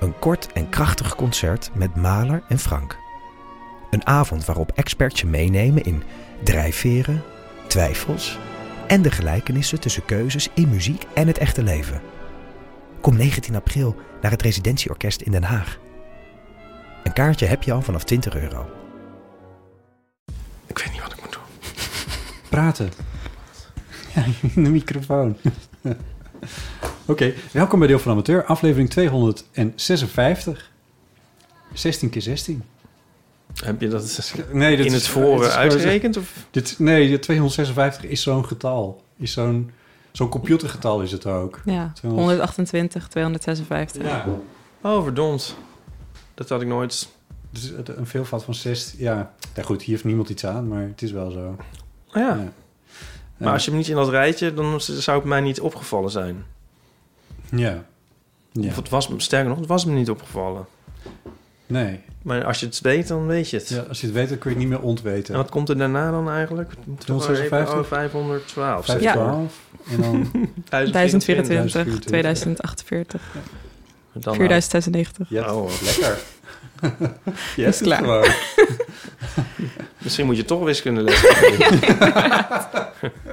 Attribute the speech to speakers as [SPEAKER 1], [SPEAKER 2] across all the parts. [SPEAKER 1] Een kort en krachtig concert met Maler en Frank. Een avond waarop experts je meenemen in drijfveren, twijfels en de gelijkenissen tussen keuzes in muziek en het echte leven. Kom 19 april naar het Residentieorkest in Den Haag. Een kaartje heb je al vanaf 20 euro.
[SPEAKER 2] Ik weet niet wat ik moet doen.
[SPEAKER 3] Praten. Ja, de microfoon. Oké, welkom bij Deel van Amateur, aflevering 256. 16 keer 16.
[SPEAKER 2] Heb je dat eens
[SPEAKER 3] Nee, dit
[SPEAKER 2] in
[SPEAKER 3] is-
[SPEAKER 2] het voren
[SPEAKER 3] dit is-
[SPEAKER 2] uitgerekend? Of?
[SPEAKER 3] Dit, nee, dit 256 is zo'n getal. Is zo'n zo'n computergetal is het ook.
[SPEAKER 4] Ja,
[SPEAKER 3] 200.
[SPEAKER 4] 128, 256.
[SPEAKER 3] Ja.
[SPEAKER 2] Oh, verdomd. Dat had ik nooit.
[SPEAKER 3] Dus het- een veelvoud van 16. Ja. ja, goed, hier heeft niemand iets aan, maar het is wel zo.
[SPEAKER 2] Oh ja.
[SPEAKER 3] Ja.
[SPEAKER 2] Maar als je hem niet in dat rijtje, dan zou het mij niet opgevallen zijn.
[SPEAKER 3] Ja. ja.
[SPEAKER 2] Of het was, me- sterker nog, het was me niet opgevallen.
[SPEAKER 3] Nee.
[SPEAKER 2] Maar als je het weet, dan weet je het.
[SPEAKER 3] Ja, als je het weet, dan kun je het niet meer ontweten.
[SPEAKER 2] En wat komt er daarna dan eigenlijk? Het moet toch maar even-
[SPEAKER 3] 256?
[SPEAKER 2] oh, 512.
[SPEAKER 3] 512 en dan
[SPEAKER 4] 1024,
[SPEAKER 3] 1024,
[SPEAKER 4] 2048,
[SPEAKER 2] Dan
[SPEAKER 4] 4096.
[SPEAKER 3] Ja,
[SPEAKER 2] Oh, wat
[SPEAKER 3] lekker. Je
[SPEAKER 4] Is
[SPEAKER 3] hebt het
[SPEAKER 4] klaar.
[SPEAKER 3] gewoon.
[SPEAKER 2] Misschien moet je toch wiskunde lezen.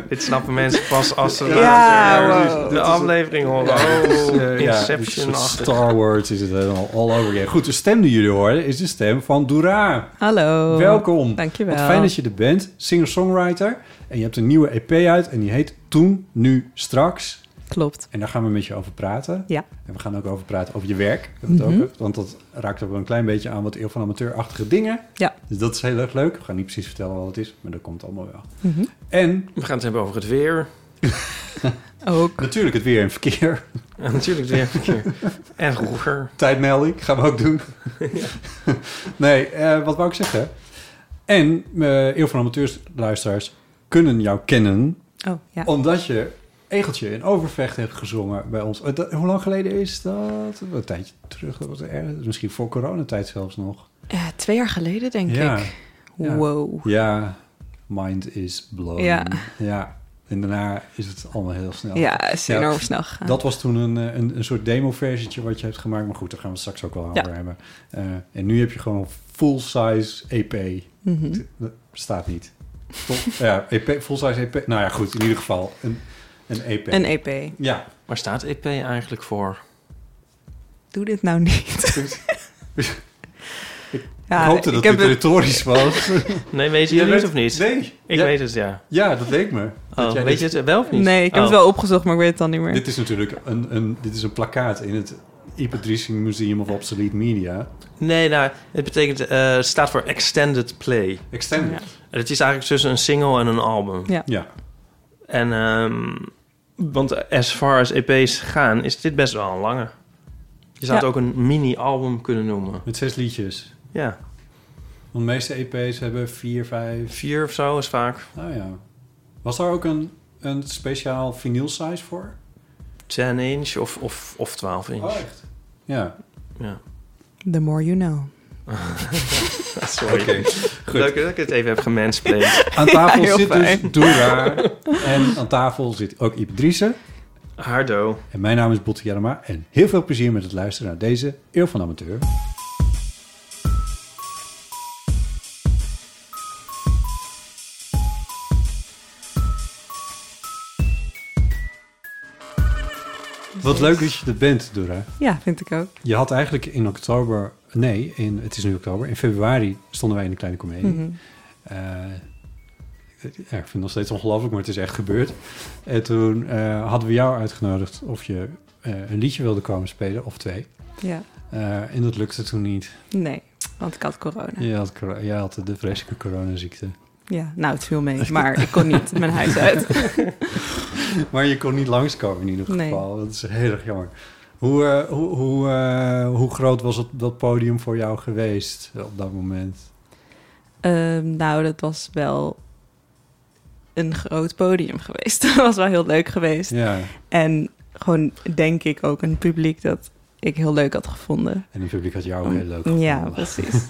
[SPEAKER 2] Dit snappen mensen pas als ze
[SPEAKER 4] Ja,
[SPEAKER 2] de-
[SPEAKER 4] wow.
[SPEAKER 2] de aflevering horen. Oh,
[SPEAKER 3] een
[SPEAKER 2] Inception
[SPEAKER 3] soort
[SPEAKER 2] achter.
[SPEAKER 3] dus Star Wars is het helemaal all over again. Goed, de stem die jullie horen is de stem van Dura.
[SPEAKER 4] Hallo.
[SPEAKER 3] Welkom.
[SPEAKER 4] Oh, Dankjewel.
[SPEAKER 3] Wat fijn dat je er bent, singer-songwriter. En je hebt een nieuwe EP uit en die heet Toen, Nu, Straks.
[SPEAKER 4] Klopt.
[SPEAKER 3] En daar gaan we met je over praten.
[SPEAKER 4] Ja. Mhm.
[SPEAKER 3] En we gaan ook over praten over je werk. We hebben het ook over, want dat raakt ook wel een klein beetje aan wat eeuw van amateurachtige dingen.
[SPEAKER 4] Ja.
[SPEAKER 3] Dus dat is heel erg leuk. We gaan niet precies vertellen wat het is, maar dat komt allemaal wel. En
[SPEAKER 2] We gaan het hebben over het weer.
[SPEAKER 4] Ook.
[SPEAKER 3] natuurlijk het weer en verkeer.
[SPEAKER 2] En natuurlijk het weer een keer. En roer.
[SPEAKER 3] Tijdmelding gaan we ook doen. nee, eh, wat wou ik zeggen? En eh eeuw van amateursluisteraars kunnen jou kennen
[SPEAKER 4] Oh, ja.
[SPEAKER 3] Omdat je Egeltje in Overvecht hebt gezongen bij ons. Eh, dat- Hoe lang geleden is dat? Een tijdje terug. dat was erg. Misschien voor coronatijd zelfs nog.
[SPEAKER 4] Eh, twee jaar geleden, denk
[SPEAKER 3] Ja.
[SPEAKER 4] ik.
[SPEAKER 3] Ja.
[SPEAKER 4] Wow.
[SPEAKER 3] Ja, mind is blown.
[SPEAKER 4] Ja.
[SPEAKER 3] ja. En daarna is het allemaal heel snel.
[SPEAKER 4] Ja, is
[SPEAKER 3] Ja.
[SPEAKER 4] enorm snel gegaan.
[SPEAKER 3] Dat was toen een, eh, een, een soort demo-versietje wat je hebt gemaakt. Maar goed, daar gaan we het straks ook wel
[SPEAKER 4] Ja.
[SPEAKER 3] over hebben. Eh, en nu heb je gewoon full-size EP.
[SPEAKER 4] Mhm.
[SPEAKER 3] Dat bestaat niet. Toch? ja, EP, full-size EP. Nou ja, goed, in ieder geval een, een EP.
[SPEAKER 4] Een E EP.
[SPEAKER 3] Ja,
[SPEAKER 2] Waar staat EP eigenlijk voor?
[SPEAKER 4] Doe dit nou niet.
[SPEAKER 3] ik hoopte dat dit
[SPEAKER 4] heb het-
[SPEAKER 3] retorisch was.
[SPEAKER 2] Nee, weet je
[SPEAKER 3] Je
[SPEAKER 2] het
[SPEAKER 3] weet-
[SPEAKER 2] niet of niet?
[SPEAKER 3] Nee.
[SPEAKER 2] Ik
[SPEAKER 3] ja,
[SPEAKER 2] weet het, ja.
[SPEAKER 3] ja, dat leek me. Dat
[SPEAKER 2] Oh,
[SPEAKER 3] jij
[SPEAKER 2] weet
[SPEAKER 3] dit-
[SPEAKER 2] je het wel of niet?
[SPEAKER 4] Nee, ik heb
[SPEAKER 2] Oh.
[SPEAKER 4] het wel opgezocht, maar ik weet het dan niet meer.
[SPEAKER 3] Dit is natuurlijk een, een, dit is een plakkaat in het Ipatricing Museum of Obsolete Media.
[SPEAKER 2] Nee, nou, het betekent, eh, het staat voor Extended Play.
[SPEAKER 3] Extended.
[SPEAKER 2] En Het is eigenlijk tussen een single en een album.
[SPEAKER 4] Ja.
[SPEAKER 3] Ja.
[SPEAKER 2] En, ehm, want as far as EP's gaan, is dit best wel een lange. Je zou
[SPEAKER 4] Ja.
[SPEAKER 2] het ook een mini-album kunnen noemen.
[SPEAKER 3] Met zes liedjes.
[SPEAKER 2] Ja,
[SPEAKER 3] Want de meeste EP's hebben vier, vijf...
[SPEAKER 2] vier of zo is vaak.
[SPEAKER 3] Nou ja. Was daar ook een, een speciaal vinyl size voor?
[SPEAKER 2] 10 inch of, of, of 12 inch.
[SPEAKER 3] echt? Ja.
[SPEAKER 2] Ja.
[SPEAKER 4] The more you know.
[SPEAKER 2] Sorry.
[SPEAKER 3] Goed.
[SPEAKER 2] Leuk dat ik het even heb gemansplained.
[SPEAKER 3] Aan tafel
[SPEAKER 4] heel
[SPEAKER 3] zit
[SPEAKER 4] fijn.
[SPEAKER 3] dus Dora. En aan tafel zit ook Ipatrice.
[SPEAKER 2] Hardo.
[SPEAKER 3] En mijn naam is Botte Jarama. En heel veel plezier met het luisteren naar deze Eeuw van de Amateur. Wat leuk dat je er bent, Dora.
[SPEAKER 4] Ja, vind ik ook.
[SPEAKER 3] Je had eigenlijk in oktober... Nee, in, het is nu oktober. In februari stonden wij in een kleine comedie.
[SPEAKER 4] Mhm.
[SPEAKER 3] Eh, ja, ik vind het nog steeds ongelooflijk, maar het is echt gebeurd. En toen eh, hadden we jou uitgenodigd of je eh, een liedje wilde komen spelen, of twee.
[SPEAKER 4] Ja.
[SPEAKER 3] Eh, en dat lukte toen niet.
[SPEAKER 4] Nee, want ik had corona. Ja.
[SPEAKER 3] Je had, cor- je had de vreselijke coronaziekte.
[SPEAKER 4] nou, het viel mee, maar ik kon niet mijn huis uit.
[SPEAKER 3] Maar je kon niet langskomen in ieder
[SPEAKER 4] Nee.
[SPEAKER 3] geval. Dat is heel erg jammer. Hoe, eh, hoe, hoe, eh, hoe groot was het, dat podium voor jou geweest op dat moment?
[SPEAKER 4] Ehm, nou, dat was wel een groot podium geweest. dat was wel heel leuk geweest.
[SPEAKER 3] Ja.
[SPEAKER 4] En gewoon denk ik ook een publiek dat ik heel leuk had gevonden.
[SPEAKER 3] En het publiek had jou ook heel leuk
[SPEAKER 4] Oh, ja,
[SPEAKER 3] gevonden.
[SPEAKER 4] precies.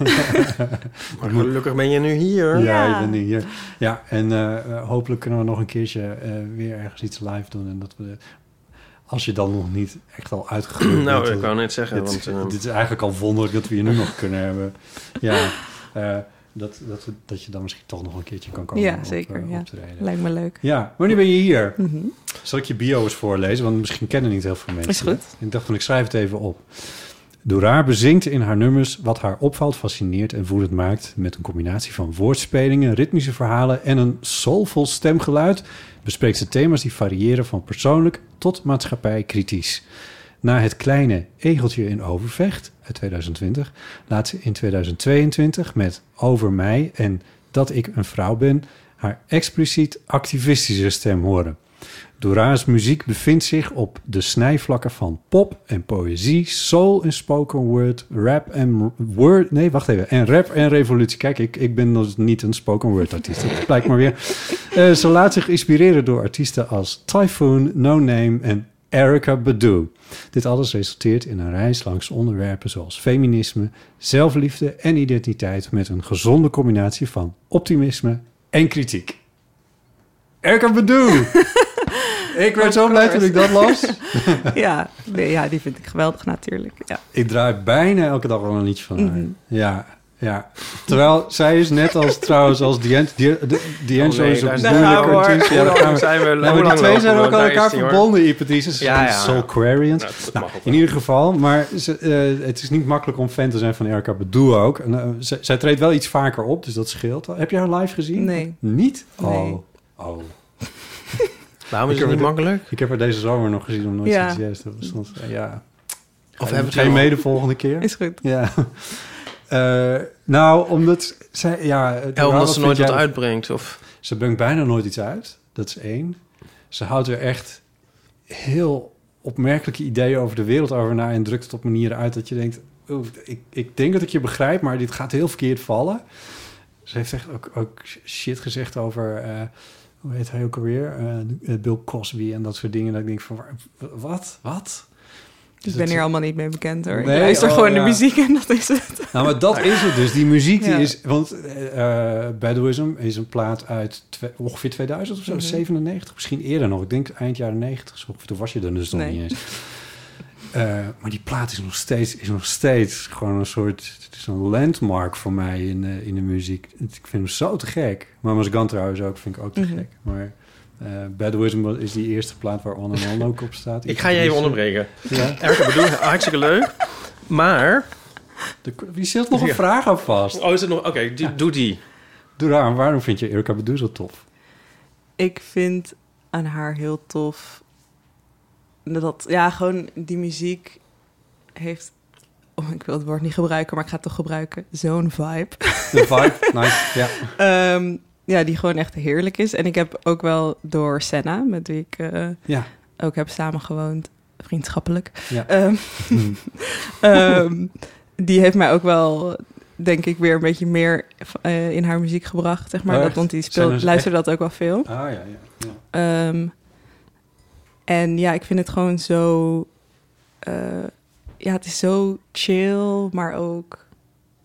[SPEAKER 2] Maar gelukkig ben je nu hier.
[SPEAKER 3] Ja,
[SPEAKER 4] Ja.
[SPEAKER 3] je bent nu hier. Ja, en eh, eh, hopelijk kunnen we nog een keertje eh, weer ergens iets live doen. En dat we, als je dan nog niet echt al uitgegroeid bent,
[SPEAKER 2] nou,
[SPEAKER 3] dat-
[SPEAKER 2] ik wou net zeggen,
[SPEAKER 3] dit,
[SPEAKER 2] want eh,
[SPEAKER 3] dit is eigenlijk al wonderlijk dat we je nu nog kunnen hebben. Ja, eh, dat, dat, dat je dan misschien toch nog een keertje kan komen
[SPEAKER 4] Ja,
[SPEAKER 3] op,
[SPEAKER 4] zeker,
[SPEAKER 3] eh,
[SPEAKER 4] ja.
[SPEAKER 3] optreden.
[SPEAKER 4] Lijkt me leuk.
[SPEAKER 3] Ja, wanneer ben je hier?
[SPEAKER 4] Mhm.
[SPEAKER 3] Zal ik je bio eens voorlezen? Want misschien kennen niet heel veel mensen.
[SPEAKER 4] Is goed.
[SPEAKER 3] dit. Ik dacht van, ik schrijf het even op. Doeraar bezingt in haar nummers wat haar opvalt, fascineert en woedend maakt... met een combinatie van woordspelingen, ritmische verhalen en een soulvol stemgeluid... bespreekt ze thema's die variëren van persoonlijk tot maatschappijkritisch. Na het kleine Egeltje in Overvecht uit 2020 laat ze in 2022 met Over mij en dat ik een vrouw ben haar expliciet activistische stem horen. Dora's muziek bevindt zich op de snijvlakken van pop en poëzie, soul en spoken word, rap en word. Nee, wacht even. En rap en revolutie. Kijk, ik, ik ben dus niet een spoken word artiest. Dat blijkt maar weer. Eh, ze laat zich inspireren door artiesten als Typhoon, No Name en Erica Badu. Dit alles resulteert in een reis langs onderwerpen zoals feminisme, zelfliefde en identiteit met een gezonde combinatie van optimisme en kritiek. Erica Badu! ik werd zo blij toen ik dat las.
[SPEAKER 4] ja, nee, ja, die vind ik geweldig natuurlijk. Ja.
[SPEAKER 3] Ik draai bijna elke dag wel een liedje van haar.
[SPEAKER 4] Mhm.
[SPEAKER 3] Ja, ja. Terwijl zij is net als trouwens als D'Angelo Die, die, D'Angelo
[SPEAKER 2] Oh, nee,
[SPEAKER 3] is
[SPEAKER 2] daar
[SPEAKER 3] een
[SPEAKER 2] zijn-
[SPEAKER 3] moeilijke
[SPEAKER 4] Nou, hoor.
[SPEAKER 3] artiest. Ja, daar gaan we-
[SPEAKER 2] zijn we
[SPEAKER 3] Ja, maar die twee zijn ook aan elkaar verbonden, Ipathies.
[SPEAKER 2] Ja,
[SPEAKER 3] Ja,
[SPEAKER 2] ja.
[SPEAKER 3] Soul Quarians.
[SPEAKER 2] Nou, dat
[SPEAKER 3] Nou,
[SPEAKER 2] mag ook
[SPEAKER 3] in
[SPEAKER 2] wel.
[SPEAKER 3] ieder geval, maar ze, eh, het is niet makkelijk om fan te zijn van Erika Badu ook. En, eh, ze- zij treedt wel iets vaker op, dus dat scheelt. wel. Heb je haar live gezien?
[SPEAKER 4] Nee.
[SPEAKER 3] Niet? Oh.
[SPEAKER 4] Nee.
[SPEAKER 3] oh.
[SPEAKER 2] Waarom is
[SPEAKER 3] Ik
[SPEAKER 2] het
[SPEAKER 3] heb
[SPEAKER 2] niet
[SPEAKER 3] het-
[SPEAKER 2] makkelijk?
[SPEAKER 3] Ik heb haar deze zomer nog gezien om nooit
[SPEAKER 4] Ja.
[SPEAKER 3] sinds yes. Dat was soms, eh, ja.
[SPEAKER 2] Of
[SPEAKER 3] Ga je
[SPEAKER 2] hebben we het
[SPEAKER 3] meteen
[SPEAKER 2] wel-
[SPEAKER 3] mee de volgende keer?
[SPEAKER 4] Is goed.
[SPEAKER 3] Ja. Eh, nou, omdat zij... Ja, eh,
[SPEAKER 2] Ja,
[SPEAKER 3] Laura,
[SPEAKER 2] omdat ze nooit
[SPEAKER 3] vind
[SPEAKER 2] wat
[SPEAKER 3] jij-
[SPEAKER 2] uitbrengt. Of...
[SPEAKER 3] Ze brengt bijna nooit iets uit. Dat is één. Ze houdt er echt heel opmerkelijke ideeën over de wereld over na... en drukt het op manieren uit dat je denkt... "Oeh, ik, ik denk dat ik je begrijp, maar dit gaat heel verkeerd vallen. Ze heeft echt ook, ook shit gezegd over... eh, hoe heet hij ook alweer? Eh, eh, Bill Cosby en dat soort dingen. Dat ik denk van, waar- wat? Wat? Dus
[SPEAKER 4] Ik
[SPEAKER 3] dat
[SPEAKER 4] ben
[SPEAKER 3] ze-
[SPEAKER 4] hier allemaal niet mee bekend hoor.
[SPEAKER 3] Nee,
[SPEAKER 4] ik luister
[SPEAKER 3] oh,
[SPEAKER 4] gewoon
[SPEAKER 3] ja.
[SPEAKER 4] de muziek en dat is het.
[SPEAKER 3] Nou, maar dat is het dus. Die muziek die
[SPEAKER 4] Ja.
[SPEAKER 3] is... Want eh eh, Badoism is een plaat uit twe- ongeveer 2000 of zo,
[SPEAKER 4] Mhm.
[SPEAKER 3] 97. Misschien eerder nog. Ik denk eind jaren 90. Zo, toen was je er dus nog
[SPEAKER 4] Nee.
[SPEAKER 3] niet eens. Eh, maar die plaat is nog steeds, is nog steeds gewoon een soort... Het is een landmark voor mij in, eh, in de muziek. Het- Ik vind hem zo te gek. Mama's Gun trouwens ook, vind ik ook te
[SPEAKER 4] Mhm.
[SPEAKER 3] gek. Maar eh Badoism is die eerste plaat waar On and On ook op staat.
[SPEAKER 2] Ik ga je even
[SPEAKER 3] Dus,
[SPEAKER 2] onderbreken.
[SPEAKER 3] Ja.
[SPEAKER 2] Erke bedoel, hartstikke leuk. Maar...
[SPEAKER 3] De- Wie zit nog een
[SPEAKER 2] Ja.
[SPEAKER 3] vraag aan vast?
[SPEAKER 2] Oh, is het nog... Oké, die- doe die.
[SPEAKER 3] Doe aan, waarom vind je Erika Badu zo tof?
[SPEAKER 4] Ik vind aan haar heel tof. Dat, ja, gewoon die muziek heeft... Oh, ik wil het woord niet gebruiken, maar ik ga het toch gebruiken. Zo'n vibe.
[SPEAKER 3] De vibe, nice. Ja.
[SPEAKER 4] Ehm, ja, die gewoon echt heerlijk is. En ik heb ook wel door Senna, met wie ik eh,
[SPEAKER 3] Ja.
[SPEAKER 4] ook heb samengewoond, vriendschappelijk.
[SPEAKER 3] Ja.
[SPEAKER 4] Ehm,
[SPEAKER 3] Hmm.
[SPEAKER 4] ehm, die heeft mij ook wel, denk ik, weer een beetje meer eh, in haar muziek gebracht, zeg maar.
[SPEAKER 3] Oh,
[SPEAKER 4] dat,
[SPEAKER 3] echt?
[SPEAKER 4] want die
[SPEAKER 3] Senna
[SPEAKER 4] speelt,
[SPEAKER 3] is
[SPEAKER 4] luisterde dat ook wel veel.
[SPEAKER 3] Ah ja, ja.
[SPEAKER 4] Ehm, en ja, ik vind het gewoon zo. eh, ja, het is zo chill, maar ook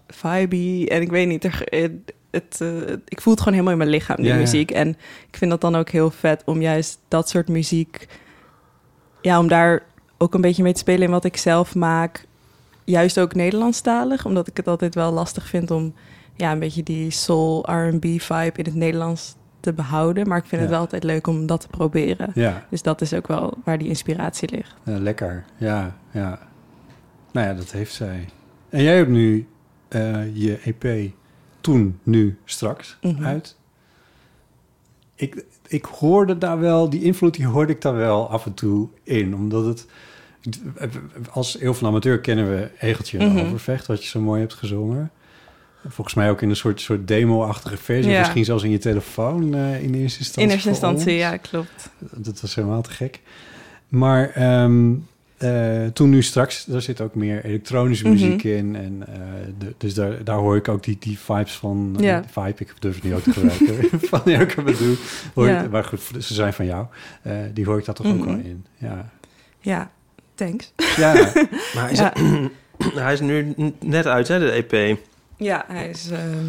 [SPEAKER 4] vibey. En ik weet niet, er, eh, het, eh, ik voel het gewoon helemaal in mijn lichaam, die
[SPEAKER 3] Ja, ja.
[SPEAKER 4] muziek. En ik vind dat dan ook heel vet om juist dat soort muziek. Ja, om daar ook een beetje mee te spelen in wat ik zelf maak. Juist ook Nederlandstalig, omdat ik het altijd wel lastig vind om ja, een beetje die soul RB vibe in het Nederlands te behouden. Maar ik vind
[SPEAKER 3] Ja.
[SPEAKER 4] het wel altijd leuk om dat te proberen.
[SPEAKER 3] Ja,
[SPEAKER 4] Dus dat is ook wel waar die inspiratie ligt.
[SPEAKER 3] eh, lekker. Ja, ja. Nou ja, dat heeft zij. En jij hebt nu eh, je EP toen, nu, straks
[SPEAKER 4] Mhm.
[SPEAKER 3] uit. Ik, ik hoorde daar wel, die invloed die hoorde ik daar wel af en toe in. Omdat het, als Eeuw van Amateur kennen we Egeltje en
[SPEAKER 4] Mhm.
[SPEAKER 3] Overvecht, wat je zo mooi hebt gezongen. Volgens mij ook in een soort, soort demo-achtige versie.
[SPEAKER 4] Ja.
[SPEAKER 3] Misschien zelfs in je telefoon eh, in eerste instantie.
[SPEAKER 4] In eerste
[SPEAKER 3] voor
[SPEAKER 4] instantie,
[SPEAKER 3] ons.
[SPEAKER 4] ja, klopt.
[SPEAKER 3] Dat was helemaal te gek. Maar ehm, eh, toen nu straks, daar zit ook meer elektronische
[SPEAKER 4] Mhm.
[SPEAKER 3] muziek in. En, eh, de- dus daar, daar hoor ik ook die, die vibes van... eh,
[SPEAKER 4] Ja.
[SPEAKER 3] vibe, ik durf het niet ook te gebruiken. van Erika bedoel. Hoor ik-
[SPEAKER 4] Ja.
[SPEAKER 3] Maar goed, ze zijn van jou. Eh, die hoor ik daar toch ook
[SPEAKER 4] Mhm.
[SPEAKER 3] wel in. Ja,
[SPEAKER 4] Ja, thanks.
[SPEAKER 3] ja.
[SPEAKER 2] Maar is
[SPEAKER 4] Ja.
[SPEAKER 2] hij is nu n- net uit, hè, de E EP.
[SPEAKER 4] Ja, hij is ehm,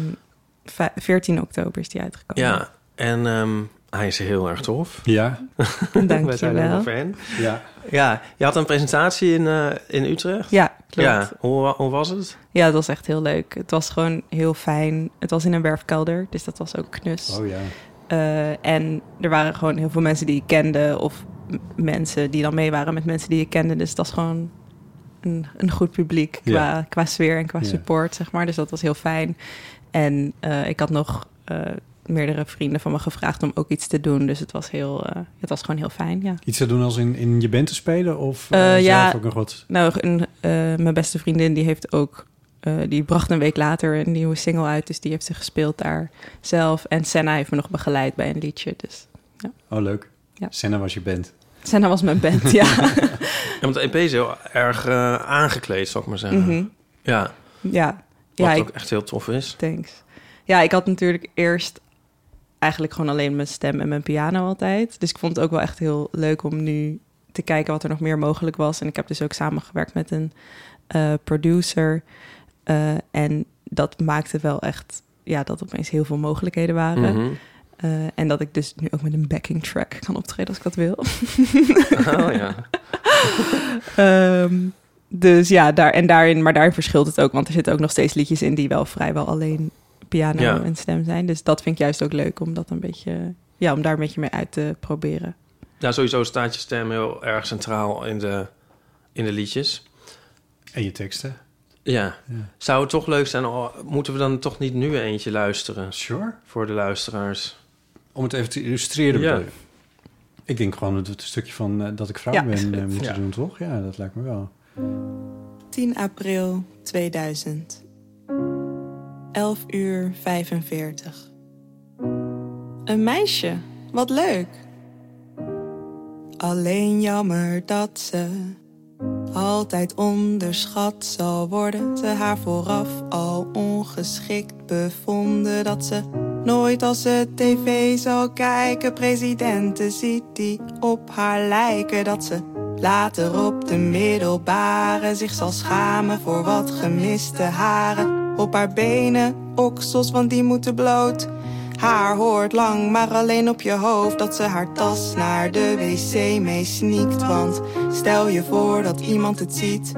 [SPEAKER 4] vij- 14 oktober is die uitgekomen.
[SPEAKER 2] Ja, en ehm, hij is heel erg tof.
[SPEAKER 3] ja,
[SPEAKER 2] Wij zijn helemaal
[SPEAKER 4] Dankjewel.
[SPEAKER 2] fan.
[SPEAKER 3] ja.
[SPEAKER 2] Ja, je had een presentatie in, eh, in Utrecht.
[SPEAKER 4] Ja, klopt.
[SPEAKER 2] Ja,
[SPEAKER 4] Ja.
[SPEAKER 2] hoe, wa- hoe was het?
[SPEAKER 4] het was echt heel leuk. Het was gewoon heel fijn. Het was in een werfkelder, dus dat was ook knus.
[SPEAKER 3] Oh ja.
[SPEAKER 4] Eh, en er waren gewoon heel veel mensen die ik kende. Of m- mensen die dan mee waren met mensen die ik kende. Dus dat is gewoon een, een goed publiek
[SPEAKER 3] Ja.
[SPEAKER 4] qua, qua sfeer en qua
[SPEAKER 3] Ja.
[SPEAKER 4] support, zeg maar. Dus dat was heel fijn. En eh, ik had nog eh, meerdere vrienden van me gevraagd om ook iets te doen. Dus het was, heel, eh, het was gewoon heel fijn, ja.
[SPEAKER 3] Iets te doen als in, in je band te spelen? Of eh,
[SPEAKER 4] Eh,
[SPEAKER 3] zelf
[SPEAKER 4] ja.
[SPEAKER 3] ook nog wat?
[SPEAKER 4] Nou, een, eh, mijn beste vriendin die heeft ook. eh, die bracht een week later een nieuwe single uit. Dus die heeft ze gespeeld daar zelf. En Senna heeft me nog begeleid bij een liedje. Dus
[SPEAKER 3] Oh, leuk.
[SPEAKER 4] Ja.
[SPEAKER 3] Senna was je band.
[SPEAKER 4] Senna was mijn band, ja.
[SPEAKER 2] Ja, want de EP is heel erg eh, aangekleed, zal ik maar zeggen.
[SPEAKER 4] Mhm.
[SPEAKER 2] Ja,
[SPEAKER 4] Ja,
[SPEAKER 2] Ehm, wat
[SPEAKER 4] ja ik,
[SPEAKER 2] ook echt heel tof is.
[SPEAKER 4] thanks. Ja, ik had natuurlijk eerst eigenlijk gewoon alleen mijn stem en mijn piano altijd. Dus ik vond het ook wel echt heel leuk om nu te kijken wat er nog meer mogelijk was. En ik heb dus ook samengewerkt met een eh, producer. Eh, en dat maakte wel echt, ja, dat opeens heel veel mogelijkheden waren.
[SPEAKER 2] Mhm.
[SPEAKER 4] Eh, en dat ik dus nu ook met een backing track kan optreden als ik dat wil.
[SPEAKER 2] Oh ja.
[SPEAKER 4] Ehm, dus ja, daar, en daarin, maar daarin verschilt het ook. Want er zitten ook nog steeds liedjes in die wel vrijwel alleen piano
[SPEAKER 2] Ja.
[SPEAKER 4] en stem zijn. Dus dat vind ik juist ook leuk om dat een beetje, ja, om daar een beetje mee uit te proberen.
[SPEAKER 2] Ja, sowieso staat je stem heel erg centraal in de, in de liedjes.
[SPEAKER 3] En je teksten.
[SPEAKER 2] Ja.
[SPEAKER 3] Ja.
[SPEAKER 2] Zou het toch leuk zijn, oh, moeten we dan toch niet nu eentje luisteren
[SPEAKER 3] Sure.
[SPEAKER 2] voor de luisteraars?
[SPEAKER 3] Om het even te illustreren.
[SPEAKER 2] Ja.
[SPEAKER 3] bedoel je? Ik denk gewoon dat we het stukje van eh, dat ik vrouw
[SPEAKER 4] Ja.
[SPEAKER 3] ben eh, moeten
[SPEAKER 2] Ja.
[SPEAKER 3] doen, toch? Ja, dat lijkt me wel.
[SPEAKER 5] 10 april 2000. 11 uur 45. Een meisje, wat leuk. Alleen jammer dat ze altijd onderschat zal worden. Ze haar vooraf al ongeschikt bevonden dat ze nooit als ze tv zal kijken. Presidenten ziet die op haar lijken dat ze later op de middelbare zich zal schamen voor wat gemiste haren. Op haar benen, oksels, want die moeten bloot. Haar hoort lang, maar alleen op je hoofd dat ze haar tas naar de wc mee sneakt. Want stel je voor dat iemand het ziet.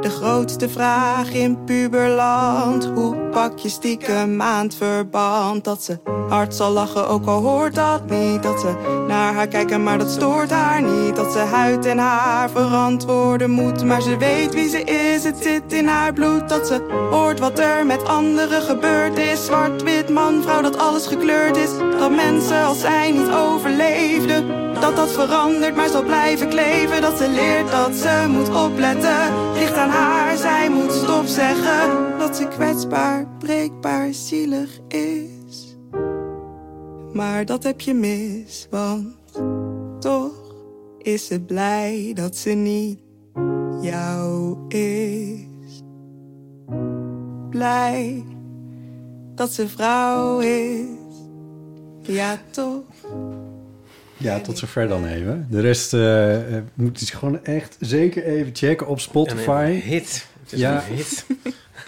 [SPEAKER 5] De grootste vraag in puberland: hoe pak je stiekem aan het verband? Dat ze hard zal lachen, ook al hoort dat niet. Dat ze naar haar kijken, maar dat stoort haar niet. Dat ze huid en haar verantwoorden moet, maar ze weet wie ze is. Het zit in haar bloed dat ze hoort wat er met anderen gebeurd is. Zwart-wit man, vrouw, dat alles gekleurd is. Dat mensen als zij niet overleefden. Dat dat verandert, maar zal blijven kleven. Dat ze leert dat ze moet opletten. Ligt aan haar, zij moet stop zeggen. Dat ze kwetsbaar, breekbaar, zielig is. Maar dat heb je mis, want toch is ze blij dat ze niet jou is blij dat ze vrouw is. Ja, toch?
[SPEAKER 3] Ja, tot zover dan even. De rest eh, eh, moet je gewoon echt zeker even checken op
[SPEAKER 2] En
[SPEAKER 3] Spotify.
[SPEAKER 2] een hit. Het is
[SPEAKER 3] Ja.
[SPEAKER 2] een hit.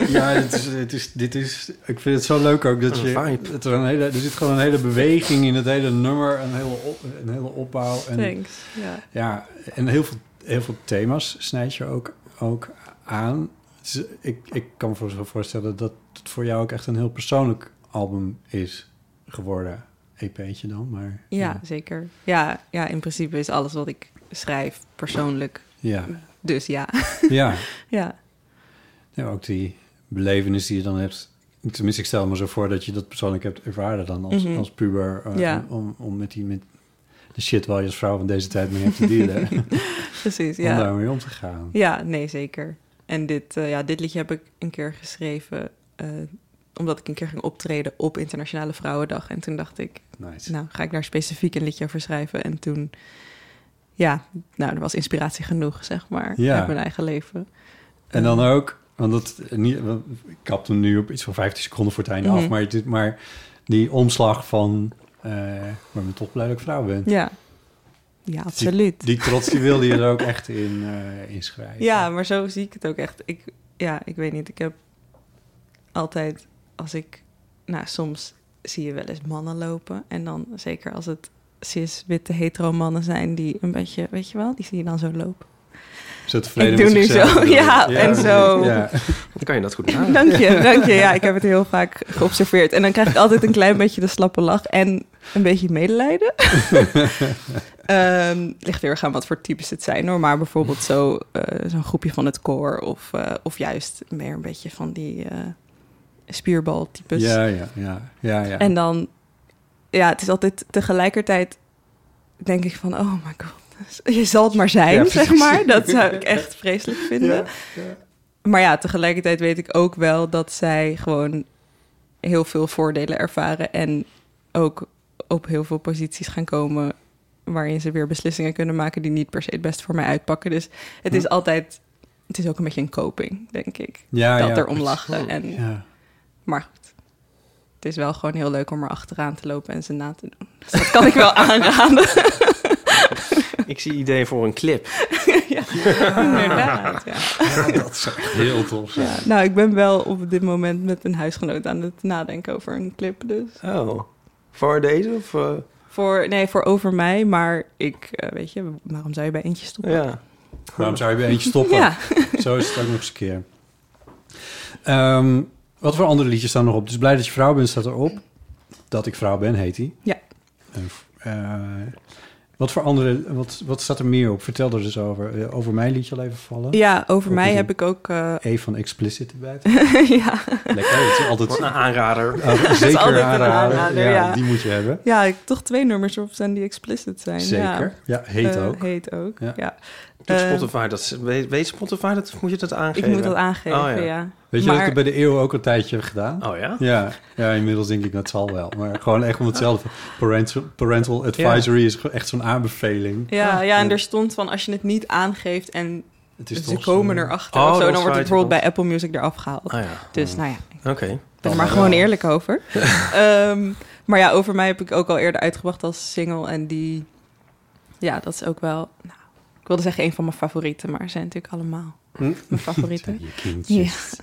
[SPEAKER 3] Ja, dit is, dit, is, dit is... Ik vind het zo leuk ook dat
[SPEAKER 2] Een
[SPEAKER 3] je...
[SPEAKER 2] vibe.
[SPEAKER 3] Dat er, een hele, er zit gewoon een hele beweging in het hele nummer. Een hele, op- een hele opbouw. En,
[SPEAKER 4] Thanks. Ja.
[SPEAKER 3] ja, en heel veel, heel veel thema's snijd je ook, ook aan. Dus ik, ik kan me voor- zo voorstellen dat het voor jou ook echt een heel persoonlijk album is geworden. EP'tje dan, maar...
[SPEAKER 4] Ja, zeker. Ja, ja, in principe is alles wat ik schrijf persoonlijk.
[SPEAKER 3] Ja,
[SPEAKER 4] Dus ja.
[SPEAKER 3] ja.
[SPEAKER 4] ja.
[SPEAKER 3] Ja, ook die belevenis die je dan hebt. Tenminste, ik stel me zo voor dat je dat persoonlijk hebt ervaren dan als,
[SPEAKER 4] Mhm.
[SPEAKER 3] als puber. eh,
[SPEAKER 4] Ja.
[SPEAKER 3] om, om met die met de shit waar je als vrouw van deze tijd mee hebt te dealen.
[SPEAKER 4] Precies,
[SPEAKER 3] Om
[SPEAKER 4] ja.
[SPEAKER 3] daarmee om te gaan.
[SPEAKER 4] Ja, nee, zeker. En dit, eh, ja, dit liedje heb ik een keer geschreven... eh, omdat ik een keer ging optreden op Internationale Vrouwendag. En toen dacht ik,
[SPEAKER 3] Nice.
[SPEAKER 4] nou, ga ik daar specifiek een liedje over schrijven. En toen ja, nou, er was inspiratie genoeg, zeg maar,
[SPEAKER 3] Ja.
[SPEAKER 4] uit mijn eigen leven. Eh,
[SPEAKER 3] En dan ook, want dat, niet, want ik kap hem nu op iets van 15 seconden voor het einde af,
[SPEAKER 4] Mhm.
[SPEAKER 3] maar, dit, maar die omslag van, eh maar ben toch blij dat ik vrouw ben.
[SPEAKER 4] Ja, ja absoluut.
[SPEAKER 3] Die trots die wilde je er ook echt in eh inschrijven.
[SPEAKER 4] Ja, maar zo zie ik het ook echt. Ik, ja, ik weet niet. Ik heb altijd als ik... Nou, soms zie je wel eens mannen lopen. En dan zeker als het cis witte hetero mannen zijn... die een beetje, weet je wel, die zie je dan zo lopen.
[SPEAKER 3] Zo tevreden
[SPEAKER 4] Ik doe
[SPEAKER 3] met
[SPEAKER 4] nu
[SPEAKER 3] zichzelf,
[SPEAKER 4] zo,
[SPEAKER 3] bedoel ik.
[SPEAKER 4] ja, en zo.
[SPEAKER 3] Ja.
[SPEAKER 2] Dan kan je dat goed maken.
[SPEAKER 4] Dank je, dank je. Ja, ik heb het heel vaak geobserveerd. En dan krijg ik altijd een klein beetje de slappe lach en een beetje medelijden. Ehm ligt heel erg aan wat voor types het zijn hoor. Maar bijvoorbeeld zo, eh, zo'n groepje van het koor of, eh, of juist meer een beetje van die eh spierbaltypes.
[SPEAKER 3] Ja, ja, ja, ja, ja.
[SPEAKER 4] Dus En dan, ja, het is altijd tegelijkertijd denk ik van, oh my god. dus Je zal het maar zijn,
[SPEAKER 3] Ja,
[SPEAKER 4] zeg
[SPEAKER 3] precies.
[SPEAKER 4] maar. Dat zou ik echt vreselijk vinden.
[SPEAKER 3] Ja, ja.
[SPEAKER 4] Maar ja, tegelijkertijd weet ik ook wel dat zij gewoon heel veel voordelen ervaren. En ook op heel veel posities gaan komen waarin ze weer beslissingen kunnen maken die niet per se het best voor mij uitpakken. Dus het is altijd, het is ook een beetje een coping, denk ik.
[SPEAKER 3] Ja,
[SPEAKER 4] dat
[SPEAKER 3] ja,
[SPEAKER 4] er om
[SPEAKER 3] precies.
[SPEAKER 4] lachen. En,
[SPEAKER 3] Ja.
[SPEAKER 4] Maar goed, het is wel gewoon heel leuk om er achteraan te lopen en ze na te doen. Dus dat kan ik wel aanraden.
[SPEAKER 2] Ik zie ideeën voor een clip.
[SPEAKER 4] Inderdaad, ja.
[SPEAKER 3] Heel tof.
[SPEAKER 4] ja. Nou, ik ben wel op dit moment met een huisgenoot aan het nadenken over een clip, dus...
[SPEAKER 2] Oh. Voor deze? Of, eh,
[SPEAKER 4] Voor, nee, voor over mij, maar ik, eh, weet je, waarom zou je bij eentje stoppen?
[SPEAKER 2] ja.
[SPEAKER 3] Waarom zou je bij eentje stoppen?
[SPEAKER 4] Ja.
[SPEAKER 3] Zo is het ook nog eens een keer. Ehm, wat voor andere liedjes staan nog op? Dus blij dat je vrouw bent staat erop. Dat ik vrouw ben heet die.
[SPEAKER 4] Ja.
[SPEAKER 3] En, eh, wat voor andere, wat, wat staat er meer op? Vertel er dus over. Eh, Over mij liet je al even vallen.
[SPEAKER 4] Ja, over
[SPEAKER 3] Ook
[SPEAKER 4] mij
[SPEAKER 3] niet
[SPEAKER 4] heb ik ook... eh,
[SPEAKER 3] E van explicit erbij.
[SPEAKER 4] ja.
[SPEAKER 3] Lekker, dat is altijd,
[SPEAKER 2] Wat een aanrader.
[SPEAKER 3] Ah, zeker
[SPEAKER 4] Nou, altijd een
[SPEAKER 3] aanraden.
[SPEAKER 4] aanrader,
[SPEAKER 3] ja,
[SPEAKER 4] ja.
[SPEAKER 3] Die moet je hebben.
[SPEAKER 4] ja, ik toch twee nummers op zijn die explicit zijn.
[SPEAKER 3] Zeker. Ja,
[SPEAKER 4] Ja.
[SPEAKER 3] heet
[SPEAKER 4] Eh,
[SPEAKER 3] ook.
[SPEAKER 4] Heet ook,
[SPEAKER 3] Ja.
[SPEAKER 4] ja.
[SPEAKER 2] Doet
[SPEAKER 4] Eh,
[SPEAKER 2] Spotify dat? Weet, weet Spotify dat? Of moet je dat
[SPEAKER 4] ik
[SPEAKER 2] aangeven?
[SPEAKER 4] moet dat aangeven,
[SPEAKER 2] Oh, ja.
[SPEAKER 4] ja.
[SPEAKER 3] Weet je dat ik
[SPEAKER 4] maar,
[SPEAKER 3] het bij de eeuw ook een tijdje heb gedaan?
[SPEAKER 2] Oh ja?
[SPEAKER 3] Ja, ja, inmiddels denk ik dat zal wel. Maar gewoon echt om hetzelfde. Parental, parental advisory is gewoon echt zo'n aanbeveling.
[SPEAKER 4] ja, ja, en er stond van als je het niet aangeeft en
[SPEAKER 3] Het is
[SPEAKER 4] Dus ze
[SPEAKER 3] toch
[SPEAKER 4] komen
[SPEAKER 3] zo-
[SPEAKER 4] erachter
[SPEAKER 2] Oh,
[SPEAKER 4] of zo,
[SPEAKER 2] dat
[SPEAKER 4] dan wordt
[SPEAKER 2] is
[SPEAKER 4] het
[SPEAKER 2] waar,
[SPEAKER 4] bijvoorbeeld bij Apple Music eraf gehaald.
[SPEAKER 2] Oh ja.
[SPEAKER 4] Dus nou ja, ik
[SPEAKER 2] Oké.
[SPEAKER 4] ben
[SPEAKER 3] Dan
[SPEAKER 4] er maar
[SPEAKER 3] wel.
[SPEAKER 4] gewoon eerlijk over. Ehm, maar ja, over mij heb ik ook al eerder uitgebracht als single. En die, ja, dat is ook wel, nou, ik wilde zeggen een van mijn favorieten, maar ze zijn natuurlijk allemaal
[SPEAKER 3] Hm?
[SPEAKER 4] mijn favorieten.
[SPEAKER 3] Je kindjes.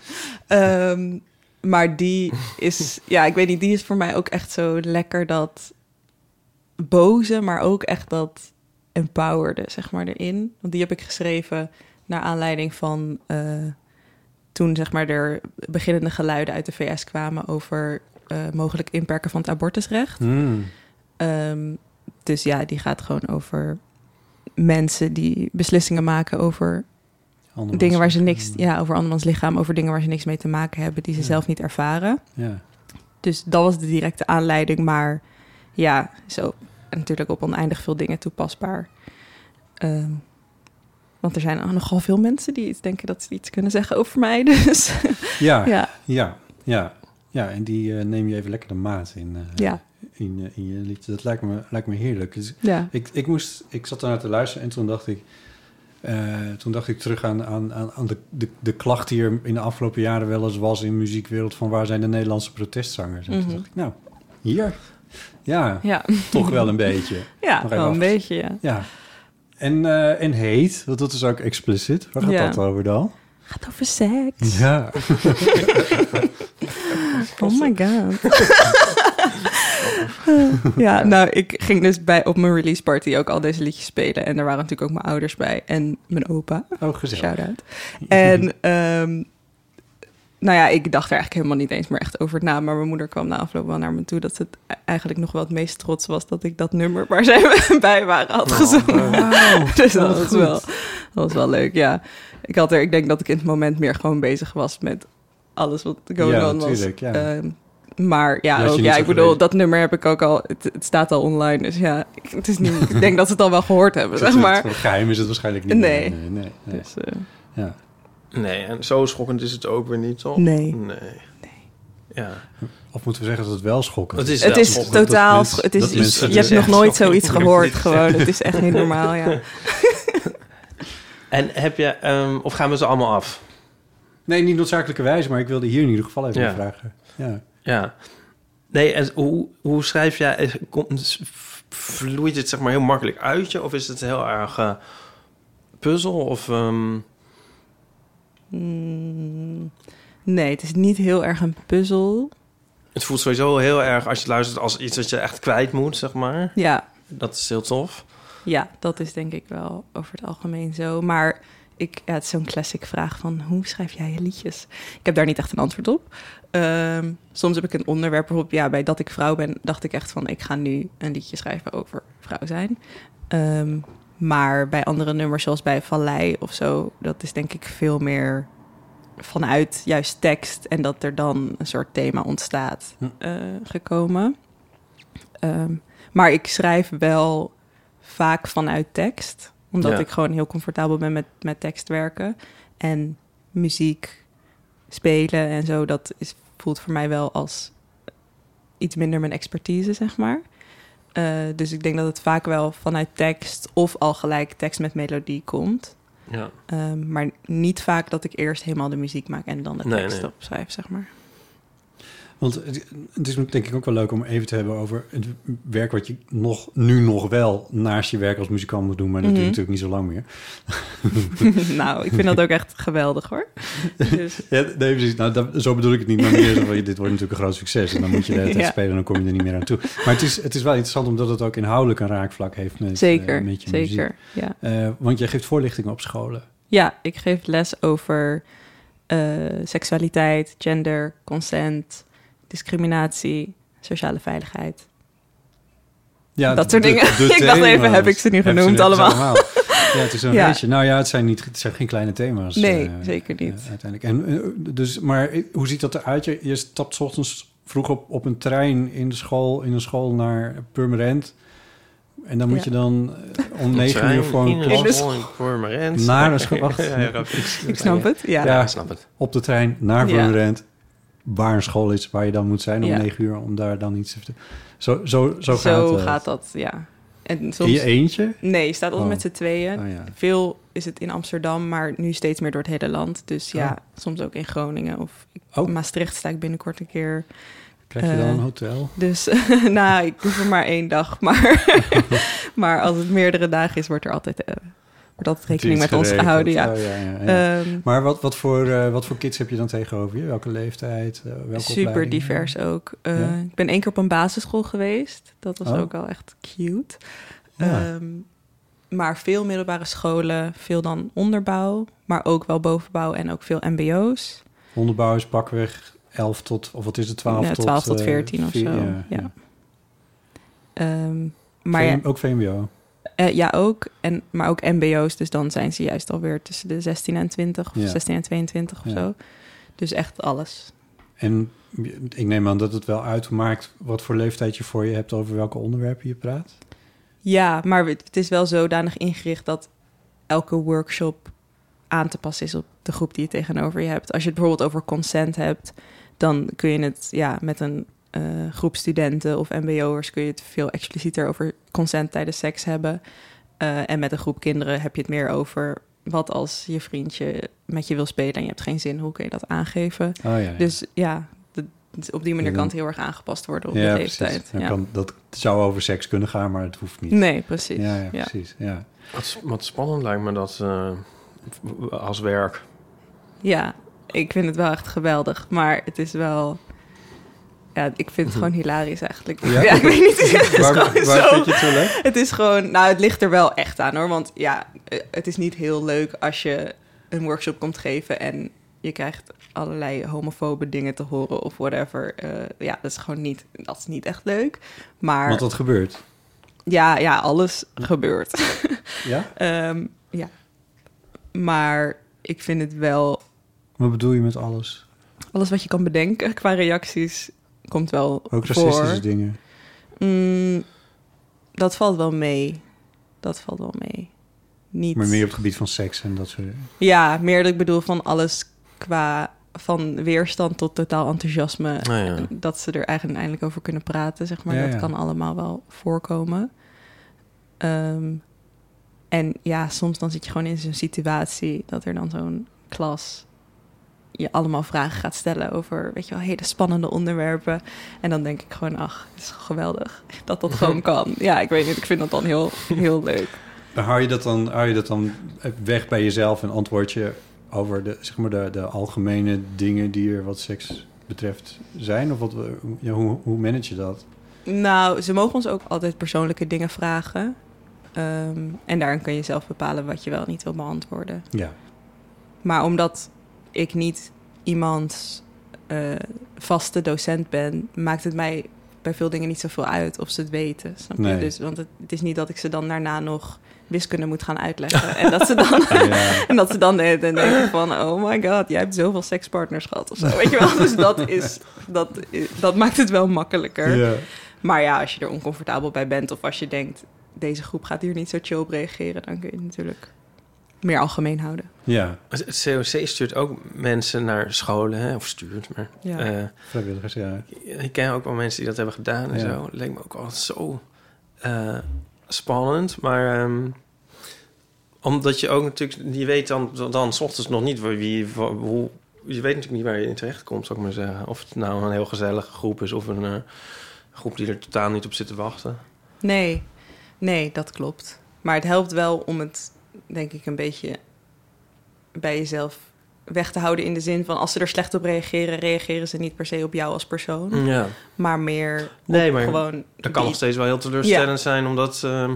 [SPEAKER 4] ja. Ehm, maar die is, ja, ik weet niet, die is voor mij ook echt zo lekker dat boze, maar ook echt dat empowerde, zeg maar, erin. Want die heb ik geschreven naar aanleiding van eh, toen, zeg maar, er beginnende geluiden uit de VS kwamen over eh, mogelijk inperken van het abortusrecht.
[SPEAKER 3] Hmm.
[SPEAKER 4] Ehm, dus ja, die gaat gewoon over mensen die beslissingen maken over
[SPEAKER 3] Andermans.
[SPEAKER 4] dingen waar ze niks, ja, over andermans lichaam, over dingen waar ze niks mee te maken hebben, die ze
[SPEAKER 3] Ja.
[SPEAKER 4] zelf niet ervaren.
[SPEAKER 3] Ja.
[SPEAKER 4] Dus dat was de directe aanleiding, maar ja, zo natuurlijk op oneindig veel dingen toepasbaar. Ehm, want er zijn nogal veel mensen die iets denken dat ze iets kunnen zeggen over mij, dus
[SPEAKER 3] Ja, ja,
[SPEAKER 4] ja,
[SPEAKER 3] ja, ja. en die eh, neem je even lekker de maat in, eh,
[SPEAKER 4] ja,
[SPEAKER 3] in, eh, in je lied. Dat lijkt me, lijkt me heerlijk. Dus
[SPEAKER 4] ja,
[SPEAKER 3] ik, ik, moest, ik zat daarnaar te luisteren en toen dacht ik... eh, toen dacht ik terug aan, aan, aan, aan de, de, de klacht die er in de afgelopen jaren wel eens was in de muziekwereld... van waar zijn de Nederlandse protestzangers? En
[SPEAKER 4] Mhm.
[SPEAKER 3] toen dacht ik, nou, hier. Ja,
[SPEAKER 4] ja,
[SPEAKER 3] toch wel een beetje.
[SPEAKER 4] ja,
[SPEAKER 3] even
[SPEAKER 4] wel een
[SPEAKER 3] af.
[SPEAKER 4] beetje, ja.
[SPEAKER 3] Ja. En, eh, en heet, want dat is ook expliciet. Waar gaat
[SPEAKER 4] Ja.
[SPEAKER 3] dat over dan?
[SPEAKER 4] Gaat over seks.
[SPEAKER 3] Ja.
[SPEAKER 4] Oh my god. ja, nou, ik ging dus bij, op mijn release party ook al deze liedjes spelen. En daar waren natuurlijk ook mijn ouders bij en mijn opa.
[SPEAKER 3] Oh, gezellig.
[SPEAKER 4] Shout-out. En ehm, nou ja, ik dacht er eigenlijk helemaal niet eens meer echt over na. Maar mijn moeder kwam na afloop wel naar me toe dat ze het e-, eigenlijk nog wel het meest trots was dat ik dat nummer waar zij bij waren
[SPEAKER 3] Oh,
[SPEAKER 4] had gezongen. dus dat was, wel, dat was wel leuk, ja. Ik, had er, ik denk dat ik in het moment meer gewoon bezig was met alles wat going
[SPEAKER 3] Ja,
[SPEAKER 4] on was.
[SPEAKER 3] natuurlijk, ja.
[SPEAKER 4] Ehm, maar ja,
[SPEAKER 3] Dat je
[SPEAKER 4] ook,
[SPEAKER 3] niet
[SPEAKER 4] ja
[SPEAKER 3] zo
[SPEAKER 4] ik bedoel,
[SPEAKER 3] gelezen.
[SPEAKER 4] dat nummer heb ik ook al. Het, het staat al online, dus ja, ik- het is niet, ik denk dat ze het al wel gehoord hebben, zeg maar.
[SPEAKER 3] Geheim is het waarschijnlijk niet.
[SPEAKER 4] Nee.
[SPEAKER 3] nee, nee, nee.
[SPEAKER 4] Dus, eh,
[SPEAKER 3] Ja.
[SPEAKER 2] Nee, en zo schokkend is het ook weer niet, toch?
[SPEAKER 4] Nee.
[SPEAKER 2] Nee. Ja.
[SPEAKER 3] Of moeten we zeggen dat het wel schokkend
[SPEAKER 2] Het
[SPEAKER 3] is?
[SPEAKER 2] is,
[SPEAKER 4] het
[SPEAKER 2] wel
[SPEAKER 4] is
[SPEAKER 2] schokkend.
[SPEAKER 3] dat
[SPEAKER 4] totaal...
[SPEAKER 3] mensen-
[SPEAKER 4] Het is,
[SPEAKER 3] dat mensen
[SPEAKER 4] je
[SPEAKER 3] dit
[SPEAKER 4] hebt nog
[SPEAKER 2] zeggen.
[SPEAKER 4] nooit zoiets
[SPEAKER 2] Dat
[SPEAKER 4] gehoord
[SPEAKER 2] mensen dit
[SPEAKER 4] gewoon. Het is echt niet normaal, ja.
[SPEAKER 2] En heb je, ehm, of gaan we ze allemaal af?
[SPEAKER 3] Nee, niet noodzakelijkerwijs, maar ik wilde hier in ieder geval even
[SPEAKER 2] Ja.
[SPEAKER 3] naar vragen. Ja.
[SPEAKER 2] Ja. Nee, en hoe, hoe schrijf jij, eh, komt- vloeit het zeg maar heel makkelijk uit je? Of is het heel erg eh, puzzel? Of, ehm,
[SPEAKER 4] Mm, Nee, het is niet heel erg een puzzel.
[SPEAKER 2] het voelt sowieso heel erg, als je het luistert, als iets wat je echt kwijt moet, zeg maar.
[SPEAKER 4] Ja,
[SPEAKER 2] Dat is heel tof.
[SPEAKER 4] ja, dat is denk ik wel over het algemeen zo. Maar ik, ja, het is zo'n classic vraag van hoe schrijf jij je liedjes? Ik heb daar niet echt een antwoord op. Ehm, soms heb ik een onderwerp bijvoorbeeld, ja, bij dat ik vrouw ben, dacht ik echt van ik ga nu een liedje schrijven over vrouw zijn. Ehm, maar bij andere nummers, zoals bij Vallei of zo, dat is denk ik veel meer vanuit juist tekst en dat er dan een soort thema ontstaat
[SPEAKER 3] Hm.
[SPEAKER 4] eh, gekomen. Ehm, maar ik schrijf wel vaak vanuit tekst, omdat
[SPEAKER 2] Ja.
[SPEAKER 4] ik gewoon heel comfortabel ben met, met tekst werken. En muziek spelen en zo, dat is, voelt voor mij wel als iets minder mijn expertise, zeg maar. Eh, dus ik denk dat het vaak wel vanuit tekst of al gelijk tekst met melodie komt.
[SPEAKER 2] Ja.
[SPEAKER 4] Ehm, maar niet vaak dat ik eerst helemaal de muziek maak en dan de
[SPEAKER 2] Nee,
[SPEAKER 4] tekst
[SPEAKER 2] nee.
[SPEAKER 4] opschrijf, zeg maar.
[SPEAKER 3] Want het, het is denk ik ook wel leuk om even te hebben over het werk wat je nog, nu nog wel naast je werk als muzikant moet doen, maar dat
[SPEAKER 4] Mhm.
[SPEAKER 3] doe je natuurlijk niet zo lang meer.
[SPEAKER 4] nou, ik vind dat ook echt geweldig hoor. Dus,
[SPEAKER 3] Ja, nee, precies. Nou, dat- zo bedoel ik het niet, maar meer zo van, dit wordt natuurlijk een groot succes. En dan moet je de hele tijd
[SPEAKER 4] Ja.
[SPEAKER 3] spelen en dan kom je er niet meer aan toe. Maar het is, het is wel interessant omdat het ook inhoudelijk een raakvlak heeft met, eh,
[SPEAKER 4] zeker,
[SPEAKER 3] met je muziek.
[SPEAKER 4] zeker. Ja.
[SPEAKER 3] Eh, want jij geeft voorlichting op scholen.
[SPEAKER 4] ja, ik geef les over eh, seksualiteit, gender, consent, discriminatie, sociale veiligheid.
[SPEAKER 3] Ja,
[SPEAKER 4] Dat soort dingen. Ik dacht even,
[SPEAKER 3] thema's.
[SPEAKER 4] heb ik ze nu
[SPEAKER 3] Heb je
[SPEAKER 4] genoemd
[SPEAKER 3] net
[SPEAKER 4] allemaal?
[SPEAKER 3] Ja, het is een
[SPEAKER 4] Ja.
[SPEAKER 3] beetje. Nou ja, het zijn, niet, het zijn geen kleine thema's.
[SPEAKER 4] Nee,
[SPEAKER 3] eh,
[SPEAKER 4] zeker niet.
[SPEAKER 3] eh, uiteindelijk. En, eh, dus, maar eh, hoe ziet dat eruit? Je, je stapt 's ochtends vroeg op, op een trein in de school, in een school naar Purmerend. En dan moet
[SPEAKER 4] Ja.
[SPEAKER 3] je dan eh, om negen uur voor een
[SPEAKER 2] In
[SPEAKER 3] klas
[SPEAKER 2] de
[SPEAKER 4] klas.
[SPEAKER 2] school, voor mijn rent.
[SPEAKER 3] Naar een school- wacht.
[SPEAKER 2] Ja, ja, dat-
[SPEAKER 4] Ik snap het, ja.
[SPEAKER 3] Ja.
[SPEAKER 2] Ja, ik snap het.
[SPEAKER 3] op de trein naar
[SPEAKER 4] Ja.
[SPEAKER 3] Purmerend. Waar een school is, waar je dan moet zijn om
[SPEAKER 4] Ja.
[SPEAKER 3] negen uur, om daar dan iets te vertellen. Zo, zo, zo,
[SPEAKER 4] Zo
[SPEAKER 3] gaat,
[SPEAKER 4] gaat
[SPEAKER 3] het.
[SPEAKER 4] dat, ja. En
[SPEAKER 3] In je
[SPEAKER 4] soms...
[SPEAKER 3] eentje?
[SPEAKER 4] Nee, je staat altijd
[SPEAKER 3] Oh.
[SPEAKER 4] met z'n tweeën.
[SPEAKER 3] Oh ja.
[SPEAKER 4] Veel is het in Amsterdam, maar nu steeds meer door het hele land. Dus ja, soms ook in Groningen of ik-
[SPEAKER 3] Oh.
[SPEAKER 4] Maastricht sta ik binnenkort een keer.
[SPEAKER 3] Krijg je dan
[SPEAKER 4] Eh,
[SPEAKER 3] een hotel?
[SPEAKER 4] Dus nou, ik hoef er maar één dag. Maar, maar als het meerdere dagen is, wordt er altijd, eh, wordt altijd rekening met ons
[SPEAKER 3] Natuurlijk
[SPEAKER 4] gehouden. Ja.
[SPEAKER 3] geregeld. Oh, ja, ja, ja.
[SPEAKER 4] Ehm,
[SPEAKER 3] maar wat, wat, voor, eh, wat voor kids heb je dan tegenover je? Welke leeftijd? eh, welke
[SPEAKER 4] super
[SPEAKER 3] opleiding?
[SPEAKER 4] divers ook. Eh,
[SPEAKER 3] Ja.
[SPEAKER 4] Ik ben één keer op een basisschool geweest. Dat was
[SPEAKER 3] Oh.
[SPEAKER 4] ook al echt cute.
[SPEAKER 3] Ja.
[SPEAKER 4] Ehm, maar veel middelbare scholen, veel dan onderbouw, maar ook wel bovenbouw en ook veel MBO's.
[SPEAKER 3] Onderbouw is pakweg 11 tot, of wat is het, 12
[SPEAKER 4] Ja,
[SPEAKER 3] tot...
[SPEAKER 4] 12 tot
[SPEAKER 3] eh,
[SPEAKER 4] 14 of
[SPEAKER 3] vier-
[SPEAKER 4] zo, ja. Ehm, maar ja,
[SPEAKER 3] V- Ook VMBO.
[SPEAKER 4] eh, ja, ook. En, maar ook mbo's, dus dan zijn ze juist alweer tussen de 16 en 20 of
[SPEAKER 3] Ja.
[SPEAKER 4] 16 en 22 of
[SPEAKER 3] Ja.
[SPEAKER 4] zo. Dus echt alles.
[SPEAKER 3] En je- ik neem aan dat het wel uitmaakt wat voor leeftijd je voor je hebt over welke onderwerpen je praat.
[SPEAKER 4] Ja, maar het, het is wel zodanig ingericht dat elke workshop aan te passen is op de groep die je tegenover je hebt. Als je het bijvoorbeeld over consent hebt, dan kun je het ja, met een eh, groep studenten of mbo'ers kun je het veel explicieter over consent tijdens seks hebben. Eh, en met een groep kinderen heb je het meer over wat als je vriendje met je wil spelen en je hebt geen zin, hoe kun je dat aangeven?
[SPEAKER 3] Oh ja, ja.
[SPEAKER 4] Dus ja, de- dus op die manier
[SPEAKER 3] Ja, dan-
[SPEAKER 4] kan het heel erg aangepast worden op
[SPEAKER 3] ja,
[SPEAKER 4] de
[SPEAKER 3] precies.
[SPEAKER 4] leeftijd.
[SPEAKER 3] Dan
[SPEAKER 4] Ja.
[SPEAKER 3] Kan, dat zou over seks kunnen gaan, maar het hoeft niet.
[SPEAKER 4] Nee, precies.
[SPEAKER 3] Ja, ja,
[SPEAKER 4] Ja.
[SPEAKER 3] precies. Ja.
[SPEAKER 2] Wat, wat spannend lijkt me dat eh, als werk.
[SPEAKER 4] Ja, ik vind het wel echt geweldig. Maar het is wel... Ja, ik vind het gewoon hilarisch eigenlijk. Ja,
[SPEAKER 3] Mhm. Ja?
[SPEAKER 4] ik weet niet. Het is
[SPEAKER 3] Waar,
[SPEAKER 4] gewoon
[SPEAKER 3] waar
[SPEAKER 4] zo...
[SPEAKER 3] vind je het zo leuk?
[SPEAKER 4] Het is gewoon... Nou, het ligt er wel echt aan hoor. Want ja, eh, het is niet heel leuk als je een workshop komt geven... en je krijgt allerlei homofobe dingen te horen of whatever. Eh, ja, dat is gewoon niet... Dat is niet echt leuk. Maar
[SPEAKER 3] Want dat gebeurt.
[SPEAKER 4] ja, ja, alles gebeurt.
[SPEAKER 3] Ja?
[SPEAKER 4] Ehm, ja. Maar ik vind het wel
[SPEAKER 3] Wat bedoel je met alles?
[SPEAKER 4] alles wat je kan bedenken qua reacties komt wel
[SPEAKER 3] Ook racistische
[SPEAKER 4] voor.
[SPEAKER 3] dingen.
[SPEAKER 4] Mm, dat valt wel mee. Dat valt wel mee. Niet.
[SPEAKER 3] Maar meer op het gebied van seks en dat soort
[SPEAKER 4] Ja, meer dat ik bedoel van alles qua van weerstand tot totaal enthousiasme.
[SPEAKER 2] Nou ja.
[SPEAKER 4] Dat ze er eigenlijk eindelijk over kunnen praten, zeg maar.
[SPEAKER 3] Ja,
[SPEAKER 4] dat
[SPEAKER 3] ja.
[SPEAKER 4] kan allemaal wel voorkomen. Ehm, en ja, soms dan zit je gewoon in zo'n situatie dat er dan zo'n klas je allemaal vragen gaat stellen over, weet je wel, hele spannende onderwerpen. En dan denk ik gewoon, ach, het is geweldig dat dat gewoon kan. Ja, ik weet niet, ik vind dat dan heel, heel leuk.
[SPEAKER 3] Maar hou je dat dan, hou je dat dan weg bij jezelf en antwoord je over de, zeg maar de, de algemene dingen die er wat seks betreft zijn? Of wat, ja, hoe, hoe manage je dat?
[SPEAKER 4] Nou, ze mogen ons ook altijd persoonlijke dingen vragen. Ehm, en daarin kun je zelf bepalen wat je wel en niet wil beantwoorden.
[SPEAKER 3] Ja.
[SPEAKER 4] Maar omdat ik niet iemands eh, vaste docent ben, maakt het mij bij veel dingen niet zoveel uit of ze het weten. Snap je?
[SPEAKER 3] Nee.
[SPEAKER 4] Dus, want het, het is niet dat ik ze dan daarna nog wiskunde moet gaan uitleggen. en dat ze dan.
[SPEAKER 3] ja.
[SPEAKER 4] En dat ze dan de hele tijd denken van... oh my god, jij hebt zoveel sekspartners gehad of zo. Weet je wel? Dus dat, is, dat, is- dat maakt het wel makkelijker.
[SPEAKER 3] Ja.
[SPEAKER 4] Maar ja, als je er oncomfortabel bij bent of als je denkt, deze groep gaat hier niet zo chill op reageren, dan kun je het natuurlijk meer algemeen houden.
[SPEAKER 3] ja,
[SPEAKER 2] Het COC stuurt ook mensen naar scholen, hè? of stuurt, maar...
[SPEAKER 4] Ja.
[SPEAKER 2] eh,
[SPEAKER 3] vrijwilligers, ja.
[SPEAKER 2] ik ken ook wel mensen die dat hebben gedaan en
[SPEAKER 3] Ja.
[SPEAKER 2] zo. Leek me ook altijd zo eh, spannend. Maar ehm, omdat je ook natuurlijk, je weet dan, dan s ochtends nog niet wie, wie wa- hoe, je weet natuurlijk niet waar je in terecht komt, zou ik maar zeggen. Of het nou een heel gezellige groep is of een eh, groep die er totaal niet op zit te wachten.
[SPEAKER 4] Nee, nee, dat klopt. Maar het helpt wel om het, denk ik, een beetje bij jezelf weg te houden. In de zin van, als ze er slecht op reageren, reageren ze niet per se op jou als persoon.
[SPEAKER 2] Ja,
[SPEAKER 4] Maar meer op
[SPEAKER 2] Nee, Mm. maar
[SPEAKER 4] gewoon...
[SPEAKER 2] dat kan
[SPEAKER 4] die-
[SPEAKER 2] nog steeds wel heel teleurstellend zijn om dat ehm,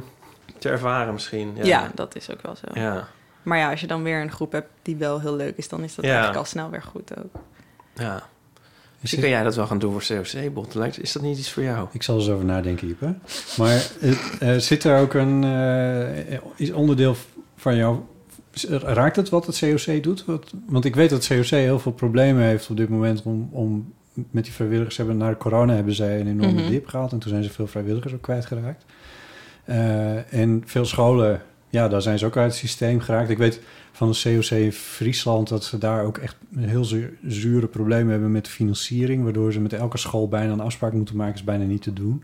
[SPEAKER 2] te ervaren misschien. Ja,
[SPEAKER 4] ja. dat is ook wel zo.
[SPEAKER 2] ja.
[SPEAKER 4] Maar ja, als je dan weer een groep hebt die wel heel leuk is, dan is dat
[SPEAKER 2] Ja.
[SPEAKER 4] eigenlijk al snel weer goed ook.
[SPEAKER 2] ja.
[SPEAKER 3] Is
[SPEAKER 2] Misschien
[SPEAKER 3] dit-
[SPEAKER 2] kan jij dat wel gaan doen voor COC-bot. Is dat niet iets voor jou?
[SPEAKER 3] Ik zal er eens over nadenken, Ipe. Maar eh, eh, zit er ook een eh, is onderdeel van jou... Raakt het wat het COC doet? Wat, want ik weet dat het COC heel veel problemen heeft op dit moment... om, om met die vrijwilligers hebben... Na de corona hebben zij een enorme
[SPEAKER 4] Mhm.
[SPEAKER 3] dip gehad... en toen zijn ze veel vrijwilligers ook kwijtgeraakt. Eh en veel scholen, ja, daar zijn ze ook uit het systeem geraakt. Ik weet van het COC in Friesland dat ze daar ook echt heel zu- zure problemen hebben met financiering, waardoor ze met elke school bijna een afspraak moeten maken, is bijna niet te doen.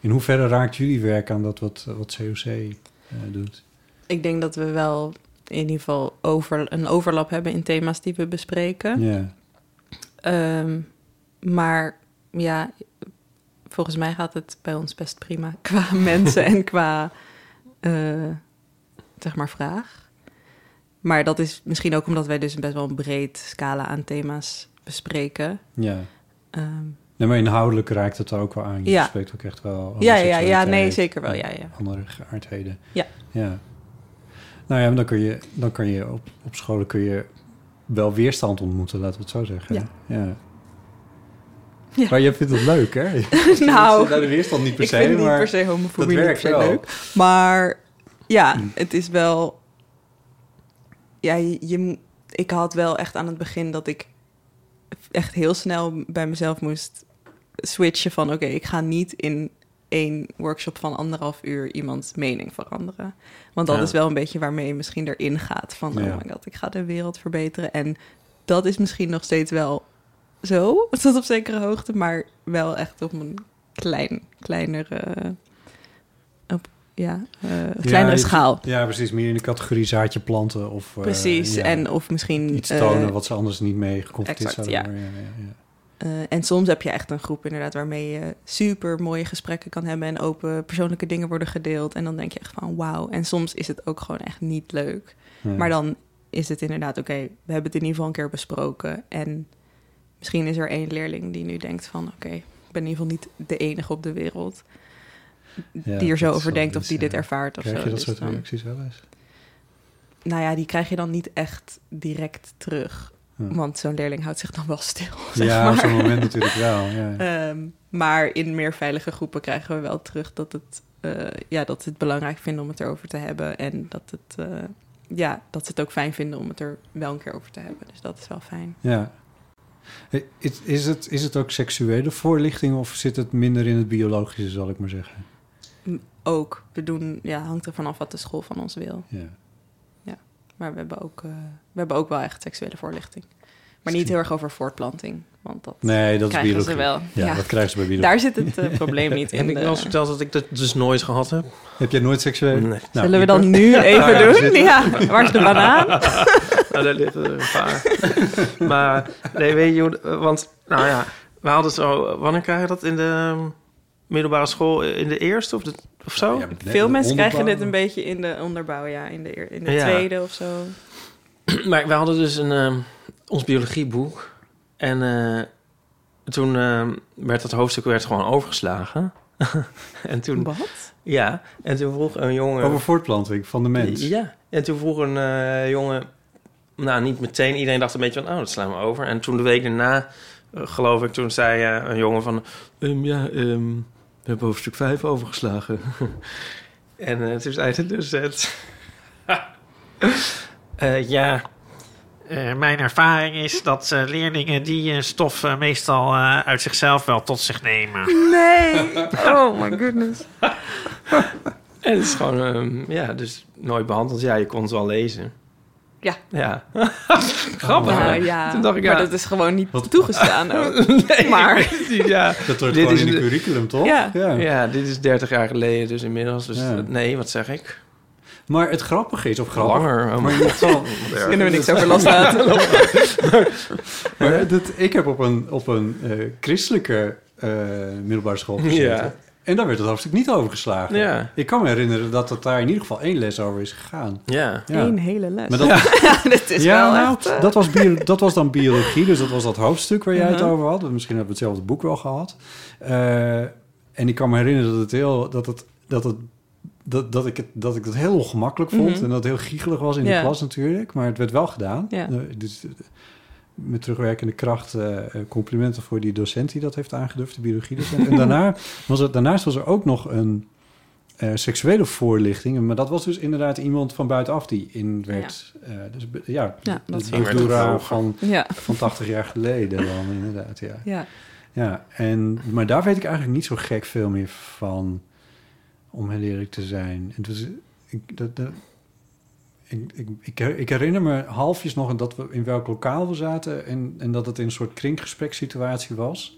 [SPEAKER 3] In hoeverre raakt jullie werk aan dat wat, wat COC eh, doet?
[SPEAKER 4] Ik denk dat we wel in ieder geval over, een overlap hebben in thema's die we bespreken.
[SPEAKER 3] Ja,
[SPEAKER 4] Ehm, maar ja, volgens mij gaat het bij ons best prima qua mensen en qua eh, zeg maar vraag. Maar dat is misschien ook omdat wij dus best wel een breed scala aan thema's bespreken.
[SPEAKER 3] ja.
[SPEAKER 4] Ehm,
[SPEAKER 3] Nee, maar inhoudelijk raakt het daar ook wel aan. Je
[SPEAKER 4] Ja.
[SPEAKER 3] spreekt ook echt wel. over
[SPEAKER 4] Ja, ja, ja,
[SPEAKER 3] seksualiteit
[SPEAKER 4] nee, zeker wel,
[SPEAKER 3] en
[SPEAKER 4] ja, ja.
[SPEAKER 3] Andere geaardheden.
[SPEAKER 4] Ja.
[SPEAKER 3] ja. Nou ja, maar dan kun je, dan kun je op, op scholen kun je wel weerstand ontmoeten, laten we het zo zeggen.
[SPEAKER 4] Ja.
[SPEAKER 3] ja.
[SPEAKER 4] Ja.
[SPEAKER 3] Maar je vindt het leuk, hè?
[SPEAKER 4] nou,
[SPEAKER 3] Nou, de weerstand niet per
[SPEAKER 4] ik
[SPEAKER 3] se,
[SPEAKER 4] vind niet
[SPEAKER 3] maar
[SPEAKER 4] per se
[SPEAKER 3] dat
[SPEAKER 4] homofobie niet per
[SPEAKER 3] werkt
[SPEAKER 4] se
[SPEAKER 3] wel. Hmm.
[SPEAKER 4] leuk. Maar ja, het is wel. Ja, je, je mo- ik had wel echt aan het begin dat ik echt heel snel bij mezelf moest switchen van oké, ik ga niet in één workshop van anderhalf uur iemands mening veranderen. Want dat
[SPEAKER 2] Ja.
[SPEAKER 4] is wel een beetje waarmee je misschien erin gaat van
[SPEAKER 3] Ja.
[SPEAKER 4] oh my god, ik ga de wereld verbeteren. En dat is misschien nog steeds wel zo, tot op zekere hoogte, maar wel echt op een klein, kleinere, eh, op, ja, eh, kleinere
[SPEAKER 3] je-
[SPEAKER 4] schaal.
[SPEAKER 3] Ja, precies. Meer in de categorie zaadje planten of... eh,
[SPEAKER 4] Precies,
[SPEAKER 3] ja,
[SPEAKER 4] en of misschien...
[SPEAKER 3] Iets
[SPEAKER 4] eh,
[SPEAKER 3] tonen wat ze anders niet mee geconfronteerd
[SPEAKER 4] exact,
[SPEAKER 3] zouden worden. Ja, ja, ja.
[SPEAKER 4] eh, en soms heb je echt een groep inderdaad waarmee je super mooie gesprekken kan hebben en open persoonlijke dingen worden gedeeld. En dan denk je echt van wauw. En soms is het ook gewoon echt niet leuk.
[SPEAKER 3] Ja.
[SPEAKER 4] Maar dan is het inderdaad, oké, we hebben het in ieder geval een keer besproken. En misschien is er één leerling die nu denkt van, oké, ik ben in ieder geval niet de enige op de wereld
[SPEAKER 3] Ja,
[SPEAKER 4] die er zo
[SPEAKER 3] dat
[SPEAKER 4] over
[SPEAKER 3] is
[SPEAKER 4] denkt
[SPEAKER 3] wel
[SPEAKER 4] of die
[SPEAKER 3] iets,
[SPEAKER 4] dit
[SPEAKER 3] ja.
[SPEAKER 4] ervaart of
[SPEAKER 3] Krijg
[SPEAKER 4] zo.
[SPEAKER 3] je dat
[SPEAKER 4] Dus
[SPEAKER 3] soort
[SPEAKER 4] dan-
[SPEAKER 3] reacties wel eens?
[SPEAKER 4] nou ja, die krijg je dan niet echt direct terug.
[SPEAKER 3] Ja.
[SPEAKER 4] Want zo'n leerling houdt zich dan wel stil. Zeg
[SPEAKER 3] Ja,
[SPEAKER 4] maar.
[SPEAKER 3] op zo'n moment natuurlijk wel. Ja.
[SPEAKER 4] Ehm, maar in meer veilige groepen krijgen we wel terug dat, het, eh, ja, dat ze het belangrijk vinden om het erover te hebben. En dat, het, eh, ja, dat ze het ook fijn vinden om het er wel een keer over te hebben. Dus dat is wel fijn.
[SPEAKER 3] ja. Is, is, het, is het ook seksuele voorlichting of zit het minder in het biologische, zal ik maar zeggen?
[SPEAKER 4] Ook, we doen, ja, hangt er vanaf wat de school van ons wil.
[SPEAKER 3] Ja.
[SPEAKER 4] Maar we hebben ook, eh, we hebben ook wel echt seksuele voorlichting. Maar niet heel erg over voortplanting. Want dat
[SPEAKER 3] Nee, dat is
[SPEAKER 4] krijgen
[SPEAKER 3] biologie.
[SPEAKER 4] ze wel.
[SPEAKER 3] Ja,
[SPEAKER 4] Ja,
[SPEAKER 3] dat krijgen ze bij biologie.
[SPEAKER 4] Daar zit het eh, probleem niet in.
[SPEAKER 2] Heb ik
[SPEAKER 4] de-
[SPEAKER 2] wel eens verteld dat ik dat dus nooit gehad heb?
[SPEAKER 3] Heb jij nooit seksueel?
[SPEAKER 2] Nee.
[SPEAKER 3] Nou,
[SPEAKER 4] Zullen we
[SPEAKER 3] Ieper,
[SPEAKER 4] dan nu even
[SPEAKER 3] daar
[SPEAKER 4] doen?
[SPEAKER 3] zitten.
[SPEAKER 4] Ja, waar is de banaan?
[SPEAKER 2] Nou, daar liggen er een paar. maar nee, weet je, hoe- want nou ja, we hadden zo, wanneer krijg je dat in de um, middelbare school, eh, in de eerste of, de, of zo?
[SPEAKER 3] Ja, maar net
[SPEAKER 4] Oh, Veel
[SPEAKER 3] de
[SPEAKER 4] mensen krijgen
[SPEAKER 3] onderbouw.
[SPEAKER 4] dit een beetje in de onderbouw, ja. In de, eer- in de
[SPEAKER 2] Ja.
[SPEAKER 4] tweede of zo.
[SPEAKER 2] Maar we hadden dus een, ehm, ons biologieboek. En eh, toen ehm, werd dat hoofdstuk werd gewoon overgeslagen. en toen,
[SPEAKER 4] Wat?
[SPEAKER 2] ja, en toen vroeg een jongen...
[SPEAKER 3] Over voortplanting van de mens.
[SPEAKER 2] Ja, en toen vroeg een eh, jongen... Nou, niet meteen. Iedereen dacht een beetje van, oh, dat slaan we over. En toen de week daarna, eh, geloof ik, toen zei eh, een jongen van... "Ehm, ja, ehm, we hebben hoofdstuk 5 overgeslagen. en eh, toen zei de docent... eh, ja,
[SPEAKER 6] Eh, mijn ervaring is dat eh, leerlingen die eh, stof eh, meestal eh, uit zichzelf wel tot zich nemen.
[SPEAKER 4] Nee! Oh my goodness.
[SPEAKER 2] En het is gewoon, ehm, ja, dus nooit behandeld. Ja, je kon het wel lezen.
[SPEAKER 4] Ja.
[SPEAKER 2] Ja. Grappig. hè?
[SPEAKER 4] Nou ja,
[SPEAKER 2] Toen dacht ik, ja.
[SPEAKER 4] maar dat is gewoon niet
[SPEAKER 3] Ah, Wat-
[SPEAKER 4] toegestaan ook.
[SPEAKER 2] Nee,
[SPEAKER 4] maar-
[SPEAKER 2] ik weet niet, ja.
[SPEAKER 3] Dat hoort
[SPEAKER 2] Dit
[SPEAKER 3] gewoon
[SPEAKER 2] is
[SPEAKER 3] in de
[SPEAKER 2] de-
[SPEAKER 3] curriculum, toch?
[SPEAKER 4] Ja.
[SPEAKER 2] ja, dit is 30 jaar geleden dus inmiddels. Dus
[SPEAKER 3] Ja.
[SPEAKER 2] eh, nee, wat zeg ik?
[SPEAKER 3] Maar het grappige is, of grappig...
[SPEAKER 2] Langer. oh,
[SPEAKER 3] Maar,
[SPEAKER 2] maar-
[SPEAKER 3] in ieder geval-
[SPEAKER 4] Kunnen we niks over loslaten.
[SPEAKER 3] maar dat, ik heb op een, op een eh, christelijke eh, middelbare school gezeten.
[SPEAKER 2] Ja.
[SPEAKER 3] En daar werd het hoofdstuk niet overgeslagen.
[SPEAKER 2] Ja.
[SPEAKER 3] Ik kan me herinneren dat het daar in ieder geval één les over is gegaan.
[SPEAKER 2] Ja.
[SPEAKER 3] Ja.
[SPEAKER 4] Eén hele les.
[SPEAKER 3] Maar dat,
[SPEAKER 4] Dit is
[SPEAKER 3] ja,
[SPEAKER 4] wel
[SPEAKER 3] nou,
[SPEAKER 4] echt, eh,
[SPEAKER 3] dat, was bio- dat was dan biologie, dus dat was dat hoofdstuk waar jij
[SPEAKER 4] Uh-huh.
[SPEAKER 3] het over had. Misschien hebben we hetzelfde boek wel gehad. Eh, en ik kan me herinneren dat het heel, dat het, dat het, dat, dat ik het, dat ik het heel ongemakkelijk vond
[SPEAKER 4] Mhm.
[SPEAKER 3] en dat het heel giechelig was in de
[SPEAKER 4] Ja.
[SPEAKER 3] klas natuurlijk, maar het werd wel gedaan.
[SPEAKER 4] Ja.
[SPEAKER 3] Eh, dus, eh, met terugwerkende kracht eh, eh, complimenten voor die docent die dat heeft aangedurfd, de biologiedocent. en daarna was er, daarnaast was er ook nog een eh, seksuele voorlichting. Maar dat was dus inderdaad iemand van buitenaf die in werd. eh, dus be- ja,
[SPEAKER 4] Ja, dat
[SPEAKER 3] de
[SPEAKER 4] wel.
[SPEAKER 3] Doera van,
[SPEAKER 4] Ja,
[SPEAKER 3] van 80 jaar geleden dan inderdaad, ja.
[SPEAKER 4] ja.
[SPEAKER 3] ja en, maar daar weet ik eigenlijk niet zo gek veel meer van, om heel eerlijk te zijn. Het was, ik, dat, dat- ik, ik, ik, her- ik herinner me halfjes nog dat we in welk lokaal we zaten en, en dat het in een soort kringgesprekssituatie was.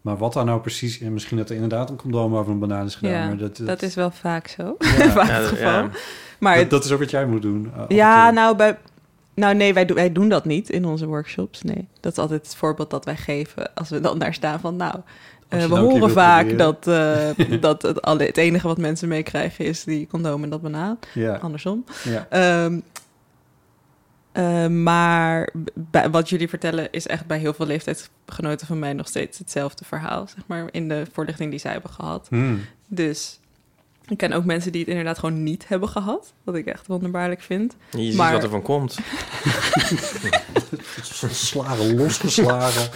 [SPEAKER 3] Maar wat daar nou precies... En misschien dat er inderdaad een condoom over een banaan is gedaan.
[SPEAKER 4] Ja,
[SPEAKER 3] maar dat,
[SPEAKER 4] Dat is wel vaak zo.
[SPEAKER 3] Ja.
[SPEAKER 4] vaak
[SPEAKER 2] Ja,
[SPEAKER 4] het
[SPEAKER 2] dat-
[SPEAKER 4] geval.
[SPEAKER 2] ja.
[SPEAKER 4] Maar
[SPEAKER 3] dat, dat is ook wat jij moet doen. eh, af en
[SPEAKER 4] Ja,
[SPEAKER 3] toe.
[SPEAKER 4] nou, bij, nou nee, wij, doen wij doen dat niet in onze workshops. Nee, dat is altijd het voorbeeld dat wij geven als we dan daar staan van nou. eh,
[SPEAKER 3] je
[SPEAKER 4] we
[SPEAKER 3] het ook
[SPEAKER 4] horen
[SPEAKER 3] wilt
[SPEAKER 4] vaak
[SPEAKER 3] proberen.
[SPEAKER 4] dat, eh, dat het, alle, het enige wat mensen meekrijgen is die condoom en dat banaan.
[SPEAKER 3] Ja,
[SPEAKER 4] Andersom.
[SPEAKER 3] ja.
[SPEAKER 4] Ehm, eh, maar b- bij- wat jullie vertellen is echt bij heel veel leeftijdsgenoten van mij nog steeds hetzelfde verhaal. Zeg maar in de voorlichting die zij hebben gehad.
[SPEAKER 3] Hmm.
[SPEAKER 4] Dus ik ken ook mensen die het inderdaad gewoon niet hebben gehad. Wat ik echt wonderbaarlijk vind.
[SPEAKER 2] Je ziet
[SPEAKER 4] Maar-
[SPEAKER 2] wat er van komt.
[SPEAKER 3] Slagen losgeslagen.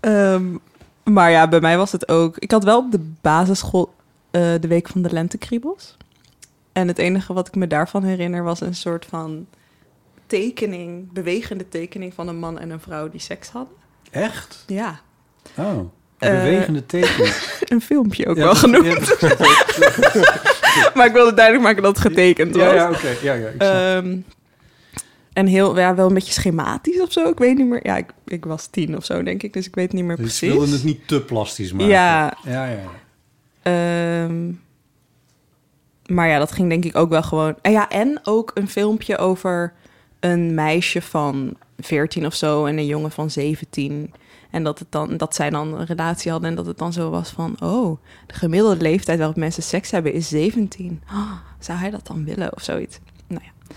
[SPEAKER 4] Ehm, maar ja, bij mij was het ook. Ik had wel op de basisschool eh, de week van de lentekriebels. En het enige wat ik me daarvan herinner was een soort van tekening, bewegende tekening van een man en een vrouw die seks hadden.
[SPEAKER 3] Echt?
[SPEAKER 4] Ja,
[SPEAKER 3] Oh. een
[SPEAKER 4] Eh,
[SPEAKER 3] bewegende teken.
[SPEAKER 4] een filmpje ook
[SPEAKER 3] Ja,
[SPEAKER 4] wel
[SPEAKER 3] dat-
[SPEAKER 4] genoemd.
[SPEAKER 3] ja, dat-
[SPEAKER 4] Maar ik wilde duidelijk maken dat het getekend was.
[SPEAKER 3] Ja, ja, oké. Ja, ja, ik snap.
[SPEAKER 4] Ehm, en heel, ja, wel een beetje schematisch of zo. Ik weet niet meer. Ja, ik, ik was tien of zo, denk ik. Dus ik weet niet meer
[SPEAKER 3] Dus ze
[SPEAKER 4] precies.
[SPEAKER 3] wilden het niet te plastisch maken.
[SPEAKER 4] Ja.
[SPEAKER 3] Ja, ja.
[SPEAKER 4] Ehm, maar ja, dat ging denk ik ook wel gewoon. En ja, en ook een filmpje over een meisje van 14 of zo en een jongen van 17. En dat, het dan, dat zij dan een relatie hadden en dat het dan zo was van... oh, de gemiddelde leeftijd waarop mensen seks hebben is 17. Oh, zou hij dat dan willen of zoiets? Nou ja,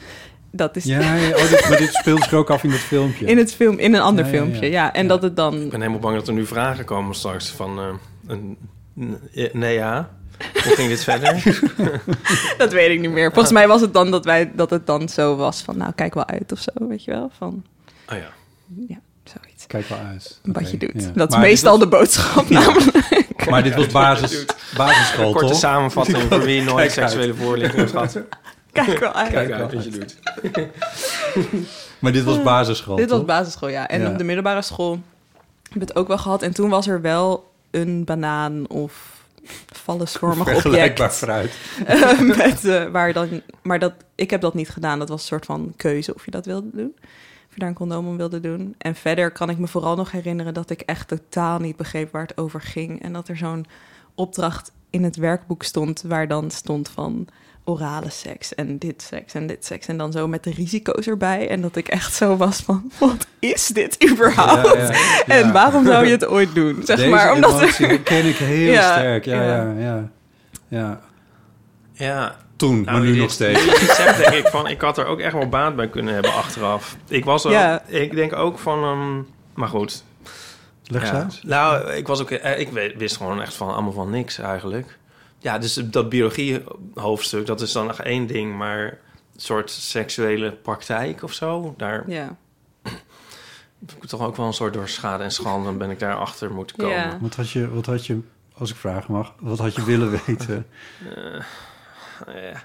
[SPEAKER 4] dat is
[SPEAKER 3] ja, ja, oh, dit, maar dit speelt zich ook af in dat filmpje.
[SPEAKER 4] Dus- in, het film, in een ander
[SPEAKER 3] Ja, ja, ja.
[SPEAKER 4] filmpje. Ja, en
[SPEAKER 3] Ja.
[SPEAKER 4] dat het dan...
[SPEAKER 2] Ik ben helemaal bang dat er nu vragen komen straks van... eh, een, n- nee, ja. Hoe ging dit verder?
[SPEAKER 4] Dat weet ik niet meer. Volgens mij was het dan dat, wij, dat het dan zo was van... nou, kijk wel uit of zo, weet je wel? Van,
[SPEAKER 2] Oh ja.
[SPEAKER 4] ja, zoiets.
[SPEAKER 3] Kijk wel uit.
[SPEAKER 4] Wat
[SPEAKER 3] Oké,
[SPEAKER 4] je doet.
[SPEAKER 3] ja.
[SPEAKER 4] Dat is
[SPEAKER 3] Maar dit
[SPEAKER 4] meestal
[SPEAKER 3] was-
[SPEAKER 4] de boodschap Nou, namelijk.
[SPEAKER 3] Maar dit was basis, basisschool,
[SPEAKER 2] Een korte
[SPEAKER 3] toch?
[SPEAKER 2] samenvatting voor wie nooit
[SPEAKER 3] uit.
[SPEAKER 2] seksuele voorlichting heeft gehad.
[SPEAKER 4] Kijk wel uit.
[SPEAKER 2] Kijk uit wat je doet.
[SPEAKER 3] Maar dit was basisschool,
[SPEAKER 4] Ah, Dit was
[SPEAKER 3] toch?
[SPEAKER 4] basisschool, ja. En
[SPEAKER 3] Ja.
[SPEAKER 4] op de middelbare school heb ik het ook wel gehad. En toen was er wel een banaan of vallesvormig object.
[SPEAKER 3] Vergelijkbaar fruit.
[SPEAKER 4] eh, met, eh, waar dan, maar dat, ik heb dat niet gedaan. Dat was een soort van keuze of je dat wilde doen. ik daar een condoom om wilde doen. En verder kan ik me vooral nog herinneren dat ik echt totaal niet begreep waar het over ging. En dat er zo'n opdracht in het werkboek stond waar dan stond van orale seks en dit seks en dit seks. En dan zo met de risico's erbij. En dat ik echt zo was van, wat is dit überhaupt?
[SPEAKER 3] Ja, ja, ja.
[SPEAKER 4] En waarom zou je het ooit doen? Zeg
[SPEAKER 3] Deze
[SPEAKER 4] maar, omdat
[SPEAKER 3] emotie
[SPEAKER 4] er-
[SPEAKER 3] ken ik heel
[SPEAKER 4] Ja,
[SPEAKER 3] sterk. Ja,
[SPEAKER 4] ja.
[SPEAKER 3] ja, ja. ja.
[SPEAKER 2] Ja,
[SPEAKER 3] Toen,
[SPEAKER 2] Nou,
[SPEAKER 3] maar nu
[SPEAKER 2] dit-
[SPEAKER 3] nog steeds.
[SPEAKER 2] dit is echt, denk ik van, ik had er ook echt wel baat bij kunnen hebben achteraf. Ik was er,
[SPEAKER 4] Ja.
[SPEAKER 2] ik denk ook van, ehm, maar goed.
[SPEAKER 3] Leg ze
[SPEAKER 2] Ja.
[SPEAKER 3] uit.
[SPEAKER 2] Nou, ik was ook, eh, ik we- wist gewoon echt van allemaal van niks eigenlijk. Ja, dus dat biologie hoofdstuk, dat is dan nog één ding, maar een soort seksuele praktijk of zo. Daar
[SPEAKER 4] Ja,
[SPEAKER 2] heb ik toch ook wel een soort door schade en schande ben ik daar achter moeten komen.
[SPEAKER 4] ja.
[SPEAKER 3] Wat had, je, wat had je, als ik vragen mag, wat had je willen weten?
[SPEAKER 2] Eh, eh,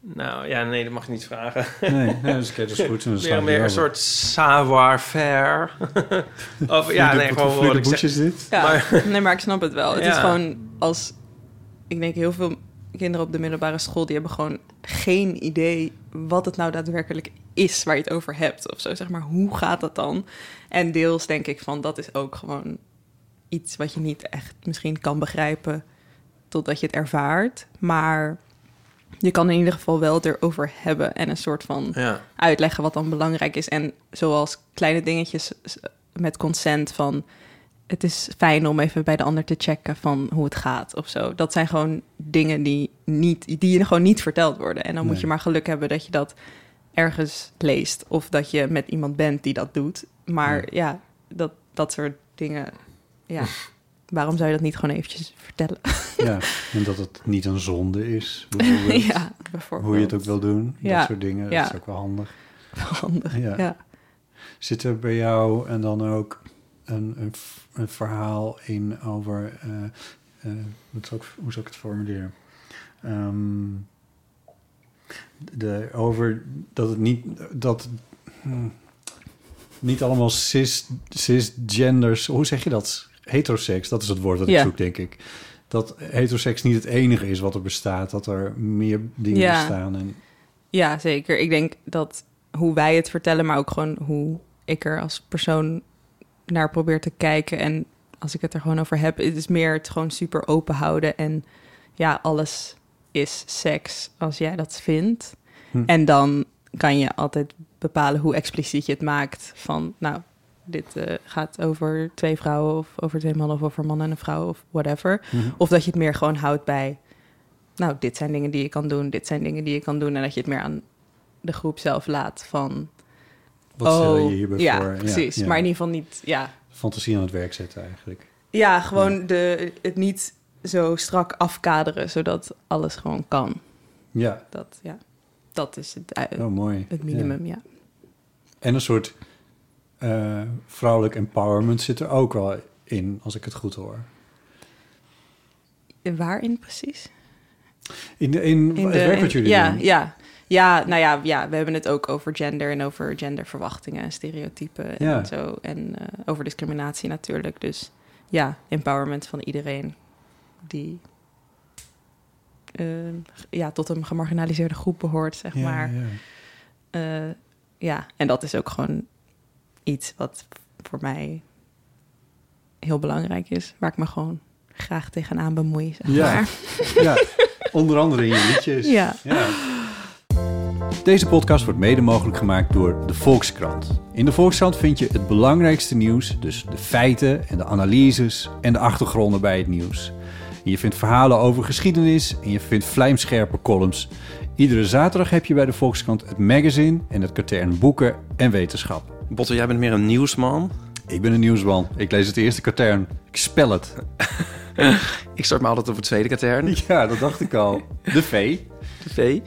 [SPEAKER 2] nou ja, nee, dat mag je niet vragen.
[SPEAKER 3] Nee, nee dus oké, dat is goed. en dan sla
[SPEAKER 2] Meer,
[SPEAKER 3] ik
[SPEAKER 2] meer
[SPEAKER 3] die
[SPEAKER 2] een
[SPEAKER 3] over.
[SPEAKER 2] soort savoir-faire. of ja, nee,
[SPEAKER 3] Wat voor
[SPEAKER 2] gewoon wat
[SPEAKER 3] vloede
[SPEAKER 2] ik zeg.
[SPEAKER 3] boetjes dit?
[SPEAKER 4] Ja,
[SPEAKER 2] Maar-
[SPEAKER 4] nee, maar ik snap het wel. Het is
[SPEAKER 2] Ja.
[SPEAKER 4] gewoon als... Ik denk heel veel kinderen op de middelbare school... die hebben gewoon geen idee wat het nou daadwerkelijk is... waar je het over hebt of zo. Zeg maar, hoe gaat dat dan? En deels denk ik van, dat is ook gewoon iets... wat je niet echt misschien kan begrijpen... totdat je het ervaart. Maar je kan in ieder geval wel het erover hebben... en een soort van
[SPEAKER 2] Ja,
[SPEAKER 4] uitleggen wat dan belangrijk is. En zoals kleine dingetjes s- met consent van... het is fijn om even bij de ander te checken van hoe het gaat of zo. Dat zijn gewoon dingen die, niet, die je gewoon niet verteld worden. En dan moet
[SPEAKER 3] Nee.
[SPEAKER 4] je maar geluk hebben dat je dat ergens leest... of dat je met iemand bent die dat doet. Maar ja, dat, dat soort dingen... Ja, waarom zou je dat niet gewoon eventjes vertellen?
[SPEAKER 3] Ja, en dat het niet een zonde is, bijvoorbeeld.
[SPEAKER 4] ja, bijvoorbeeld.
[SPEAKER 3] Hoe je het ook wil doen,
[SPEAKER 4] Ja,
[SPEAKER 3] dat soort dingen.
[SPEAKER 4] ja.
[SPEAKER 3] Dat is ook wel handig.
[SPEAKER 4] Handig,
[SPEAKER 3] Ja.
[SPEAKER 4] ja.
[SPEAKER 3] Zit er bij jou en dan ook een, een, v- een verhaal in over... eh, eh, wat zal ik, hoe zal ik het formuleren? Ehm, de, over dat het niet... Dat, hm, niet allemaal cis, cisgenders... Hoe zeg je dat? Heteroseks, dat is het woord dat
[SPEAKER 4] Ja.
[SPEAKER 3] ik zoek, denk ik. Dat heteroseks niet het enige is wat er bestaat. Dat er meer dingen
[SPEAKER 4] Ja.
[SPEAKER 3] bestaan. En,
[SPEAKER 4] Ja, zeker. Ik denk dat hoe wij het vertellen, maar ook gewoon hoe ik er als persoon naar probeer te kijken. En als ik het er gewoon over heb, het is meer het gewoon super open houden. En ja, alles is seks als jij dat vindt.
[SPEAKER 3] Hm.
[SPEAKER 4] En dan kan je altijd bepalen hoe expliciet je het maakt. Van nou, dit eh, gaat over twee vrouwen of over twee mannen of over een man en een vrouw of whatever.
[SPEAKER 3] Mhm.
[SPEAKER 4] Of dat je het meer gewoon houdt bij, nou, dit zijn dingen die je kan doen, dit zijn dingen die je kan doen. En dat je het meer aan de groep zelf laat van.
[SPEAKER 3] wat stel
[SPEAKER 4] oh,
[SPEAKER 3] je hierbij
[SPEAKER 4] ja,
[SPEAKER 3] voor? Ja,
[SPEAKER 4] precies.
[SPEAKER 3] ja.
[SPEAKER 4] Maar in ieder geval niet, ja.
[SPEAKER 3] Fantasie aan het werk zetten eigenlijk.
[SPEAKER 4] Ja, gewoon de, het niet zo strak afkaderen, zodat alles gewoon kan.
[SPEAKER 3] Ja,
[SPEAKER 4] Dat, ja, dat is het, eh,
[SPEAKER 3] oh, mooi.
[SPEAKER 4] het
[SPEAKER 3] Ja.
[SPEAKER 4] minimum, ja.
[SPEAKER 3] En een soort eh, vrouwelijk empowerment zit er ook wel in, als ik het goed hoor.
[SPEAKER 4] En Waarin precies?
[SPEAKER 3] In, de, in,
[SPEAKER 4] In
[SPEAKER 3] het
[SPEAKER 4] de-
[SPEAKER 3] werk wat jullie
[SPEAKER 4] ja,
[SPEAKER 3] doen.
[SPEAKER 4] Ja, ja, nou ja, ja, we hebben het ook over gender en over genderverwachtingen en stereotypen
[SPEAKER 3] Ja.
[SPEAKER 4] en zo. En eh, over discriminatie natuurlijk. Dus ja, empowerment van iedereen die eh, ja, tot een gemarginaliseerde groep behoort, zeg
[SPEAKER 3] Ja,
[SPEAKER 4] maar.
[SPEAKER 3] ja.
[SPEAKER 4] Eh, ja, en dat is ook gewoon iets wat voor mij heel belangrijk is. Waar ik me gewoon graag tegenaan bemoei, zeg
[SPEAKER 3] Ja.
[SPEAKER 4] maar.
[SPEAKER 3] Ja, onder andere in je liedjes.
[SPEAKER 4] Ja.
[SPEAKER 3] Deze podcast wordt mede mogelijk gemaakt door de Volkskrant. In de Volkskrant vind je het belangrijkste nieuws, dus de feiten en de analyses en de achtergronden bij het nieuws. En je vindt verhalen over geschiedenis en je vindt vlijmscherpe columns. Iedere zaterdag heb je bij de Volkskrant het magazine en het katern boeken en wetenschap.
[SPEAKER 2] Botte, jij bent meer een nieuwsman.
[SPEAKER 3] Ik ben een nieuwsman. Ik lees het eerste katern. Ik spel het.
[SPEAKER 2] Ik start me altijd op het tweede katern,
[SPEAKER 3] Ja, dat dacht ik al. De V.
[SPEAKER 2] de V.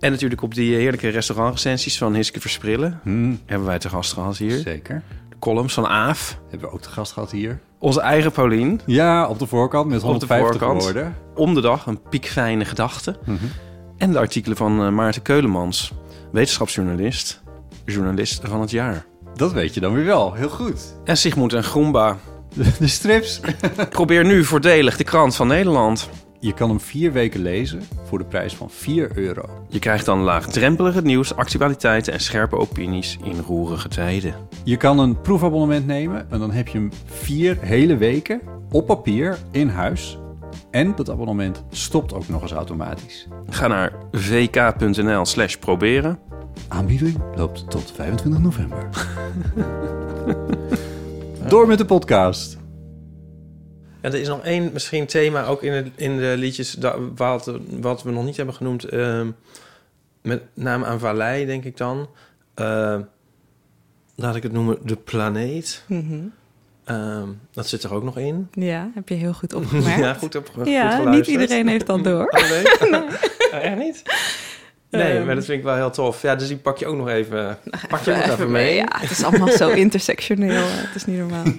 [SPEAKER 2] En natuurlijk op die heerlijke restaurantrecensies van Hiske Versprillen.
[SPEAKER 3] Hm,
[SPEAKER 2] Hebben wij te gast gehad hier.
[SPEAKER 3] zeker.
[SPEAKER 2] De columns van Aaf.
[SPEAKER 3] Hebben we ook de gast gehad hier.
[SPEAKER 2] Onze eigen Paulien.
[SPEAKER 3] Ja, op de voorkant met
[SPEAKER 2] Op de
[SPEAKER 3] 150
[SPEAKER 2] voorkant.
[SPEAKER 3] woorden.
[SPEAKER 2] Om de dag een piekfijne gedachte.
[SPEAKER 3] Mhm.
[SPEAKER 2] En de artikelen van eh, Maarten Keulemans. Wetenschapsjournalist. Journalist van het jaar.
[SPEAKER 3] Dat weet je dan weer wel. Heel goed.
[SPEAKER 2] En Sigmund en Groenba.
[SPEAKER 3] De, de strips.
[SPEAKER 2] Probeer nu voordelig de krant van Nederland.
[SPEAKER 3] Je kan hem vier weken lezen voor de prijs van 4 euro.
[SPEAKER 2] Je krijgt dan laagdrempelig het nieuws, actualiteiten en scherpe opinies in roerige tijden.
[SPEAKER 3] Je kan een proefabonnement nemen en dan heb je hem vier hele weken op papier in huis. En dat abonnement stopt ook nog eens automatisch.
[SPEAKER 2] Ga naar vk.nl slash proberen.
[SPEAKER 3] Aanbieding loopt tot 25 november. Door met de podcast.
[SPEAKER 2] Ja, er is nog één misschien thema ook in, het, in de liedjes da- wat, wat we nog niet hebben genoemd. ehm, met name aan Vallei, denk ik dan. Eh, laat ik het noemen de planeet.
[SPEAKER 4] Mhm.
[SPEAKER 2] Ehm, dat zit er ook nog in.
[SPEAKER 4] Ja, heb je heel goed opgemerkt.
[SPEAKER 2] ja, goed, op, goed
[SPEAKER 4] Ja, niet
[SPEAKER 2] geluisterd.
[SPEAKER 4] iedereen heeft dat door.
[SPEAKER 2] Oh, nee? Oh, echt niet? Nee,
[SPEAKER 4] Ehm. Nou,
[SPEAKER 2] maar dat vind ik wel heel tof. Ja, dus die pak je ook nog even, pak je ook nog even mee.
[SPEAKER 4] Ja, het is allemaal zo intersectioneel. eh, Het is niet normaal.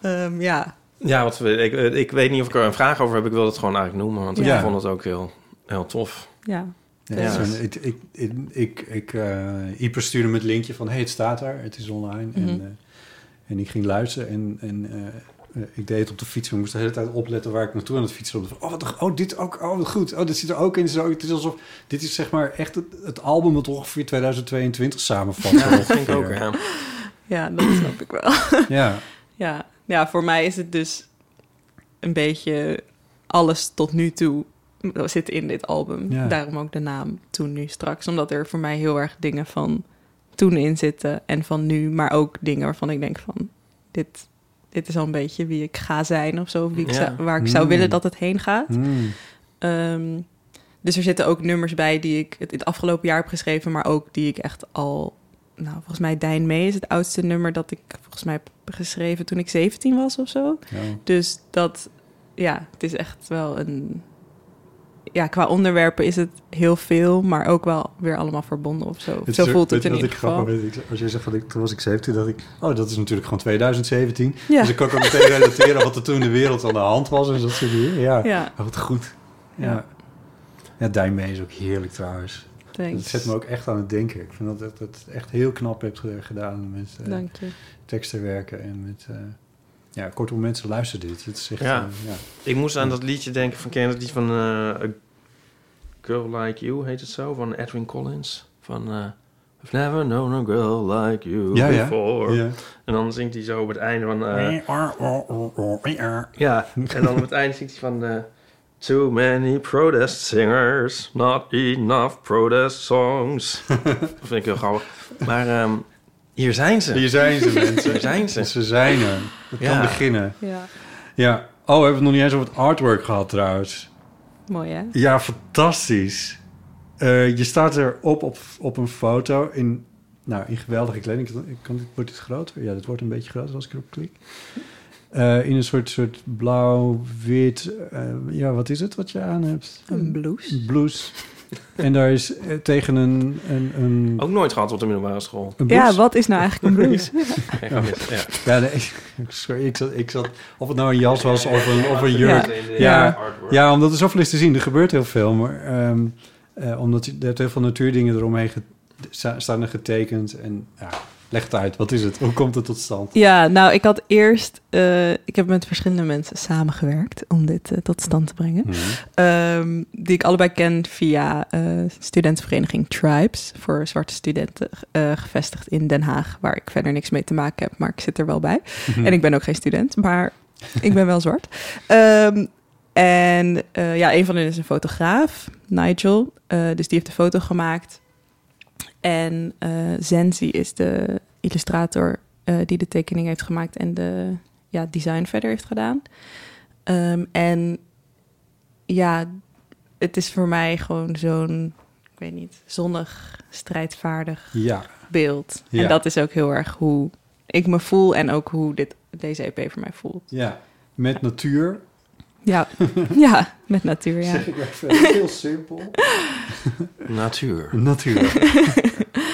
[SPEAKER 4] Ehm, ja,
[SPEAKER 2] Ja, wat, we- ik, eh, ik weet niet of ik er een vraag over heb. Ik wil het gewoon eigenlijk noemen, want
[SPEAKER 3] Ja.
[SPEAKER 2] ik vond het ook heel, heel tof.
[SPEAKER 4] ja.
[SPEAKER 3] Ja,
[SPEAKER 4] Ja.
[SPEAKER 3] het zijn- ik, ik, ik, ik, ik, eh, Ieper stuurde me het linkje van... hey, het staat daar, het is online. En,
[SPEAKER 4] Mhm.
[SPEAKER 3] eh, en ik ging luisteren en, en eh, eh, ik deed het op de fiets. Maar ik moest de hele tijd opletten waar ik naartoe aan het fietsen was. Oh, wat, een- oh dit ook, oh, wat goed. Oh, dit zit er ook in. Zo, het is alsof... Dit is zeg maar echt het, het album dat ongeveer 2022 samenvat.
[SPEAKER 2] Ja, dat vind ik ook.
[SPEAKER 3] Ongeveer.
[SPEAKER 2] Ja.
[SPEAKER 4] ja, dat snap ik wel.
[SPEAKER 3] Ja,
[SPEAKER 4] Ja. ja, voor mij is het dus een beetje alles tot nu toe zit in dit album.
[SPEAKER 3] Ja.
[SPEAKER 4] Daarom ook de naam Toen Nu Straks. Omdat er voor mij heel erg dingen van toen in zitten en van nu. Maar ook dingen waarvan ik denk van dit, dit is al een beetje wie ik ga zijn of zo. Of wie ik
[SPEAKER 2] Ja.
[SPEAKER 4] zou- waar ik zou
[SPEAKER 3] Mm.
[SPEAKER 4] willen dat het heen gaat.
[SPEAKER 3] Hmm.
[SPEAKER 4] Ehm, dus er zitten ook nummers bij die ik het, in het afgelopen jaar heb geschreven, maar ook die ik echt al. Nou, volgens mij Dijn Mee is het oudste nummer dat ik volgens mij heb geschreven toen ik 17 was of zo.
[SPEAKER 3] Ja.
[SPEAKER 4] Dus dat, ja, het is echt wel een. Ja, qua onderwerpen is het heel veel, maar ook wel weer allemaal verbonden of zo. zo
[SPEAKER 3] is-
[SPEAKER 4] voelt het
[SPEAKER 3] weet je
[SPEAKER 4] in ieder
[SPEAKER 3] wat ik
[SPEAKER 4] geval.
[SPEAKER 3] grappig vind? Ik- Als jij zegt, van, ik- toen was ik 17, dacht ik... Oh, dat is natuurlijk gewoon 2017.
[SPEAKER 4] Ja.
[SPEAKER 3] Dus ik kan ook meteen relateren wat er toen in de wereld aan de hand was. En dat soort dingen. Ja,
[SPEAKER 4] Ja,
[SPEAKER 3] Oh, wat goed. Ja.
[SPEAKER 4] Ja.
[SPEAKER 3] Ja, Dijmee is ook heerlijk trouwens. Dat
[SPEAKER 4] thanks.
[SPEAKER 3] zet me ook echt aan het denken. Ik vind dat dat dat het echt heel knap hebt ge- gedaan met eh,
[SPEAKER 4] Dank je.
[SPEAKER 3] teksten werken en met... eh, ja, kortom, mensen luisteren dit. Het is echt...
[SPEAKER 2] Ja.
[SPEAKER 3] eh, ja.
[SPEAKER 2] Ik moest aan dat liedje denken van, ken je dat lied van eh, A Girl Like You, heet het zo? Van Edwin Collins. Van eh, I've never known a girl like you
[SPEAKER 3] Ja, ja.
[SPEAKER 2] before.
[SPEAKER 3] Ja.
[SPEAKER 2] En dan zingt hij zo op het einde van... eh, Ja, en dan op het eind ziet hij van... eh, Too many protest singers, not enough protest songs. dat vind ik heel grappig. Maar ehm, hier zijn ze.
[SPEAKER 3] Hier zijn ze, mensen.
[SPEAKER 2] Hier zijn ze.
[SPEAKER 3] Ze zijn er. Het kan
[SPEAKER 2] Ja.
[SPEAKER 3] beginnen.
[SPEAKER 4] Ja,
[SPEAKER 3] Ja. Oh, we hebben het nog niet eens over het artwork gehad trouwens.
[SPEAKER 4] mooi hè?
[SPEAKER 3] Ja, fantastisch. Eh, je staat erop op, op een foto in, nou, in geweldige kleding. Ik- Kan dit, wordt dit groter? Ja, dit wordt een beetje groter als ik erop klik. Eh, in een soort, soort blauw-wit... eh, ja, wat is het wat je aan hebt?
[SPEAKER 4] Een blouse.
[SPEAKER 3] blouse. en daar is eh, tegen een... een, een,
[SPEAKER 2] Ook nooit gehad op de middelbare school.
[SPEAKER 3] een
[SPEAKER 4] Ja,
[SPEAKER 3] blouse.
[SPEAKER 4] wat is nou eigenlijk een blouse?
[SPEAKER 2] Echt mis, ja.
[SPEAKER 3] Oh. Ja, nee, ik- sorry, ik zat, ik zat... Of het nou een jas was of een, of een jurk.
[SPEAKER 4] Ja.
[SPEAKER 3] Ja, omdat er zoveel is te zien. Er gebeurt heel veel. Maar ehm, eh, omdat je, je hebt heel veel natuurdingen eromheen ge- sta- staan er getekend. En ja, leg het uit. Wat is het? Hoe komt het tot stand?
[SPEAKER 4] Ja, nou, ik had eerst... eh, ik heb met verschillende mensen samengewerkt om dit eh, tot stand te brengen. Ehm, die ik allebei ken via eh, studentenvereniging Tribes voor zwarte studenten, eh, gevestigd in Den Haag, waar ik verder niks mee te maken heb, maar ik zit er wel bij.
[SPEAKER 3] Mhm.
[SPEAKER 4] En ik ben ook geen student, maar ik ben wel zwart. Ehm, en eh, ja, een van hen is een fotograaf, Nigel. Eh, dus die heeft de foto gemaakt. En eh Zenzi is de illustrator eh, die de tekening heeft gemaakt en de ja, design verder heeft gedaan. Ehm, en ja, het is voor mij gewoon zo'n, ik weet niet, zonnig, strijdvaardig
[SPEAKER 3] Ja,
[SPEAKER 4] beeld.
[SPEAKER 3] Ja.
[SPEAKER 4] En dat is ook heel erg hoe ik me voel en ook hoe dit, deze EP voor mij voelt.
[SPEAKER 3] ja. Met natuur.
[SPEAKER 4] Ja, ja met natuur, ja.
[SPEAKER 3] ik even heel simpel.
[SPEAKER 2] Natuur.
[SPEAKER 3] Natuur.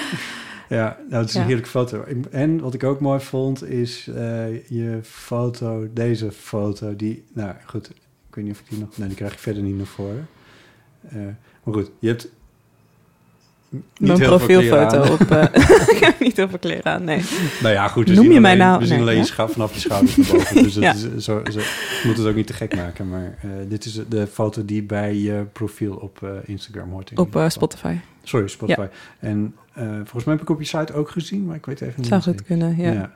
[SPEAKER 3] ja, nou, het is een
[SPEAKER 4] Ja.
[SPEAKER 3] heerlijke foto. Ik- En wat ik ook mooi vond, is eh, je foto, deze foto, die, nou goed, ik weet niet of ik die nog, nee, die krijg ik verder niet naar voren. Eh, maar goed, je hebt Niet
[SPEAKER 4] mijn
[SPEAKER 3] heel veel kleren
[SPEAKER 4] profielfoto op. eh, ik heb niet heel veel kleren aan, nee.
[SPEAKER 3] Nou ja, goed. we
[SPEAKER 4] Noem
[SPEAKER 3] zien
[SPEAKER 4] je mij
[SPEAKER 3] alleen-
[SPEAKER 4] nou-
[SPEAKER 3] We zien
[SPEAKER 4] nee,
[SPEAKER 3] alleen
[SPEAKER 4] ja.
[SPEAKER 3] je scha- vanaf je schouders naar boven. Dus
[SPEAKER 4] Ja.
[SPEAKER 3] dat is, zo, zo, je moet het ook niet te gek maken. Maar eh, dit is de foto die bij je profiel op eh, Instagram hoort. in
[SPEAKER 4] Op
[SPEAKER 3] ieder
[SPEAKER 4] eh,
[SPEAKER 3] geval.
[SPEAKER 4] Spotify.
[SPEAKER 3] Sorry, Spotify. En eh, volgens mij heb ik op je site ook gezien, maar ik weet even niet.
[SPEAKER 4] Zou
[SPEAKER 3] meer
[SPEAKER 4] goed kunnen, ja.
[SPEAKER 3] zeker.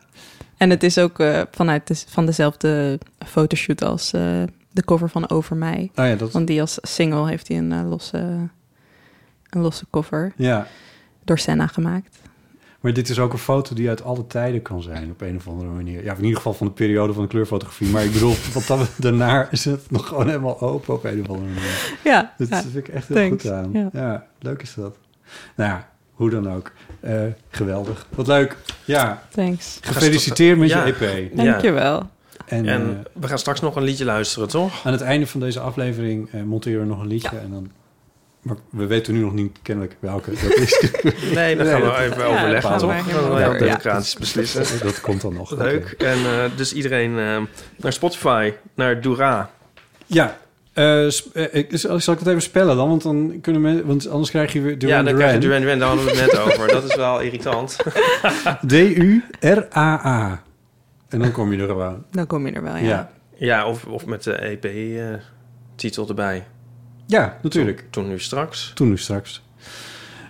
[SPEAKER 4] En het is ook eh, vanuit de, van dezelfde fotoshoot als eh, de cover van Over Mij.
[SPEAKER 3] Oh ja, dat...
[SPEAKER 4] Want die als single heeft hij een, eh, losse, een losse cover
[SPEAKER 3] Ja,
[SPEAKER 4] door Senna gemaakt.
[SPEAKER 3] maar dit is ook een foto die uit alle tijden kan zijn op een of andere manier. Ja, in ieder geval van de periode van de kleurfotografie. Maar ik bedoel, wat dat, daarna is het nog gewoon helemaal open op een of andere manier.
[SPEAKER 4] Ja,
[SPEAKER 3] Dat
[SPEAKER 4] ja.
[SPEAKER 3] vind ik echt heel
[SPEAKER 4] thanks.
[SPEAKER 3] goed aan. Ja.
[SPEAKER 4] Ja.
[SPEAKER 3] leuk is dat. Nou ja, hoe dan ook. Eh, geweldig. Wat leuk. Ja,
[SPEAKER 4] thanks.
[SPEAKER 3] gefeliciteerd met
[SPEAKER 2] Ja.
[SPEAKER 3] je EP.
[SPEAKER 2] Ja.
[SPEAKER 4] Dankjewel.
[SPEAKER 3] En,
[SPEAKER 2] En
[SPEAKER 3] eh,
[SPEAKER 2] we gaan straks nog een liedje luisteren, toch?
[SPEAKER 3] aan het einde van deze aflevering eh, monteren we nog een liedje. En dan, maar we weten nu nog niet kennelijk welke dat is.
[SPEAKER 2] Nee, dan gaan we even
[SPEAKER 3] gaan we
[SPEAKER 2] overleggen, toch? Dan gaan
[SPEAKER 4] helemaal
[SPEAKER 2] we heel
[SPEAKER 4] verder. Ja.
[SPEAKER 2] democratisch beslissen.
[SPEAKER 3] dat komt dan nog.
[SPEAKER 2] Leuk.
[SPEAKER 3] Oké.
[SPEAKER 2] En eh, dus iedereen eh, naar Spotify, naar Dura.
[SPEAKER 3] Ja. eh, sp- eh, ik- zal zal ik het even spellen dan? Want, dan kunnen men, want anders krijg je weer Duran
[SPEAKER 2] ja, dan krijg je
[SPEAKER 3] Duran.
[SPEAKER 2] Duran Duran, daar hadden we het net over. Dat is wel irritant.
[SPEAKER 3] D-U-R-A-A. En dan kom je er gewoon.
[SPEAKER 4] Dan kom je er wel, ja.
[SPEAKER 3] Ja,
[SPEAKER 2] Ja, of, of met de E EP-titel erbij.
[SPEAKER 3] ja natuurlijk.
[SPEAKER 2] Toen nu straks.
[SPEAKER 3] Toen nu straks.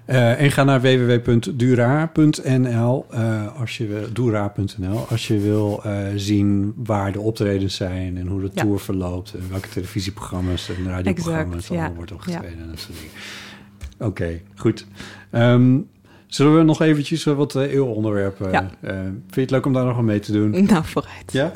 [SPEAKER 3] Eh, en ga naar www.dura.nl eh, als je wil- dura.nl als je wil eh, zien waar de optredens zijn en hoe de
[SPEAKER 4] Ja.
[SPEAKER 3] tour verloopt en welke televisieprogramma's en radioprogramma's
[SPEAKER 4] Exact,
[SPEAKER 3] allemaal
[SPEAKER 4] ja.
[SPEAKER 3] wordt opgetreden en dat soort dingen. Oké, goed. Ehm, zullen we nog eventjes eh, wat eh, eeuwonderwerpen?
[SPEAKER 4] Ja.
[SPEAKER 3] eh, vind je het leuk om daar nog aan mee te doen?
[SPEAKER 4] Nou, vooruit.
[SPEAKER 3] Ja?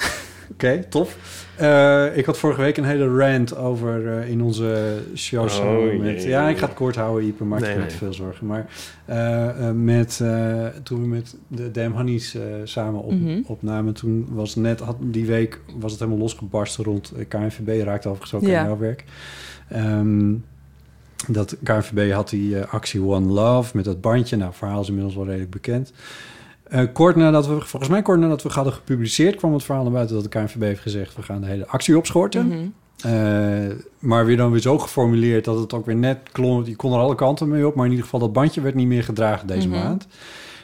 [SPEAKER 3] Oké, tof. Eh, ik had vorige week een hele rant over eh, in onze show.
[SPEAKER 2] Oh,
[SPEAKER 3] samen
[SPEAKER 2] jee.
[SPEAKER 3] met, ja, ik ga het kort houden, Ipe, maak
[SPEAKER 2] Nee,
[SPEAKER 3] je niet
[SPEAKER 2] nee.
[SPEAKER 3] te veel zorgen. Maar eh, eh, met, eh, toen we met de Damn Honeys eh, samen op,
[SPEAKER 4] Mhm.
[SPEAKER 3] opnamen, toen was net, had, die week was het helemaal losgebarsten rond eh, KNVB, raakte overigens ook
[SPEAKER 4] Ja.
[SPEAKER 3] aan jouw werk. Ehm, dat KNVB had die eh, actie One Love met dat bandje. Nou, het verhaal is inmiddels wel redelijk bekend. Eh, kort nadat we, volgens mij kort nadat we hadden gepubliceerd, kwam het verhaal naar buiten dat de KNVB heeft gezegd: we gaan de hele actie opschorten.
[SPEAKER 4] Mhm.
[SPEAKER 3] Eh, maar weer dan weer zo geformuleerd dat het ook weer net klom. Je kon er alle kanten mee op. Maar in ieder geval, dat bandje werd niet meer gedragen deze
[SPEAKER 4] Mhm.
[SPEAKER 3] maand.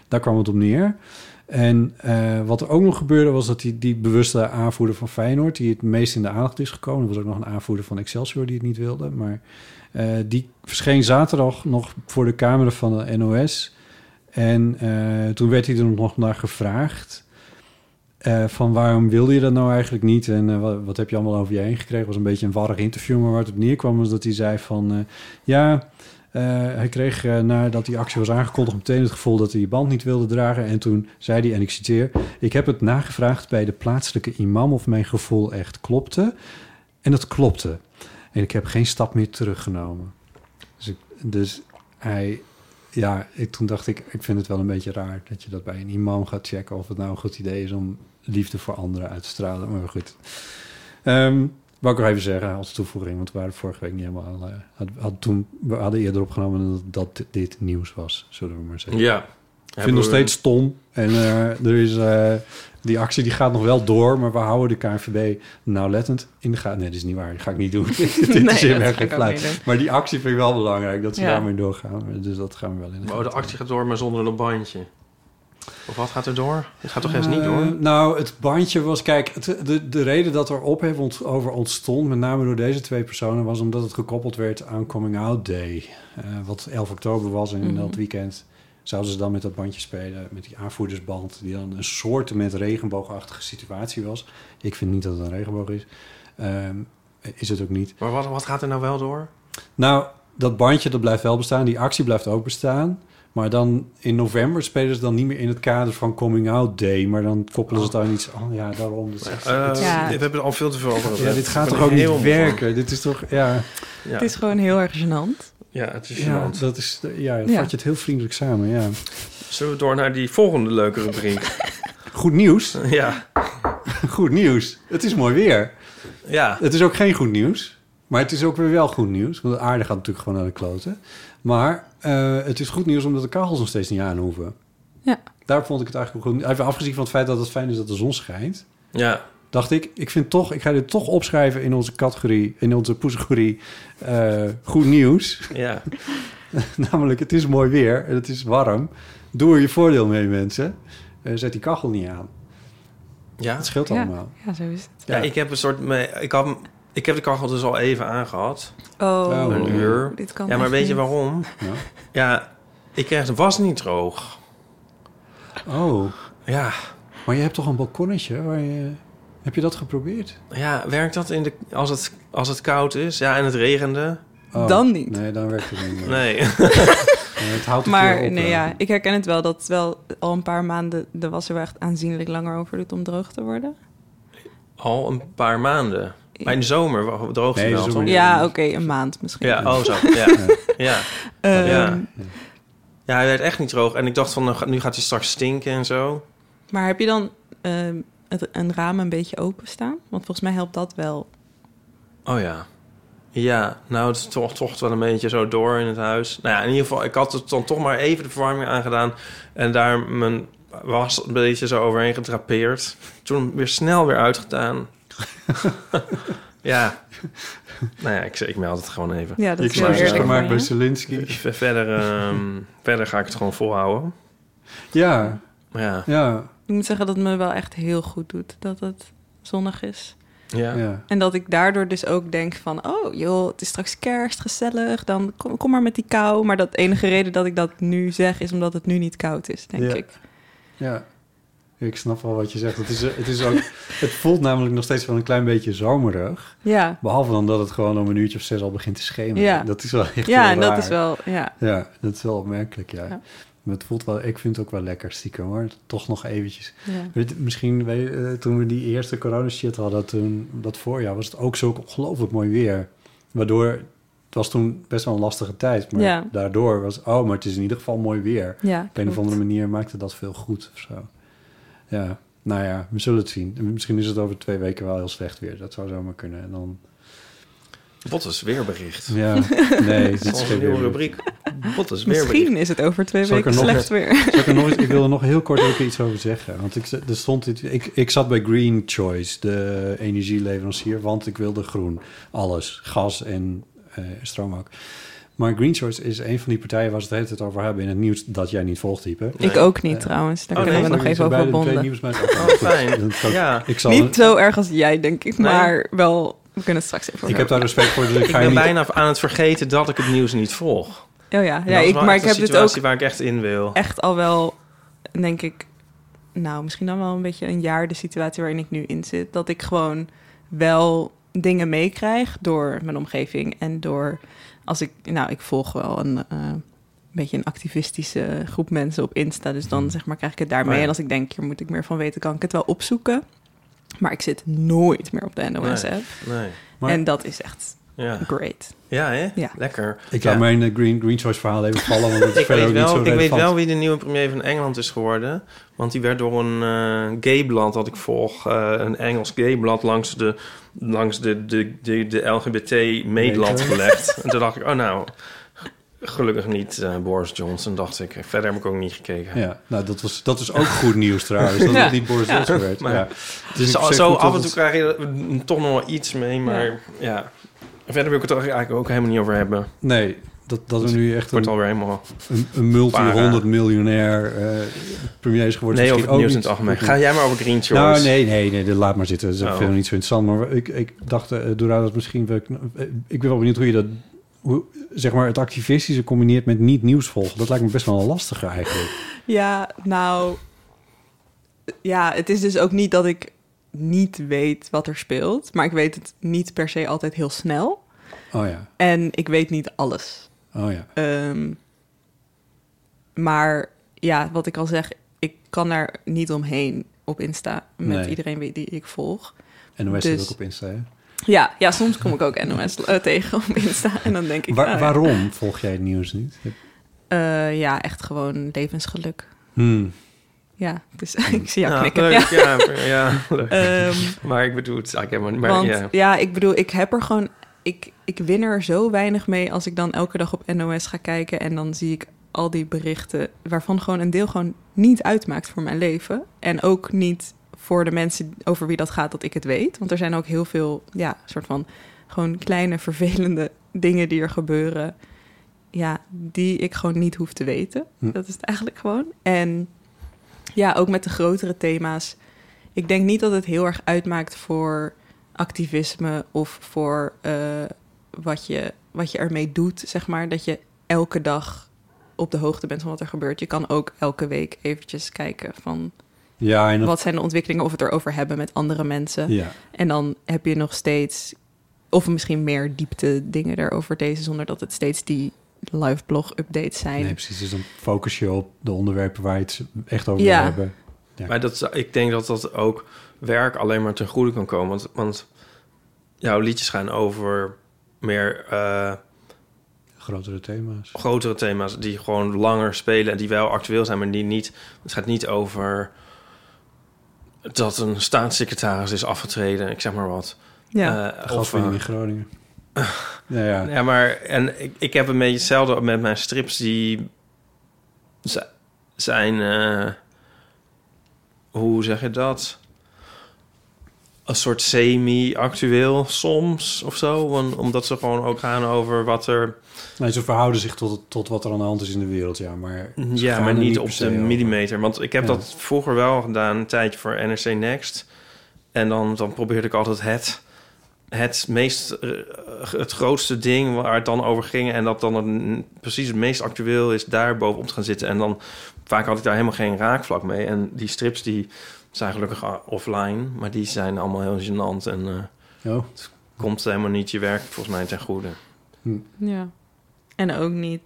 [SPEAKER 3] Daar kwam het op neer. En eh, wat er ook nog gebeurde was dat die, die bewuste aanvoerder van Feyenoord... die het meest in de aandacht is gekomen... er was ook nog een aanvoerder van Excelsior die het niet wilde... maar eh, die verscheen zaterdag nog voor de camera van de NOS. En eh, toen werd hij er nog naar gevraagd... eh, van waarom wilde je dat nou eigenlijk niet en eh, wat, wat heb je allemaal over je heen gekregen? was een beetje een warrig interview, maar waar het op neerkwam was dat hij zei van... eh, ja, eh, hij kreeg eh, nadat die actie was aangekondigd meteen het gevoel dat hij je band niet wilde dragen. En toen zei hij, en ik citeer... Ik heb het nagevraagd bij de plaatselijke imam of mijn gevoel echt klopte. En dat klopte. En ik heb geen stap meer teruggenomen. Dus, ik- dus hij... Ja, ik, toen dacht ik, ik vind het wel een beetje raar dat je dat bij een imam gaat checken... of het nou een goed idee is om liefde voor anderen uit te stralen. Maar goed. Ehm Wou ik nog even zeggen als toevoeging, want we waren vorige week niet helemaal... eh, had, had toen, we hadden eerder opgenomen dat, dat dit- dit nieuws was, zullen we maar zeggen.
[SPEAKER 2] Ja.
[SPEAKER 3] Ik vind het nog steeds stom. En eh, er is, eh, die actie die gaat nog wel door, maar we houden de KNVB nauwlettend in de gaten. Nee, dat is niet waar. Dat ga ik niet doen. dit
[SPEAKER 4] Nee,
[SPEAKER 3] is helemaal
[SPEAKER 4] dat ga
[SPEAKER 3] geen
[SPEAKER 4] ik ook
[SPEAKER 3] fluit.
[SPEAKER 4] niet doen.
[SPEAKER 3] Maar die actie vind ik wel belangrijk, dat ze
[SPEAKER 4] Ja.
[SPEAKER 3] daarmee doorgaan. Dus dat gaan we wel in.
[SPEAKER 2] Oh, de actie gaat door, maar zonder een bandje. Of wat gaat er door? Het gaat toch eens niet
[SPEAKER 3] Eh,
[SPEAKER 2] door?
[SPEAKER 3] nou, het bandje was... Kijk, het- de, de reden dat er ophef ont- over ontstond... met name door deze twee personen... was omdat het gekoppeld werd aan Coming Out Day. eh, wat 11 oktober was en in dat weekend... zouden ze dan met dat bandje spelen... met die aanvoerdersband... die dan een soort met regenboogachtige situatie was. Ik vind niet dat het een regenboog is. Ehm, is het ook niet.
[SPEAKER 2] Maar wat, wat gaat er nou wel door?
[SPEAKER 3] Nou, dat bandje dat blijft wel bestaan. Die actie blijft ook bestaan. Maar dan in november spelen ze dan niet meer in het kader van Coming Out Day. Maar dan koppelen ze het aan iets. Oh ja, daarom. Dat is echt-
[SPEAKER 2] Eh,
[SPEAKER 4] Ja.
[SPEAKER 2] We hebben er al veel te veel over.
[SPEAKER 3] ja,
[SPEAKER 2] gepraat.
[SPEAKER 3] dit gaat
[SPEAKER 2] Ik ben
[SPEAKER 3] toch ook
[SPEAKER 2] er heel
[SPEAKER 3] niet
[SPEAKER 2] moe van.
[SPEAKER 3] werken? Dit is toch. Ja,
[SPEAKER 2] Ja.
[SPEAKER 4] Het is gewoon heel erg gênant.
[SPEAKER 2] ja, het is
[SPEAKER 3] ja
[SPEAKER 2] gênant.
[SPEAKER 3] dat is. Ja, dan
[SPEAKER 4] Ja.
[SPEAKER 3] vat je het heel vriendelijk samen. Ja.
[SPEAKER 2] Zullen we door naar die volgende leuke rubriek?
[SPEAKER 3] Goed nieuws.
[SPEAKER 2] ja.
[SPEAKER 3] Goed nieuws. Het is mooi weer.
[SPEAKER 2] Ja.
[SPEAKER 3] Het is ook geen goed nieuws. Maar het is ook weer wel goed nieuws. Want de aarde gaat natuurlijk gewoon naar de kloten. Maar eh, het is goed nieuws omdat de kachels nog steeds niet aan hoeven.
[SPEAKER 4] Ja.
[SPEAKER 3] Daar vond ik het eigenlijk ook goed. Even afgezien van het feit dat het fijn is dat de zon schijnt.
[SPEAKER 2] Ja.
[SPEAKER 3] dacht ik, ik vind toch, ik ga dit toch opschrijven in onze categorie, in onze poesgorie eh, goed nieuws.
[SPEAKER 2] Ja.
[SPEAKER 3] Namelijk, het is mooi weer en het is warm. Doe er je voordeel mee, mensen. Eh, zet die kachel niet aan.
[SPEAKER 2] Ja.
[SPEAKER 3] Het scheelt allemaal.
[SPEAKER 4] Ja, zo is het.
[SPEAKER 2] ja, ik heb een soort... me- Ik, had, hem- ik heb de kachel dus al even aangehad.
[SPEAKER 4] Oh,
[SPEAKER 3] Oh.
[SPEAKER 2] Een uur.
[SPEAKER 4] dit kan
[SPEAKER 2] Nou, ja, maar
[SPEAKER 4] echt
[SPEAKER 2] weet je
[SPEAKER 4] niet.
[SPEAKER 2] waarom?
[SPEAKER 3] Ja.
[SPEAKER 2] Ja, ik kreeg de was niet droog.
[SPEAKER 3] Oh,
[SPEAKER 2] Ja,
[SPEAKER 3] maar je hebt toch een balkonnetje waar je... Heb je dat geprobeerd?
[SPEAKER 2] ja werkt dat in de, als, het, als het koud is? Ja, en het regende?
[SPEAKER 3] Oh,
[SPEAKER 4] Dan niet.
[SPEAKER 3] Nee, dan werkt het niet meer.
[SPEAKER 2] Nee.
[SPEAKER 3] Nee, het houdt het weer
[SPEAKER 4] Maar
[SPEAKER 3] op,
[SPEAKER 4] nee,
[SPEAKER 3] eh.
[SPEAKER 4] ja, ik herken het wel dat het wel al een paar maanden de was er wel echt aanzienlijk langer over doet om droog te worden.
[SPEAKER 2] Al een paar maanden. Maar in de zomer wa- droogt het
[SPEAKER 3] Nee,
[SPEAKER 2] wel,
[SPEAKER 3] de
[SPEAKER 2] toch?
[SPEAKER 3] zomer
[SPEAKER 4] Ja, oké, een maand misschien.
[SPEAKER 2] Ja, oh zo. Ja. ja.
[SPEAKER 4] Ehm,
[SPEAKER 2] ja. ja, hij werd echt niet droog. En ik dacht van, nou ga- nu gaat hij straks stinken en zo.
[SPEAKER 4] Maar heb je dan ehm, het, een raam een beetje open staan? Want volgens mij helpt dat wel.
[SPEAKER 2] Oh ja. Ja, nou, het tocht, tocht wel een beetje zo door in het huis. Nou ja, in ieder geval, ik had het dan toch maar even de verwarming aangedaan. En daar mijn was een beetje zo overheen gedrapeerd. Toen weer snel weer uitgedaan. ja. Nou ja, ik, ik meld het gewoon even.
[SPEAKER 4] Ja, dat
[SPEAKER 3] Ik
[SPEAKER 4] is heel
[SPEAKER 3] heb
[SPEAKER 2] smaak is
[SPEAKER 4] eerlijk.
[SPEAKER 2] gemaakt
[SPEAKER 4] van
[SPEAKER 3] gemaakt
[SPEAKER 4] je.
[SPEAKER 3] bij Zelinski.
[SPEAKER 2] Ver- Verder, ehm, verder ga ik het gewoon volhouden.
[SPEAKER 3] Ja,
[SPEAKER 2] Ja.
[SPEAKER 3] ja,
[SPEAKER 4] Ik moet zeggen dat het me wel echt heel goed doet dat het zonnig is.
[SPEAKER 2] Ja.
[SPEAKER 3] ja.
[SPEAKER 4] En dat ik daardoor dus ook denk van, oh joh, het is straks kerst, gezellig, dan kom, kom maar met die kou. Maar dat enige reden dat ik dat nu zeg is omdat het nu niet koud is, denk
[SPEAKER 3] Ja.
[SPEAKER 4] ik.
[SPEAKER 3] Ja, ik snap wel wat je zegt. Het, is, het, is ook, het voelt namelijk nog steeds wel een klein beetje zomerig.
[SPEAKER 4] Ja,
[SPEAKER 3] Behalve dan dat het gewoon om een uurtje of zes al begint te schemeren.
[SPEAKER 4] Ja.
[SPEAKER 3] Dat is wel echt
[SPEAKER 4] ja
[SPEAKER 3] heel
[SPEAKER 4] en dat
[SPEAKER 3] raar.
[SPEAKER 4] is wel, ja.
[SPEAKER 3] Ja, dat is wel opmerkelijk, ja.
[SPEAKER 4] Ja.
[SPEAKER 3] Maar het voelt wel, ik vind het ook wel lekker stiekem hoor. Toch nog eventjes.
[SPEAKER 4] ja.
[SPEAKER 3] Weet, je, misschien weet je, eh, toen we die eerste corona-shit hadden, toen, dat voorjaar, was het ook zo ongelooflijk mooi weer. Waardoor, het was toen best wel een lastige tijd. Maar
[SPEAKER 4] Ja.
[SPEAKER 3] daardoor was, oh, maar het is in ieder geval mooi weer.
[SPEAKER 4] Ja,
[SPEAKER 3] Op een
[SPEAKER 4] klopt.
[SPEAKER 3] of andere manier maakte dat veel goed of zo. Ja, nou ja, we zullen het zien. En Misschien is het over twee weken wel heel slecht weer. Dat zou zomaar kunnen. En dan,
[SPEAKER 2] Bottes weerbericht.
[SPEAKER 3] ja, nee, dit is
[SPEAKER 2] Onze
[SPEAKER 3] geen
[SPEAKER 2] nieuwe
[SPEAKER 3] weer.
[SPEAKER 2] rubriek. Bottes weerbericht.
[SPEAKER 4] Misschien is het over twee
[SPEAKER 3] Zal ik
[SPEAKER 4] weken
[SPEAKER 3] er nog
[SPEAKER 4] slecht weer.
[SPEAKER 3] Zal Ik, er nog eens- ik wil er nog heel kort ook iets over zeggen. Want ik, z- er stond dit, ik, ik zat bij Green Choice, de energieleverancier, want ik wilde groen. Alles, gas en eh, stroom ook. Maar Green Choice is een van die partijen waar ze het de hele tijd over hebben in het nieuws dat jij niet volgt, Ipe.
[SPEAKER 4] Ik ook niet trouwens, daar
[SPEAKER 2] Oh,
[SPEAKER 4] kunnen
[SPEAKER 2] nee,
[SPEAKER 4] we nog even over
[SPEAKER 3] Twee
[SPEAKER 4] bonden.
[SPEAKER 3] nieuwsmeiden.
[SPEAKER 2] Oh, fijn.
[SPEAKER 3] Dat kan-
[SPEAKER 2] Ja.
[SPEAKER 3] Ik, zal,
[SPEAKER 4] Niet zo erg als jij, denk ik,
[SPEAKER 2] Nee.
[SPEAKER 4] maar wel, we kunnen het straks even over
[SPEAKER 3] ik heb daar respect voor, dus ik,
[SPEAKER 2] Ik
[SPEAKER 3] ga je
[SPEAKER 2] ben
[SPEAKER 3] niet...
[SPEAKER 2] bijna aan het vergeten dat ik het nieuws niet volg.
[SPEAKER 4] hebben. Oh ja,
[SPEAKER 2] En
[SPEAKER 4] ja
[SPEAKER 2] dat is
[SPEAKER 4] ik,
[SPEAKER 2] wel
[SPEAKER 4] maar ik
[SPEAKER 2] echt
[SPEAKER 4] heb
[SPEAKER 2] een
[SPEAKER 4] dit ook
[SPEAKER 2] situatie waar ik echt in wil.
[SPEAKER 4] echt al wel, denk ik, nou, misschien dan wel een beetje een jaar de situatie waarin ik nu in zit. Dat ik gewoon wel dingen meekrijg door mijn omgeving en door als ik, nou, ik volg wel een eh, beetje een activistische groep mensen op Insta. Dus dan zeg maar krijg ik het daarmee.
[SPEAKER 2] Oh ja.
[SPEAKER 4] En als ik denk, hier moet ik meer van weten, kan ik het wel opzoeken. Maar ik zit nooit meer op de NOS
[SPEAKER 2] Nee.
[SPEAKER 4] app.
[SPEAKER 2] Nee.
[SPEAKER 3] Maar-
[SPEAKER 4] En dat is echt
[SPEAKER 2] Ja,
[SPEAKER 4] great.
[SPEAKER 2] ja hè?
[SPEAKER 4] Ja.
[SPEAKER 2] Lekker.
[SPEAKER 3] Ik
[SPEAKER 2] Ja.
[SPEAKER 3] laat mijn eh, Green, Green Choice verhaal even vallen, want het is
[SPEAKER 2] Ik
[SPEAKER 3] verder
[SPEAKER 2] weet,
[SPEAKER 3] ook niet zo
[SPEAKER 2] wel, ik weet
[SPEAKER 3] relevant.
[SPEAKER 2] wel wie de nieuwe premier van Engeland is geworden. Want die werd door een eh gayblad dat ik volg, eh, een Engels gayblad, langs de, langs de, de, de, de LGBT-meetlat
[SPEAKER 3] Meter.
[SPEAKER 2] gelegd. en toen dacht ik, oh nou, gelukkig niet eh, Boris Johnson, dacht ik. Verder heb ik ook niet gekeken.
[SPEAKER 3] Ja, nou, dat, was, dat is ook goed nieuws trouwens, dat
[SPEAKER 4] Ja.
[SPEAKER 3] het niet Boris
[SPEAKER 4] Ja.
[SPEAKER 3] Johnson werd.
[SPEAKER 2] Maar-
[SPEAKER 3] ja.
[SPEAKER 2] Dus
[SPEAKER 3] Dus ik
[SPEAKER 2] zo,
[SPEAKER 3] zeg
[SPEAKER 2] zo
[SPEAKER 3] goed dat
[SPEAKER 2] af en
[SPEAKER 3] het-
[SPEAKER 2] toe krijg je er toch nog wel iets mee, maar ja. Verder wil ik het er eigenlijk ook helemaal niet over hebben. Het
[SPEAKER 3] Nee, dat, dat er nu echt
[SPEAKER 2] wordt
[SPEAKER 3] een,
[SPEAKER 2] alweer helemaal...
[SPEAKER 3] een, een multi-honderd
[SPEAKER 2] Para.
[SPEAKER 3] miljonair eh, premier is geworden.
[SPEAKER 2] nee,
[SPEAKER 3] is
[SPEAKER 2] over het
[SPEAKER 3] misschien
[SPEAKER 2] nieuws
[SPEAKER 3] ook
[SPEAKER 2] in het algemeen.
[SPEAKER 3] niet-
[SPEAKER 2] Ga jij maar over Green Choice.
[SPEAKER 3] Nou, nee, nee, nee, dat laat maar zitten. Dat is
[SPEAKER 2] Oh.
[SPEAKER 3] verder niet zo interessant. Maar ik, ik dacht, eh Dora, dat misschien... wel- eh, ik ben wel benieuwd hoe je dat... Hoe, zeg maar, het activistische combineert met niet nieuws volgen. Dat lijkt me best wel lastiger eigenlijk.
[SPEAKER 4] Ja, nou. Ja, het is dus ook niet dat ik niet weet wat er speelt. Maar ik weet het niet per se altijd heel snel.
[SPEAKER 3] Oh ja,
[SPEAKER 4] En ik weet niet alles.
[SPEAKER 3] oh ja.
[SPEAKER 4] Ehm, maar ja, wat ik al zeg, ik kan er niet omheen op Insta met
[SPEAKER 3] Nee.
[SPEAKER 4] iedereen wie- die ik volg.
[SPEAKER 3] En dan
[SPEAKER 4] Dus-
[SPEAKER 3] het ook op Insta, hè?
[SPEAKER 4] Ja, ja soms kom ik ook NOS eh, tegen op Insta en dan denk ik...
[SPEAKER 3] Waar-
[SPEAKER 4] nou ja.
[SPEAKER 3] waarom volg jij het nieuws niet?
[SPEAKER 4] Eh, ja, echt gewoon levensgeluk.
[SPEAKER 3] Hmm.
[SPEAKER 4] Ja, dus ik zie jou
[SPEAKER 2] Ja,
[SPEAKER 4] knikken.
[SPEAKER 2] Nou, leuk, ja. ja, leuk.
[SPEAKER 4] Ja. Ehm,
[SPEAKER 2] Maar ik bedoel het eigenlijk helemaal niet. Maar,
[SPEAKER 4] Want
[SPEAKER 2] ja.
[SPEAKER 4] ja. ik bedoel, ik heb er gewoon... Ik, ik win er zo weinig mee als ik dan elke dag op NOS ga kijken... en dan zie ik al die berichten waarvan gewoon een deel gewoon niet uitmaakt voor mijn leven. En ook niet voor de mensen over wie dat gaat dat ik het weet. Want er zijn ook heel veel, ja, soort van gewoon kleine vervelende dingen die er gebeuren. Ja, die ik gewoon niet hoef te weten.
[SPEAKER 3] Hm.
[SPEAKER 4] Dat is het eigenlijk gewoon. En ja, ook met de grotere thema's. Ik denk niet dat het heel erg uitmaakt voor activisme of voor eh, wat, je, wat je ermee doet, zeg maar. Dat je elke dag op de hoogte bent van wat er gebeurt. Je kan ook elke week eventjes kijken van
[SPEAKER 3] Ja, en dat,
[SPEAKER 4] wat zijn de ontwikkelingen of we het erover hebben met andere mensen.
[SPEAKER 3] ja.
[SPEAKER 4] En dan heb je nog steeds, of misschien meer diepte dingen erover deze, zonder dat het steeds die live blog updates zijn.
[SPEAKER 3] Nee, precies. Dus dan focus je op de onderwerpen waar je het echt over
[SPEAKER 4] Ja.
[SPEAKER 3] wil hebben.
[SPEAKER 2] Maar dat, zou- ik denk dat dat ook werk alleen maar ten goede kan komen. Want, want jouw liedjes gaan over meer eh,
[SPEAKER 3] Grotere thema's.
[SPEAKER 2] grotere thema's die gewoon langer spelen en die wel actueel zijn, maar die niet. Het gaat niet over dat een staatssecretaris is afgetreden, ik zeg maar wat.
[SPEAKER 4] ja.
[SPEAKER 2] Eh,
[SPEAKER 3] De
[SPEAKER 2] of,
[SPEAKER 3] gaswinning
[SPEAKER 2] eh,
[SPEAKER 3] in Groningen. ja, ja.
[SPEAKER 2] Ja, maar en ik, ik heb een beetje hetzelfde met mijn strips die z- zijn. eh, hoe zeg je dat? Een soort semi-actueel soms of zo. Want, omdat ze gewoon ook gaan over wat er.
[SPEAKER 3] Nee, ze verhouden zich tot, tot wat er aan de hand is in de wereld, ja. Maar ze
[SPEAKER 2] Ja,
[SPEAKER 3] gaan
[SPEAKER 2] maar
[SPEAKER 3] er
[SPEAKER 2] niet
[SPEAKER 3] per
[SPEAKER 2] op
[SPEAKER 3] se
[SPEAKER 2] de
[SPEAKER 3] over.
[SPEAKER 2] millimeter. Want ik heb
[SPEAKER 3] Ja.
[SPEAKER 2] dat vroeger wel gedaan, een tijdje voor NRC Next. En dan, dan probeerde ik altijd het, het, meest, eh, het grootste ding waar het dan over ging. En dat dan een- precies het meest actueel is, daar bovenop te gaan zitten. En dan vaak had ik daar helemaal geen raakvlak mee. En die strips die zijn gelukkig a- offline, maar die zijn allemaal heel gênant. En eh,
[SPEAKER 3] Oh,
[SPEAKER 2] komt helemaal niet je werk volgens mij ten goede.
[SPEAKER 4] Ja. En ook niet,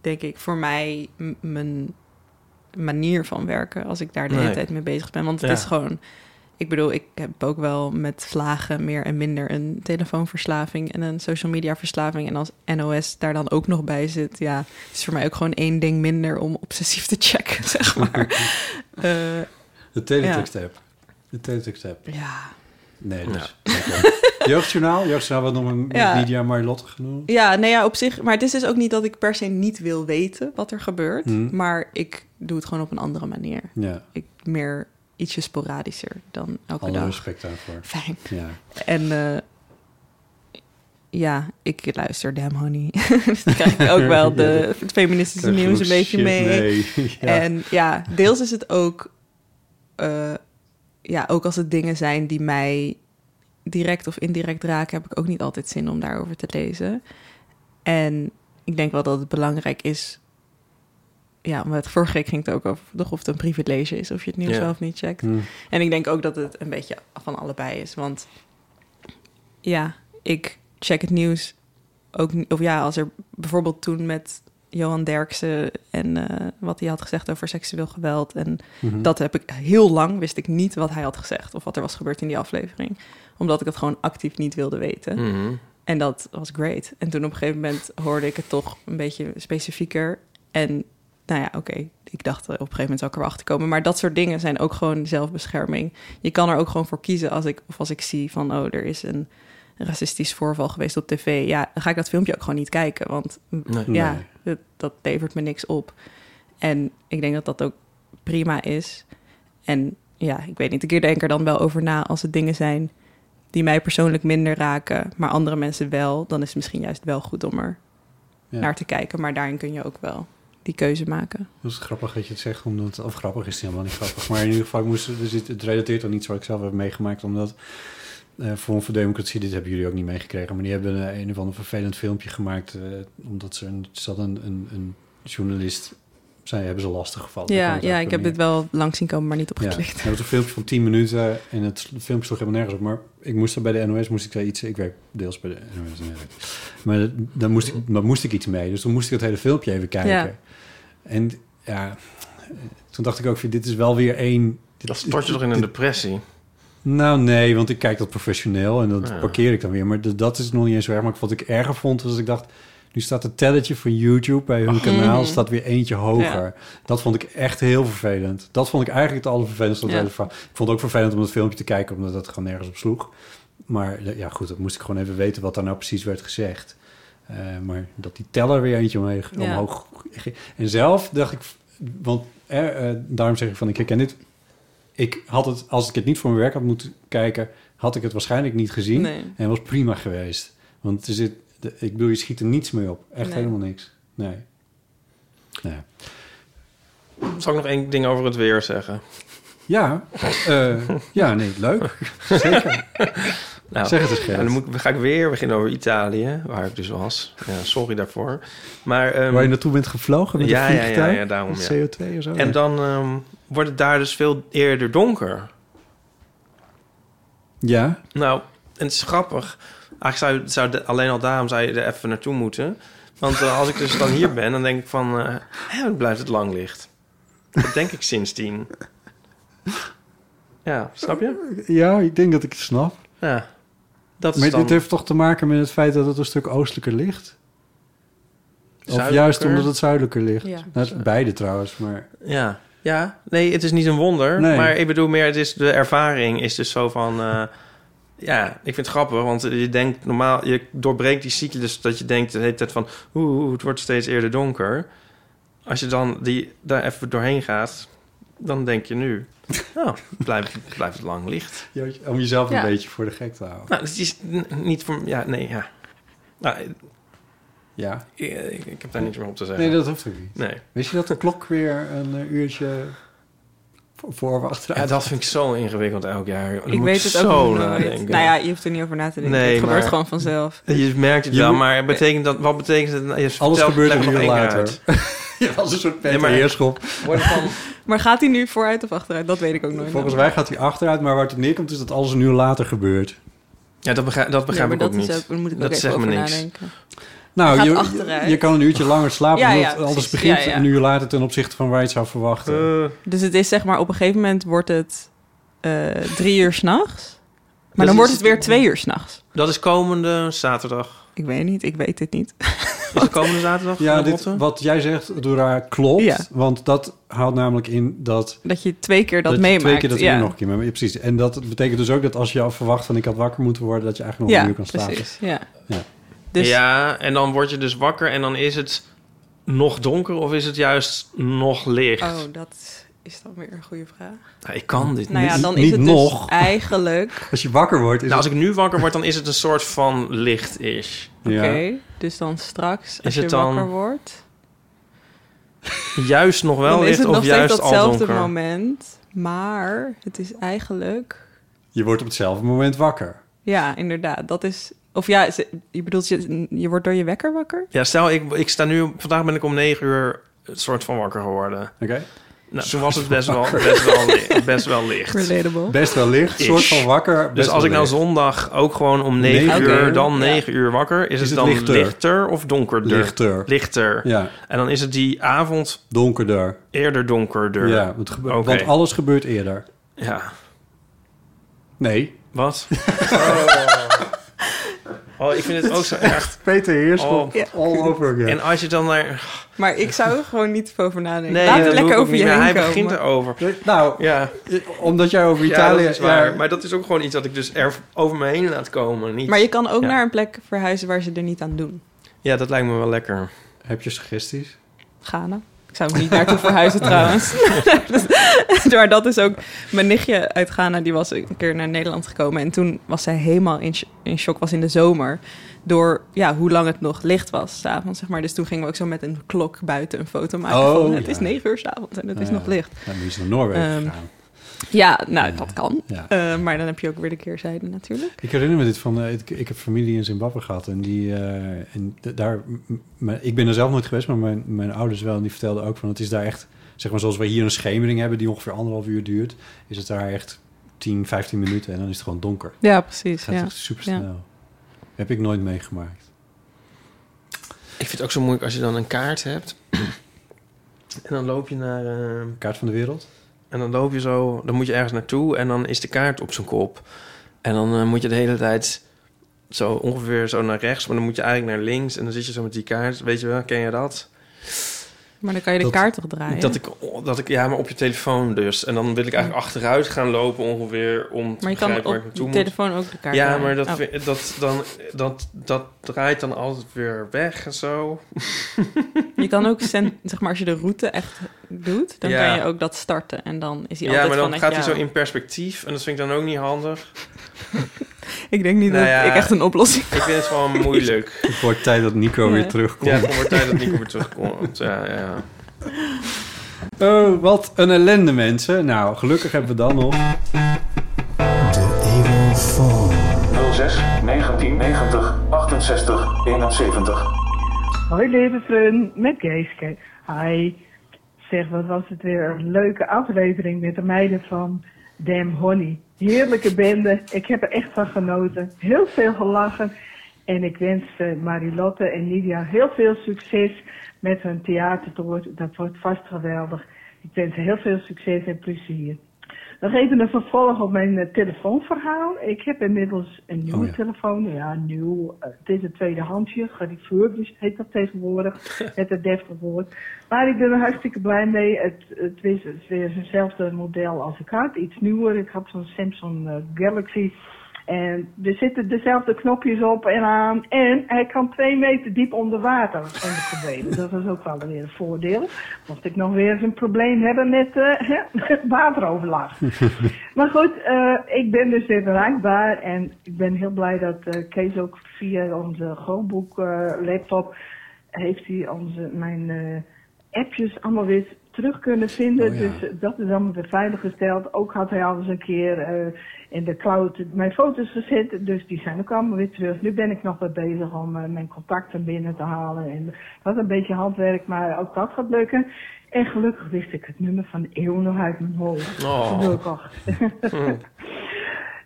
[SPEAKER 4] denk ik, voor mij m- mijn manier van werken als ik daar de hele
[SPEAKER 2] Nee.
[SPEAKER 4] tijd mee bezig ben. Want het
[SPEAKER 2] Ja.
[SPEAKER 4] is gewoon, ik bedoel, ik heb ook wel met vlagen meer en minder een telefoonverslaving en een social media verslaving. En als NOS daar dan ook nog bij zit, ja, het is voor mij ook gewoon één ding minder om obsessief te checken, zeg maar. Eh,
[SPEAKER 3] de Teletext-app. De Teletext-app.
[SPEAKER 4] ja.
[SPEAKER 3] Nee, dus. oké. Jeugdjournaal. Jeugdjournaal wat nog een
[SPEAKER 4] Ja.
[SPEAKER 3] Lydia Marlotte genoemd.
[SPEAKER 4] Ja, nou ja, op zich. Maar het is dus ook niet dat ik per se niet wil weten wat er gebeurt.
[SPEAKER 3] Hmm.
[SPEAKER 4] Maar ik doe het gewoon op een andere manier.
[SPEAKER 3] Ja,
[SPEAKER 4] ik meer ietsje sporadischer dan elke
[SPEAKER 3] alle
[SPEAKER 4] dag.
[SPEAKER 3] respect daarvoor.
[SPEAKER 4] Fijn.
[SPEAKER 3] Ja.
[SPEAKER 4] En eh, ja, ik luister Damn Honey. dus dan krijg ik ook wel de, het feministische nieuws een beetje
[SPEAKER 3] Shit,
[SPEAKER 4] mee.
[SPEAKER 3] Nee. ja.
[SPEAKER 4] En ja, deels is het ook... eh, ja, ook als het dingen zijn die mij direct of indirect raken... heb ik ook niet altijd zin om daarover te lezen. En ik denk wel dat het belangrijk is... Ja, maar het vorige week ging het ook over toch of het een privilege is... of je het nieuws
[SPEAKER 2] Ja.
[SPEAKER 4] wel of niet checkt.
[SPEAKER 3] Hm.
[SPEAKER 4] En ik denk ook dat het een beetje van allebei is. Want ja, ik check het nieuws ook. ni- Of ja, als er bijvoorbeeld toen met Johan Derksen en eh, wat hij had gezegd over seksueel geweld. En
[SPEAKER 3] Mhm.
[SPEAKER 4] dat heb ik heel lang wist ik niet wat hij had gezegd of wat er was gebeurd in die aflevering. Omdat ik het gewoon actief niet wilde weten.
[SPEAKER 2] Mhm.
[SPEAKER 4] En dat was great. En toen op een gegeven moment hoorde ik het toch een beetje specifieker. En nou ja, oké, ik dacht eh, op een gegeven moment zou ik er wel achter komen. Maar dat soort dingen zijn ook gewoon zelfbescherming. Je kan er ook gewoon voor kiezen als ik, of als ik zie van, oh, er is een racistisch voorval geweest op tv. Ja, dan ga ik dat filmpje ook gewoon niet kijken. Want mm,
[SPEAKER 2] Nee.
[SPEAKER 4] ja,
[SPEAKER 3] Nee.
[SPEAKER 4] dat, dat levert me niks op. En ik denk dat dat ook prima is. En ja, ik weet niet, ik denk er dan wel over na als het dingen zijn die mij persoonlijk minder raken, maar andere mensen wel, dan is het misschien juist wel goed om er
[SPEAKER 3] Ja.
[SPEAKER 4] naar te kijken. Maar daarin kun je ook wel die keuze maken.
[SPEAKER 3] Dat is grappig dat je het zegt, omdat... Of grappig is het helemaal niet grappig. Maar in ieder geval, ik moest, dus het, het relateert aan iets wat ik zelf heb meegemaakt. Omdat eh Forum voor Democratie, dit hebben jullie ook niet meegekregen... maar die hebben eh, een of ander vervelend filmpje gemaakt... eh, omdat ze een, ze hadden een, een, een journalist... Zij hebben ze lastig gevallen.
[SPEAKER 4] ja, ja ik heb dit wel lang zien komen, maar niet
[SPEAKER 3] Ja,
[SPEAKER 4] opgeklikt.
[SPEAKER 3] dat was een filmpje van 10 minuten en het filmpje sloeg helemaal nergens op. Maar ik moest er bij de NOS moest ik daar iets... Ik werk deels bij de NOS. nee, nee. Maar dat- daar moest, ik, daar moest ik iets mee. Dus toen moest ik het hele filmpje even kijken.
[SPEAKER 4] Ja.
[SPEAKER 3] En ja, toen dacht ik ook, van, dit is wel weer één... Dit,
[SPEAKER 2] Dat stort je toch in een
[SPEAKER 3] dit-
[SPEAKER 2] depressie?
[SPEAKER 3] Nou nee, want ik kijk dat professioneel en dat
[SPEAKER 2] Ja.
[SPEAKER 3] parkeer ik dan weer. Maar dat- dat is nog niet eens zo erg. Maar wat ik erger vond, was dat ik dacht... Nu staat het telletje van YouTube bij hun kanaal
[SPEAKER 4] Mhm.
[SPEAKER 3] staat weer eentje hoger. Dat vond ik echt heel vervelend. Dat vond ik eigenlijk het allervervelendste. van het
[SPEAKER 4] Ja.
[SPEAKER 3] hele verhaal. Ik vond het ook vervelend om dat filmpje te kijken, omdat het gewoon nergens op sloeg. Maar eh, ja, goed, dat moest ik gewoon even weten wat daar nou precies werd gezegd. Eh, maar dat die teller weer eentje omheeg-
[SPEAKER 4] Ja.
[SPEAKER 3] omhoog ging. En zelf dacht ik, want er, eh, daarom zeg ik van, ik herken dit ik had het, als ik het niet voor mijn werk had moeten kijken, had ik het waarschijnlijk niet gezien.
[SPEAKER 4] Nee.
[SPEAKER 3] En was prima geweest. Want er zit, de- ik bedoel, je schiet er niets mee op. Echt
[SPEAKER 4] Nee.
[SPEAKER 3] helemaal niks. Nee. nee.
[SPEAKER 2] Zal ik nog één ding over het weer zeggen?
[SPEAKER 3] Ja, eh, ja, nee, leuk. Zeker.
[SPEAKER 2] Nou,
[SPEAKER 3] Zeg het eens, Gerrit.
[SPEAKER 2] en dan moet ik, ga ik weer beginnen over Italië, waar ik dus was. Ja, sorry daarvoor. Maar, ehm,
[SPEAKER 3] Waar je naartoe bent gevlogen met
[SPEAKER 2] Ja,
[SPEAKER 3] een
[SPEAKER 2] ja, ja,
[SPEAKER 3] vliegtuig?
[SPEAKER 2] ja, daarom,
[SPEAKER 3] Met
[SPEAKER 2] ja.
[SPEAKER 3] CO2 of zo?
[SPEAKER 2] en dan ehm, wordt het daar dus veel eerder donker.
[SPEAKER 3] Ja,
[SPEAKER 2] Nou, en het is grappig. Eigenlijk zou, zou de- alleen al daarom zou je er even naartoe moeten. Want eh, als ik dus dan hier ben, dan denk ik van... eh, hè, dan blijft het lang licht. Dat denk ik sindsdien. Ja, snap je?
[SPEAKER 3] ja, ik denk dat ik het snap.
[SPEAKER 2] Ja. Dat is
[SPEAKER 3] Maar
[SPEAKER 2] dan
[SPEAKER 3] dit heeft toch te maken met het feit dat het een stuk oostelijker ligt? Of
[SPEAKER 2] zuidelijker.
[SPEAKER 3] juist omdat het zuidelijker ligt?
[SPEAKER 4] Ja.
[SPEAKER 3] Nou, het- beide trouwens, maar...
[SPEAKER 2] Ja. ja, nee, het is niet een wonder.
[SPEAKER 3] Nee.
[SPEAKER 2] Maar ik bedoel meer, het is, de ervaring is dus zo van... eh, ja, ik vind het grappig, want je denkt normaal... Je doorbreekt die cyclus dus dat je denkt de hele tijd van... Oeh, oeh, het wordt steeds eerder donker. Als je dan die, daar even doorheen gaat, dan denk je nu... Nou, blijft blijft het lang licht.
[SPEAKER 3] Om jezelf een
[SPEAKER 4] Ja.
[SPEAKER 3] beetje voor de gek te houden.
[SPEAKER 2] Nou, het is n- niet voor... Ja, nee, ja. Nou,
[SPEAKER 3] Ja.
[SPEAKER 2] ik, ik- ik heb daar niks meer op te zeggen.
[SPEAKER 3] Nee, dat hoeft ook niet.
[SPEAKER 2] Nee.
[SPEAKER 3] Wist je dat de klok weer een eh, uurtje voor- voor of
[SPEAKER 2] Ja,
[SPEAKER 3] achteruit?
[SPEAKER 2] dat vind ik zo ingewikkeld elk jaar. Dan
[SPEAKER 4] ik
[SPEAKER 2] moet
[SPEAKER 4] weet het ook
[SPEAKER 2] zo
[SPEAKER 4] nog nooit.
[SPEAKER 2] nadenken.
[SPEAKER 4] Nou ja, je hoeft er niet over na te denken.
[SPEAKER 2] Nee,
[SPEAKER 4] het gebeurt
[SPEAKER 2] maar-
[SPEAKER 4] gewoon vanzelf.
[SPEAKER 2] Je merkt het
[SPEAKER 3] Je
[SPEAKER 2] wel,
[SPEAKER 3] moet-
[SPEAKER 2] maar betekent dat, wat betekent het? nou, Je
[SPEAKER 3] Alles
[SPEAKER 2] vertelt-
[SPEAKER 3] gebeurt
[SPEAKER 2] leg
[SPEAKER 3] een
[SPEAKER 2] nog
[SPEAKER 3] uur
[SPEAKER 2] één keer
[SPEAKER 3] later.
[SPEAKER 2] uit.
[SPEAKER 3] Je was een soort Peter
[SPEAKER 2] maar-
[SPEAKER 3] Heerschop.
[SPEAKER 4] Maar gaat hij nu vooruit of achteruit? Dat weet ik ook nooit.
[SPEAKER 3] Volgens mij gaat hij achteruit, maar waar het op neerkomt is dat alles een uur later gebeurt.
[SPEAKER 2] Ja, dat begrijp, dat begrijp
[SPEAKER 4] ja,
[SPEAKER 2] ik
[SPEAKER 4] maar
[SPEAKER 2] ook
[SPEAKER 4] dat
[SPEAKER 2] niet.
[SPEAKER 4] Is ook, daar moet ik
[SPEAKER 2] Dat
[SPEAKER 4] ook even
[SPEAKER 2] zegt me
[SPEAKER 4] over
[SPEAKER 2] niks.
[SPEAKER 4] nadenken.
[SPEAKER 3] Nou,
[SPEAKER 4] Gaat
[SPEAKER 3] je,
[SPEAKER 4] achteruit.
[SPEAKER 3] je kan een uurtje langer slapen
[SPEAKER 4] Ja,
[SPEAKER 3] omdat
[SPEAKER 4] ja,
[SPEAKER 3] alles
[SPEAKER 4] precies.
[SPEAKER 3] begint
[SPEAKER 4] Ja, ja.
[SPEAKER 3] een uur later ten opzichte van waar je het zou verwachten.
[SPEAKER 2] Eh,
[SPEAKER 4] Dus het is zeg maar, op een gegeven moment wordt het eh, drie uur s'nachts.
[SPEAKER 2] Dat
[SPEAKER 4] Maar dan
[SPEAKER 2] is-
[SPEAKER 4] wordt het weer twee uur s'nachts.
[SPEAKER 2] dat is komende zaterdag.
[SPEAKER 4] Ik weet niet, ik weet dit niet.
[SPEAKER 2] Is het komende zaterdag?
[SPEAKER 3] ja,
[SPEAKER 2] eh,
[SPEAKER 3] dit,
[SPEAKER 2] Botte?
[SPEAKER 3] wat jij zegt, Dora, klopt.
[SPEAKER 4] Ja.
[SPEAKER 3] Want dat houdt namelijk in dat...
[SPEAKER 4] Dat je twee keer dat,
[SPEAKER 3] je
[SPEAKER 4] meemaakt.
[SPEAKER 3] Twee keer dat
[SPEAKER 4] ja.
[SPEAKER 3] uur nog een keer meemaakt. Ja, precies. En dat betekent dus ook dat als je al verwacht van ik had wakker moeten worden... dat je eigenlijk nog
[SPEAKER 4] ja,
[SPEAKER 3] een uur kan slapen.
[SPEAKER 4] precies. Ja.
[SPEAKER 3] Ja.
[SPEAKER 4] Dus
[SPEAKER 2] Ja, en dan word je dus wakker en dan is het nog donker of is het juist nog licht?
[SPEAKER 4] Oh, dat is dan weer een goede vraag.
[SPEAKER 2] Nou, ik kan dit
[SPEAKER 4] Nou
[SPEAKER 2] niet.
[SPEAKER 4] ja, dan
[SPEAKER 3] niet
[SPEAKER 4] is het
[SPEAKER 3] nog.
[SPEAKER 4] dus eigenlijk...
[SPEAKER 3] Als je wakker wordt... Is
[SPEAKER 2] Nou, als ik nu wakker word, dan is het een soort van licht-ish.
[SPEAKER 3] het,
[SPEAKER 4] Oké,
[SPEAKER 3] ja.
[SPEAKER 4] dus dan straks als
[SPEAKER 2] het
[SPEAKER 4] je
[SPEAKER 2] dan
[SPEAKER 4] wakker wordt...
[SPEAKER 2] Juist nog wel
[SPEAKER 4] dan is
[SPEAKER 2] licht
[SPEAKER 4] het
[SPEAKER 2] of
[SPEAKER 4] nog steeds
[SPEAKER 2] juist al
[SPEAKER 4] datzelfde
[SPEAKER 2] donker.
[SPEAKER 4] moment. Maar het is eigenlijk...
[SPEAKER 3] Je wordt op hetzelfde moment wakker.
[SPEAKER 4] Ja, inderdaad. Dat is... Of ja, ze- je bedoelt, je, je wordt door je wekker wakker?
[SPEAKER 2] Ja, stel, ik, ik sta nu... Vandaag ben ik om negen uur een soort van wakker geworden.
[SPEAKER 3] Oké?
[SPEAKER 2] Nou, toen was het best wel, best wel, li- best wel licht.
[SPEAKER 4] Relatable.
[SPEAKER 3] Best wel licht,
[SPEAKER 2] Ish.
[SPEAKER 3] soort van wakker. best
[SPEAKER 2] Dus als
[SPEAKER 3] wel
[SPEAKER 2] ik nou
[SPEAKER 3] licht.
[SPEAKER 2] zondag ook gewoon om 9
[SPEAKER 3] Negen
[SPEAKER 2] uur,
[SPEAKER 4] uur.
[SPEAKER 2] dan
[SPEAKER 4] Ja.
[SPEAKER 2] 9 uur wakker, is,
[SPEAKER 3] Is
[SPEAKER 2] het
[SPEAKER 3] het
[SPEAKER 2] dan
[SPEAKER 3] lichter?
[SPEAKER 2] lichter, of donkerder?
[SPEAKER 3] Lichter.
[SPEAKER 2] Lichter.
[SPEAKER 3] Ja,
[SPEAKER 2] En dan is het die avond
[SPEAKER 3] donkerder.
[SPEAKER 2] eerder donkerder.
[SPEAKER 3] Ja, het gebe-
[SPEAKER 2] Oké.
[SPEAKER 3] want alles gebeurt eerder.
[SPEAKER 2] Ja.
[SPEAKER 3] Nee.
[SPEAKER 2] Wat? Oh. ik vind het ook zo erg.
[SPEAKER 3] Peter Heerschop,
[SPEAKER 2] Oh.
[SPEAKER 3] all over again.
[SPEAKER 2] En als je dan naar...
[SPEAKER 4] Maar ik zou er gewoon niet over nadenken.
[SPEAKER 2] Nee,
[SPEAKER 4] Laat
[SPEAKER 2] dat
[SPEAKER 4] het
[SPEAKER 2] doe ik
[SPEAKER 4] lekker
[SPEAKER 2] ook
[SPEAKER 4] over
[SPEAKER 2] niet
[SPEAKER 4] je
[SPEAKER 2] meer.
[SPEAKER 4] heen
[SPEAKER 2] Hij
[SPEAKER 4] komen.
[SPEAKER 2] begint erover.
[SPEAKER 3] Nou,
[SPEAKER 2] Ja,
[SPEAKER 3] omdat jij over Italië...
[SPEAKER 2] Italië, dat is waar.
[SPEAKER 3] ja,
[SPEAKER 2] Maar dat is ook gewoon iets dat ik dus er over me heen laat komen. Niet...
[SPEAKER 4] Maar je kan ook
[SPEAKER 2] Ja.
[SPEAKER 4] naar een plek verhuizen waar ze er niet aan doen.
[SPEAKER 2] Ja, dat lijkt me wel lekker.
[SPEAKER 3] Heb je suggesties?
[SPEAKER 4] Ghana. Ik zou er niet naartoe verhuizen trouwens. maar dat is ook... Mijn nichtje uit Ghana, die was een keer naar Nederland gekomen. En toen was zij helemaal in, sh- in shock, was in de zomer. Door ja, hoe lang het nog licht was, s'avonds zeg maar. Dus toen gingen we ook zo met een klok buiten een foto maken.
[SPEAKER 3] Oh,
[SPEAKER 4] van, het
[SPEAKER 3] ja.
[SPEAKER 4] is negen uur s'avonds en het is
[SPEAKER 2] Oh,
[SPEAKER 3] Ja.
[SPEAKER 4] nog licht.
[SPEAKER 3] Nou, nu is naar Noorwegen
[SPEAKER 4] Ehm,
[SPEAKER 3] gegaan.
[SPEAKER 4] Ja, nou, dat kan.
[SPEAKER 3] Ja.
[SPEAKER 4] Eh, maar dan heb je ook weer de keerzijde natuurlijk.
[SPEAKER 3] Ik herinner me dit van, eh, ik, ik heb familie in Zimbabwe gehad en die, eh, en d- daar, m- m- ik ben er zelf nooit geweest, maar mijn, mijn ouders wel en die vertelden ook van, het is daar echt, zeg maar zoals wij hier een schemering hebben die ongeveer anderhalf uur duurt, is het daar echt 10, 15 minuten en dan is het gewoon donker.
[SPEAKER 4] Ja,
[SPEAKER 3] Het
[SPEAKER 4] precies.
[SPEAKER 3] gaat
[SPEAKER 4] Ja.
[SPEAKER 3] echt super snel. Heb ik nooit meegemaakt.
[SPEAKER 2] Ik vind het ook zo moeilijk als je dan een kaart hebt. En dan loop je naar. eh,
[SPEAKER 3] Kaart van de wereld?
[SPEAKER 2] en dan loop je zo. Dan moet je ergens naartoe. En dan is de kaart op zijn kop. En dan eh, moet je de hele tijd. Zo ongeveer zo naar rechts. Maar dan moet je eigenlijk naar links. En dan zit je zo met die kaart. Weet je wel, ken je dat?
[SPEAKER 4] Maar dan kan je de
[SPEAKER 3] Dat-
[SPEAKER 4] kaart toch draaien?
[SPEAKER 2] Dat ik, dat ik. Ja, maar op je telefoon dus. En dan wil ik eigenlijk achteruit gaan lopen ongeveer. Om te
[SPEAKER 4] maar je kan
[SPEAKER 2] begrijpen waar ik
[SPEAKER 4] op
[SPEAKER 2] naartoe
[SPEAKER 4] je
[SPEAKER 2] moet.
[SPEAKER 4] telefoon ook de kaart
[SPEAKER 2] Ja,
[SPEAKER 4] draaien.
[SPEAKER 2] maar dat,
[SPEAKER 4] Oh.
[SPEAKER 2] vind- dat, dan, dat, dat draait dan altijd weer weg en zo.
[SPEAKER 4] Je kan ook, cent- zeg maar, als je de route echt doet, dan
[SPEAKER 2] Ja.
[SPEAKER 4] kan je ook dat starten. En dan is hij
[SPEAKER 2] ja,
[SPEAKER 4] altijd
[SPEAKER 2] maar dan
[SPEAKER 4] vanuit
[SPEAKER 2] gaat hij
[SPEAKER 4] jou.
[SPEAKER 2] zo in perspectief. En dat vind ik dan ook niet handig.
[SPEAKER 4] Ik denk niet
[SPEAKER 2] Nou
[SPEAKER 4] dat
[SPEAKER 2] ja.
[SPEAKER 4] ik echt een oplossing...
[SPEAKER 2] Ik vind het gewoon moeilijk.
[SPEAKER 3] Het wordt tijd dat Nico
[SPEAKER 4] Ja.
[SPEAKER 3] weer terugkomt.
[SPEAKER 2] Ja, het wordt tijd dat Nico weer terugkomt. Ja, ja.
[SPEAKER 3] Oh, wat een ellende, mensen. Nou, gelukkig hebben we dan nog...
[SPEAKER 7] 06 1990 68 71.
[SPEAKER 8] Hoi lieve vriend, met Geeske. Hi. Zeg, wat was het weer een leuke aflevering met de meiden van Dam Honey. Heerlijke bende, ik heb er echt van genoten. Heel veel gelachen. En ik wens eh, Marilotte en Lydia heel veel succes met hun theatertour. Dat wordt vast geweldig. Ik wens ze heel veel succes en plezier. Nog even een vervolg op mijn eh, telefoonverhaal. Ik heb inmiddels een nieuwe
[SPEAKER 3] Oh ja.
[SPEAKER 8] telefoon. Ja, nieuw. eh, Het is een tweedehandsje. Gerefurbished heet dat tegenwoordig. Met het deftige woord. Maar ik ben er hartstikke blij mee. Het, het is het is weer hetzelfde model als ik had. Iets nieuwer. Ik had zo'n Samsung eh, Galaxy. En er zitten dezelfde knopjes op en aan. En hij kan twee meter diep onder water onder verdwenen. Dat is ook wel weer een voordeel. Mocht ik nog weer eens een probleem hebben met eh, hè, wateroverlast. Maar goed, eh, ik ben dus weer bereikbaar en ik ben heel blij dat eh, Kees ook via onze Chromebook eh, laptop eh, heeft hij onze, mijn eh, appjes allemaal weer terug kunnen vinden.
[SPEAKER 3] Oh ja.
[SPEAKER 8] Dus eh, dat is allemaal weer veiliggesteld. Ook had hij al eens een keer eh, in de cloud mijn foto's gezet, dus die zijn ook allemaal weer terug. Nu ben ik nog wat bezig om eh, mijn contacten binnen te halen en dat is een beetje handwerk, maar ook dat gaat lukken. En gelukkig wist ik het nummer van Eeuw nog uit mijn hoofd.
[SPEAKER 2] Oh.
[SPEAKER 8] Gelukkig.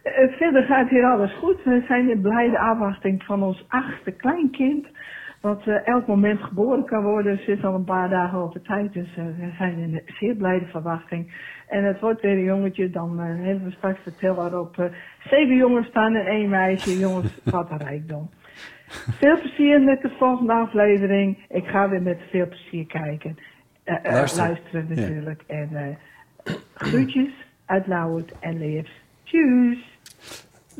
[SPEAKER 8] Eh, Verder gaat hier alles goed. We zijn in blijde afwachting van ons achtste kleinkind. Wat eh, elk moment geboren kan worden. Ze is al een paar dagen over tijd. Dus eh, we zijn in een zeer blijde verwachting. En het wordt weer een jongetje. Dan eh, hebben we straks de teller op eh, zeven jongens staan en één meisje. Jongens, wat een rijkdom. Veel plezier met de volgende aflevering. Ik ga weer met veel plezier kijken. Eh, eh,
[SPEAKER 3] Luisteren.
[SPEAKER 8] luisteren. natuurlijk. En eh, groetjes uit Lauwert en Leers. Tjus!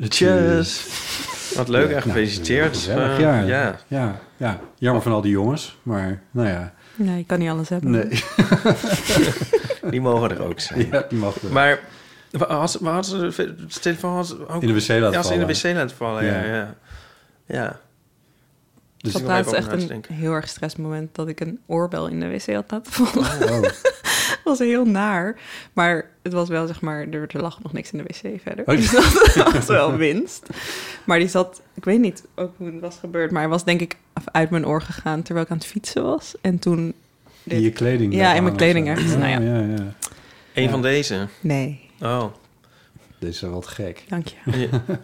[SPEAKER 2] Cheers. Wat leuk, echt gefeliciteerd.
[SPEAKER 3] Nou, Gezellig,
[SPEAKER 2] Eh,
[SPEAKER 3] ja.
[SPEAKER 2] ja.
[SPEAKER 3] Ja, ja, Jammer van al die jongens, maar nou ja.
[SPEAKER 4] Nee, je kan niet alles hebben.
[SPEAKER 3] Nee,
[SPEAKER 2] Die mogen Oh, er ook zijn.
[SPEAKER 3] ja, die mag wel.
[SPEAKER 2] Maar wa- had ze, maar had ze de de telefoon had ze ook...
[SPEAKER 3] In de wc laten
[SPEAKER 2] Ja, had ze in de
[SPEAKER 3] vallen.
[SPEAKER 2] wc laten vallen, ja.
[SPEAKER 3] Ja.
[SPEAKER 2] Ja. ja.
[SPEAKER 4] Dus
[SPEAKER 2] ik wil
[SPEAKER 4] dat
[SPEAKER 2] even
[SPEAKER 4] laatst
[SPEAKER 2] over
[SPEAKER 4] echt
[SPEAKER 2] na te
[SPEAKER 4] een
[SPEAKER 2] denken.
[SPEAKER 4] heel erg stressmoment dat ik een oorbel in de wc had laten vallen.
[SPEAKER 3] Oh,
[SPEAKER 4] was heel naar. Maar het was wel, zeg maar, er, er lag nog niks in de wc verder.
[SPEAKER 3] Oh,
[SPEAKER 4] Dus dat was wel winst. Maar die zat, ik weet niet ook hoe het was gebeurd, maar hij was denk ik uit mijn oor gegaan terwijl ik aan het fietsen was. En toen,
[SPEAKER 3] in je kleding.
[SPEAKER 4] Ja,
[SPEAKER 3] eraan
[SPEAKER 4] in mijn
[SPEAKER 3] of zo.
[SPEAKER 4] kleding ergens, nou ja.
[SPEAKER 3] ja, ja.
[SPEAKER 2] Eén van deze.
[SPEAKER 4] nee,
[SPEAKER 2] Oh.
[SPEAKER 3] Dit is wel wat gek.
[SPEAKER 4] dank je.
[SPEAKER 2] Ja,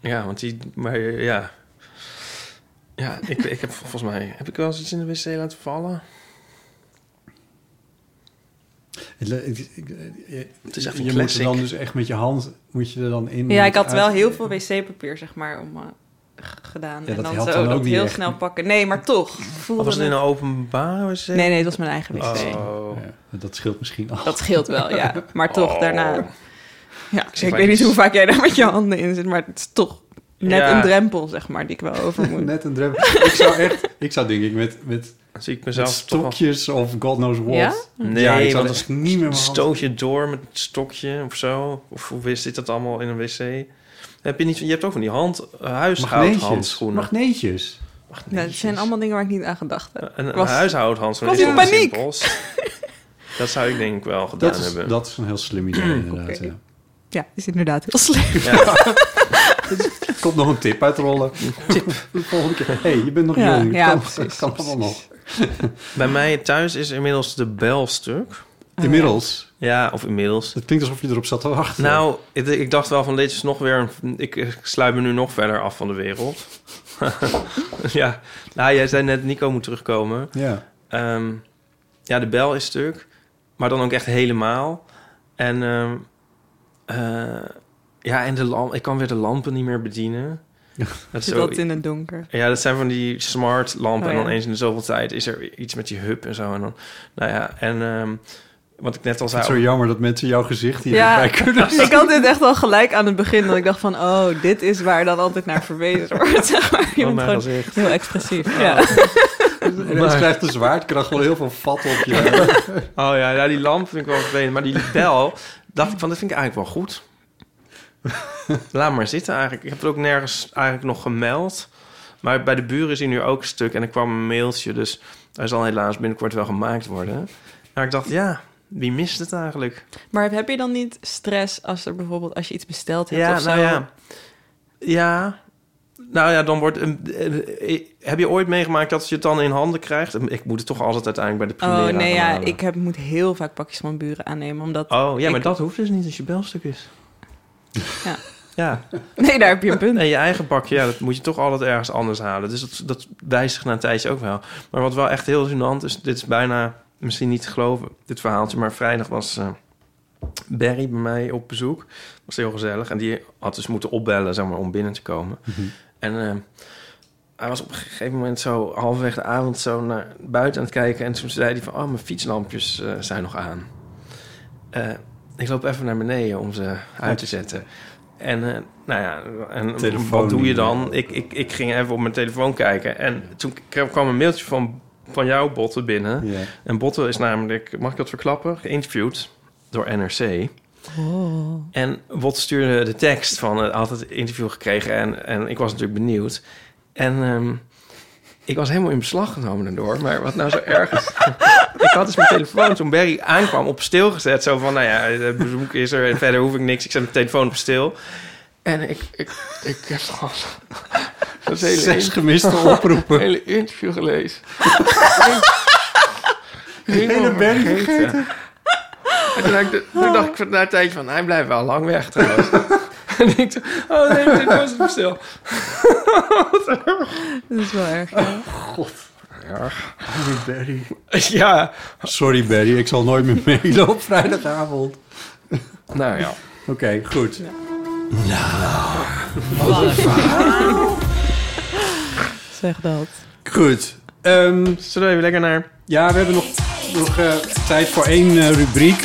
[SPEAKER 2] ja want die... Maar eh, ja... Ja, ik, ik heb volgens mij... Heb ik wel eens iets in de wc laten vallen?
[SPEAKER 3] Het, le- ik- ik- eh, je-
[SPEAKER 2] Het is echt
[SPEAKER 3] je
[SPEAKER 2] een
[SPEAKER 3] moet er
[SPEAKER 2] classic.
[SPEAKER 3] dan dus echt met je hand moet je er dan in.
[SPEAKER 4] Ja, ik had wel
[SPEAKER 3] uit-
[SPEAKER 4] heel veel wc-papier, zeg maar, om... eh, g- gedaan
[SPEAKER 3] Ja,
[SPEAKER 4] en
[SPEAKER 3] dat
[SPEAKER 4] dan
[SPEAKER 3] helpt
[SPEAKER 4] zo
[SPEAKER 3] dan ook
[SPEAKER 4] dat
[SPEAKER 3] niet
[SPEAKER 4] heel
[SPEAKER 3] echt.
[SPEAKER 4] snel pakken. Nee, maar toch. Voelde
[SPEAKER 2] Of was het in
[SPEAKER 4] het-
[SPEAKER 2] een openbare wc?
[SPEAKER 4] Nee, nee, het was mijn eigen wc.
[SPEAKER 2] Oh.
[SPEAKER 3] Ja, dat scheelt misschien al.
[SPEAKER 4] Dat scheelt wel, ja. Maar toch
[SPEAKER 2] Oh.
[SPEAKER 4] daarna. Ja, ik,
[SPEAKER 2] zie maar
[SPEAKER 4] weet
[SPEAKER 2] iets.
[SPEAKER 4] niet hoe vaak jij daar met je handen in zit, maar het is toch net
[SPEAKER 2] Ja.
[SPEAKER 4] een drempel, zeg maar, die ik wel over moet.
[SPEAKER 3] Net een drempel. ik zou echt, ik zou denk ik met, met,
[SPEAKER 2] Dan zie ik
[SPEAKER 3] met
[SPEAKER 2] mezelf toch wel-
[SPEAKER 3] stokjes of god knows what.
[SPEAKER 4] Ja?
[SPEAKER 2] Nee,
[SPEAKER 3] ja, ik
[SPEAKER 2] want
[SPEAKER 3] zou
[SPEAKER 2] dan
[SPEAKER 3] dat niet meer mijn
[SPEAKER 2] Stoot je door met het stokje of zo? Of hoe wist dit dat allemaal in een wc? Heb je, niet, je hebt ook van die hand, eh,
[SPEAKER 3] Magneetjes.
[SPEAKER 2] huishoudhandschoenen.
[SPEAKER 3] Magneetjes.
[SPEAKER 4] Ja, het zijn allemaal dingen waar ik niet aan gedacht heb.
[SPEAKER 2] Een, een
[SPEAKER 4] Ik was-
[SPEAKER 2] huishoudhandschoen
[SPEAKER 4] ik
[SPEAKER 2] is
[SPEAKER 4] was
[SPEAKER 2] toch
[SPEAKER 4] in
[SPEAKER 2] iets
[SPEAKER 4] paniek.
[SPEAKER 2] simpels? dat zou ik denk ik wel gedaan
[SPEAKER 3] Dat is,
[SPEAKER 2] hebben.
[SPEAKER 3] dat is een heel slim idee inderdaad.
[SPEAKER 4] Oké.
[SPEAKER 3] ja.
[SPEAKER 4] Ja, is inderdaad heel slecht.
[SPEAKER 2] Ja,
[SPEAKER 3] Komt nog een tip uitrollen. Tip. De volgende keer. hey, je bent nog
[SPEAKER 4] Ja,
[SPEAKER 3] jong.
[SPEAKER 4] ja,
[SPEAKER 3] kan,
[SPEAKER 4] precies,
[SPEAKER 3] kan allemaal nog.
[SPEAKER 2] bij mij thuis is inmiddels de bel stuk.
[SPEAKER 3] Inmiddels.
[SPEAKER 2] Ja, of inmiddels.
[SPEAKER 3] Het klinkt alsof je erop zat te wachten.
[SPEAKER 2] Nou, ik, ik dacht wel van dit is nog weer... Een, ik, ik sluit me nu nog verder af van de wereld. ja, nou jij zei net Nico moet terugkomen.
[SPEAKER 3] Ja.
[SPEAKER 2] Ehm, ja, de bel is stuk. Maar dan ook echt helemaal. En, ehm, eh, ja, en de lamp, ik kan weer de lampen niet meer bedienen. Dat is
[SPEAKER 4] Zit
[SPEAKER 2] zo-
[SPEAKER 4] dat in het donker.
[SPEAKER 2] ja, dat zijn van die smart lampen.
[SPEAKER 4] Oh,
[SPEAKER 2] En
[SPEAKER 4] ja.
[SPEAKER 2] dan eens in de zoveel tijd is er iets met die hub en zo. En dan, nou ja, en ehm, wat ik net al
[SPEAKER 3] Het is zo
[SPEAKER 2] zei...
[SPEAKER 3] jammer dat mensen jouw gezicht hier
[SPEAKER 4] Ja.
[SPEAKER 3] bij kunnen zien.
[SPEAKER 4] Ik had dit echt al gelijk aan het begin, dat ik dacht van, oh, dit is waar dan altijd naar verwezen wordt. Zeg maar, je
[SPEAKER 2] Oh,
[SPEAKER 4] bent
[SPEAKER 2] mijn
[SPEAKER 4] gewoon
[SPEAKER 2] gezicht. Oh.
[SPEAKER 4] heel expressief. Ja.
[SPEAKER 3] Ineens krijgt een zwaardkracht gewoon heel veel vat op je.
[SPEAKER 2] Oh ja, ja, die lamp vind ik wel vervelend. Maar die bel, dacht ik van, dat vind ik eigenlijk wel goed. Laat maar zitten eigenlijk. Ik heb het ook nergens eigenlijk nog gemeld. Maar bij de buren is hij nu ook een stuk. En er kwam een mailtje, dus hij zal helaas binnenkort wel gemaakt worden. Maar ik dacht, ja, wie mist het eigenlijk?
[SPEAKER 4] Maar heb je dan niet stress als er bijvoorbeeld als je iets besteld hebt
[SPEAKER 2] Ja,
[SPEAKER 4] of zo?
[SPEAKER 2] nou ja. Ja. Nou ja, dan wordt... een- eh, eh, Heb je ooit meegemaakt dat je het dan in handen krijgt? Ik moet het toch altijd uiteindelijk bij de
[SPEAKER 4] Oh
[SPEAKER 2] Primera
[SPEAKER 4] nee,
[SPEAKER 2] gaan
[SPEAKER 4] ja,
[SPEAKER 2] halen.
[SPEAKER 4] ik heb, moet heel vaak pakjes van buren aannemen, omdat...
[SPEAKER 2] Oh, ja, maar
[SPEAKER 4] ik-
[SPEAKER 2] dat hoeft dus niet als je belstuk is.
[SPEAKER 4] Ja.
[SPEAKER 2] Ja.
[SPEAKER 4] Nee, daar heb je een punt.
[SPEAKER 2] En je eigen pakje, ja, dat moet je toch altijd ergens anders halen. Dus dat, dat wijzigt na een tijdje ook wel. Maar wat wel echt heel gênant is, dit is bijna misschien niet te geloven, dit verhaaltje. Maar vrijdag was eh, Barry bij mij op bezoek. was heel gezellig. En die had dus moeten opbellen, zeg maar, om binnen te komen. En eh, hij was op een gegeven moment zo halverwege de avond zo naar buiten aan het kijken. En toen zei hij van, oh, mijn fietslampjes eh, zijn nog aan. Eh, ik loop even naar beneden om ze uit te zetten. En eh, nou ja, en
[SPEAKER 3] Telefoon
[SPEAKER 2] wat doe je
[SPEAKER 3] niet meer.
[SPEAKER 2] dan? Ik, ik, ik ging even op mijn telefoon kijken. En toen k- kwam een mailtje van, van jou, Botte, binnen.
[SPEAKER 3] Ja.
[SPEAKER 2] En Botte is namelijk, mag ik dat verklappen? Geïnterviewd door NRC.
[SPEAKER 4] Oh.
[SPEAKER 2] En Wot stuurde de tekst van, eh, had het interview gekregen en, en ik was natuurlijk benieuwd. En ehm, ik was helemaal in beslag genomen daardoor, maar wat nou zo erg is. ik had dus mijn telefoon toen Barry aankwam op stil gezet. Zo van, nou ja, het bezoek is er en verder hoef ik niks. Ik zet mijn telefoon op stil. En ik, ik, ik heb gewoon dat hele,
[SPEAKER 3] Zes
[SPEAKER 2] in-
[SPEAKER 3] gemiste oproepen.
[SPEAKER 2] hele interview gelezen.
[SPEAKER 3] hele Barry
[SPEAKER 2] vergeten. En toen, dacht ik, toen dacht ik van- na een tijdje van, hij blijft wel lang weg trouwens. en ik dacht, oh nee, dit was het stil.
[SPEAKER 4] Dat is wel erg. ja.
[SPEAKER 3] Barry.
[SPEAKER 2] ja,
[SPEAKER 3] Sorry Barry, ik zal nooit meer mailen op vrijdagavond. Oké,
[SPEAKER 2] nou ja.
[SPEAKER 3] goed. Nou.
[SPEAKER 4] Zeg dat.
[SPEAKER 3] Goed. Ehm,
[SPEAKER 2] Zullen we even lekker naar...
[SPEAKER 3] ja, we hebben nog, nog eh, tijd voor één eh, rubriek.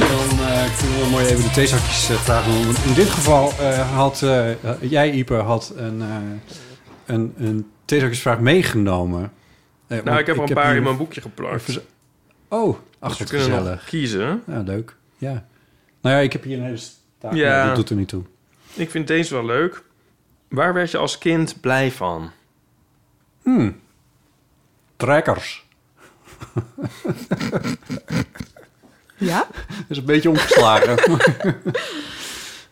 [SPEAKER 3] En dan eh, kunnen we mooi even de theezakjes eh, vragen. Want In dit geval eh, had eh, jij, Ipe, had een, eh, een, een theezakjesvraag meegenomen. Eh,
[SPEAKER 2] Nou,
[SPEAKER 3] want
[SPEAKER 2] ik heb er een paar
[SPEAKER 3] hier-
[SPEAKER 2] in mijn boekje geplakt.
[SPEAKER 3] Even zo- Oh, ach,
[SPEAKER 2] Dus we
[SPEAKER 3] wat
[SPEAKER 2] kunnen
[SPEAKER 3] gezellig.
[SPEAKER 2] nog kiezen.
[SPEAKER 3] Ja, leuk. Ja. Nou ja, ik heb hier een hele staak.
[SPEAKER 2] Ja.
[SPEAKER 3] Nee, dat doet er niet toe.
[SPEAKER 2] Ik vind deze wel leuk. Waar werd je als kind blij van?
[SPEAKER 3] Hmm. Trekkers.
[SPEAKER 4] Ja?
[SPEAKER 3] Dat is een beetje omgeslagen.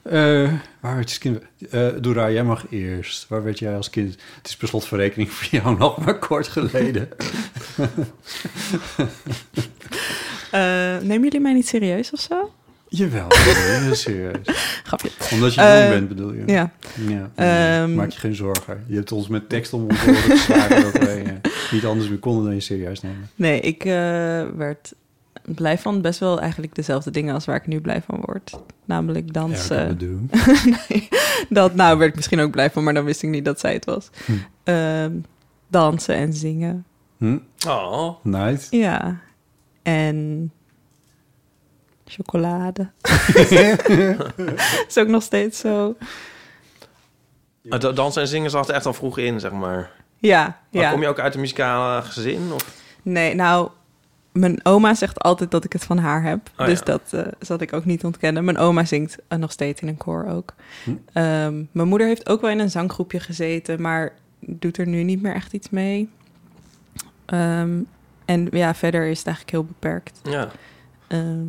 [SPEAKER 3] Eh, waar werd je als kind... eh Dora, jij mag eerst. Waar werd jij als kind... Het is per slotverrekening voor jou nog maar kort geleden.
[SPEAKER 4] Eh, nemen jullie mij niet serieus of zo?
[SPEAKER 3] Jawel, nee, heel serieus.
[SPEAKER 4] Grapje.
[SPEAKER 3] Omdat je
[SPEAKER 4] Eh,
[SPEAKER 3] jong bent, bedoel je?
[SPEAKER 4] Ja.
[SPEAKER 3] Ja.
[SPEAKER 4] Ehm.
[SPEAKER 3] Maak je geen zorgen. Je hebt ons met tekst om ons oren geslagen... dat wij eh, niet anders meer konden dan je serieus nemen.
[SPEAKER 4] Nee, ik eh, werd blij van best wel eigenlijk dezelfde dingen als waar ik nu blij van word. Namelijk dansen.
[SPEAKER 3] Erg om te doen.
[SPEAKER 4] Nee, dat nou werd ik misschien ook blij van, maar dan wist ik niet dat zij het was.
[SPEAKER 3] Hm.
[SPEAKER 4] Ehm, dansen en zingen.
[SPEAKER 3] Hm?
[SPEAKER 2] Oh,
[SPEAKER 3] Nice.
[SPEAKER 4] Ja. En chocolade. is ook nog steeds zo.
[SPEAKER 2] Ah, dansen en zingen zat er echt al vroeg in, zeg maar.
[SPEAKER 4] Ja,
[SPEAKER 2] Maar
[SPEAKER 4] ja.
[SPEAKER 2] Kom je ook uit een muzikale gezin? Of?
[SPEAKER 4] Nee, nou, mijn oma zegt altijd dat ik het van haar heb.
[SPEAKER 2] Oh,
[SPEAKER 4] dus
[SPEAKER 2] ja.
[SPEAKER 4] dat eh, zal ik ook niet ontkennen. Mijn oma zingt eh, nog steeds in een koor ook.
[SPEAKER 2] Hm.
[SPEAKER 4] Ehm, mijn moeder heeft ook wel in een zanggroepje gezeten, maar doet er nu niet meer echt iets mee. Ehm, en ja, verder is het eigenlijk heel beperkt.
[SPEAKER 2] Ja,
[SPEAKER 4] Ehm,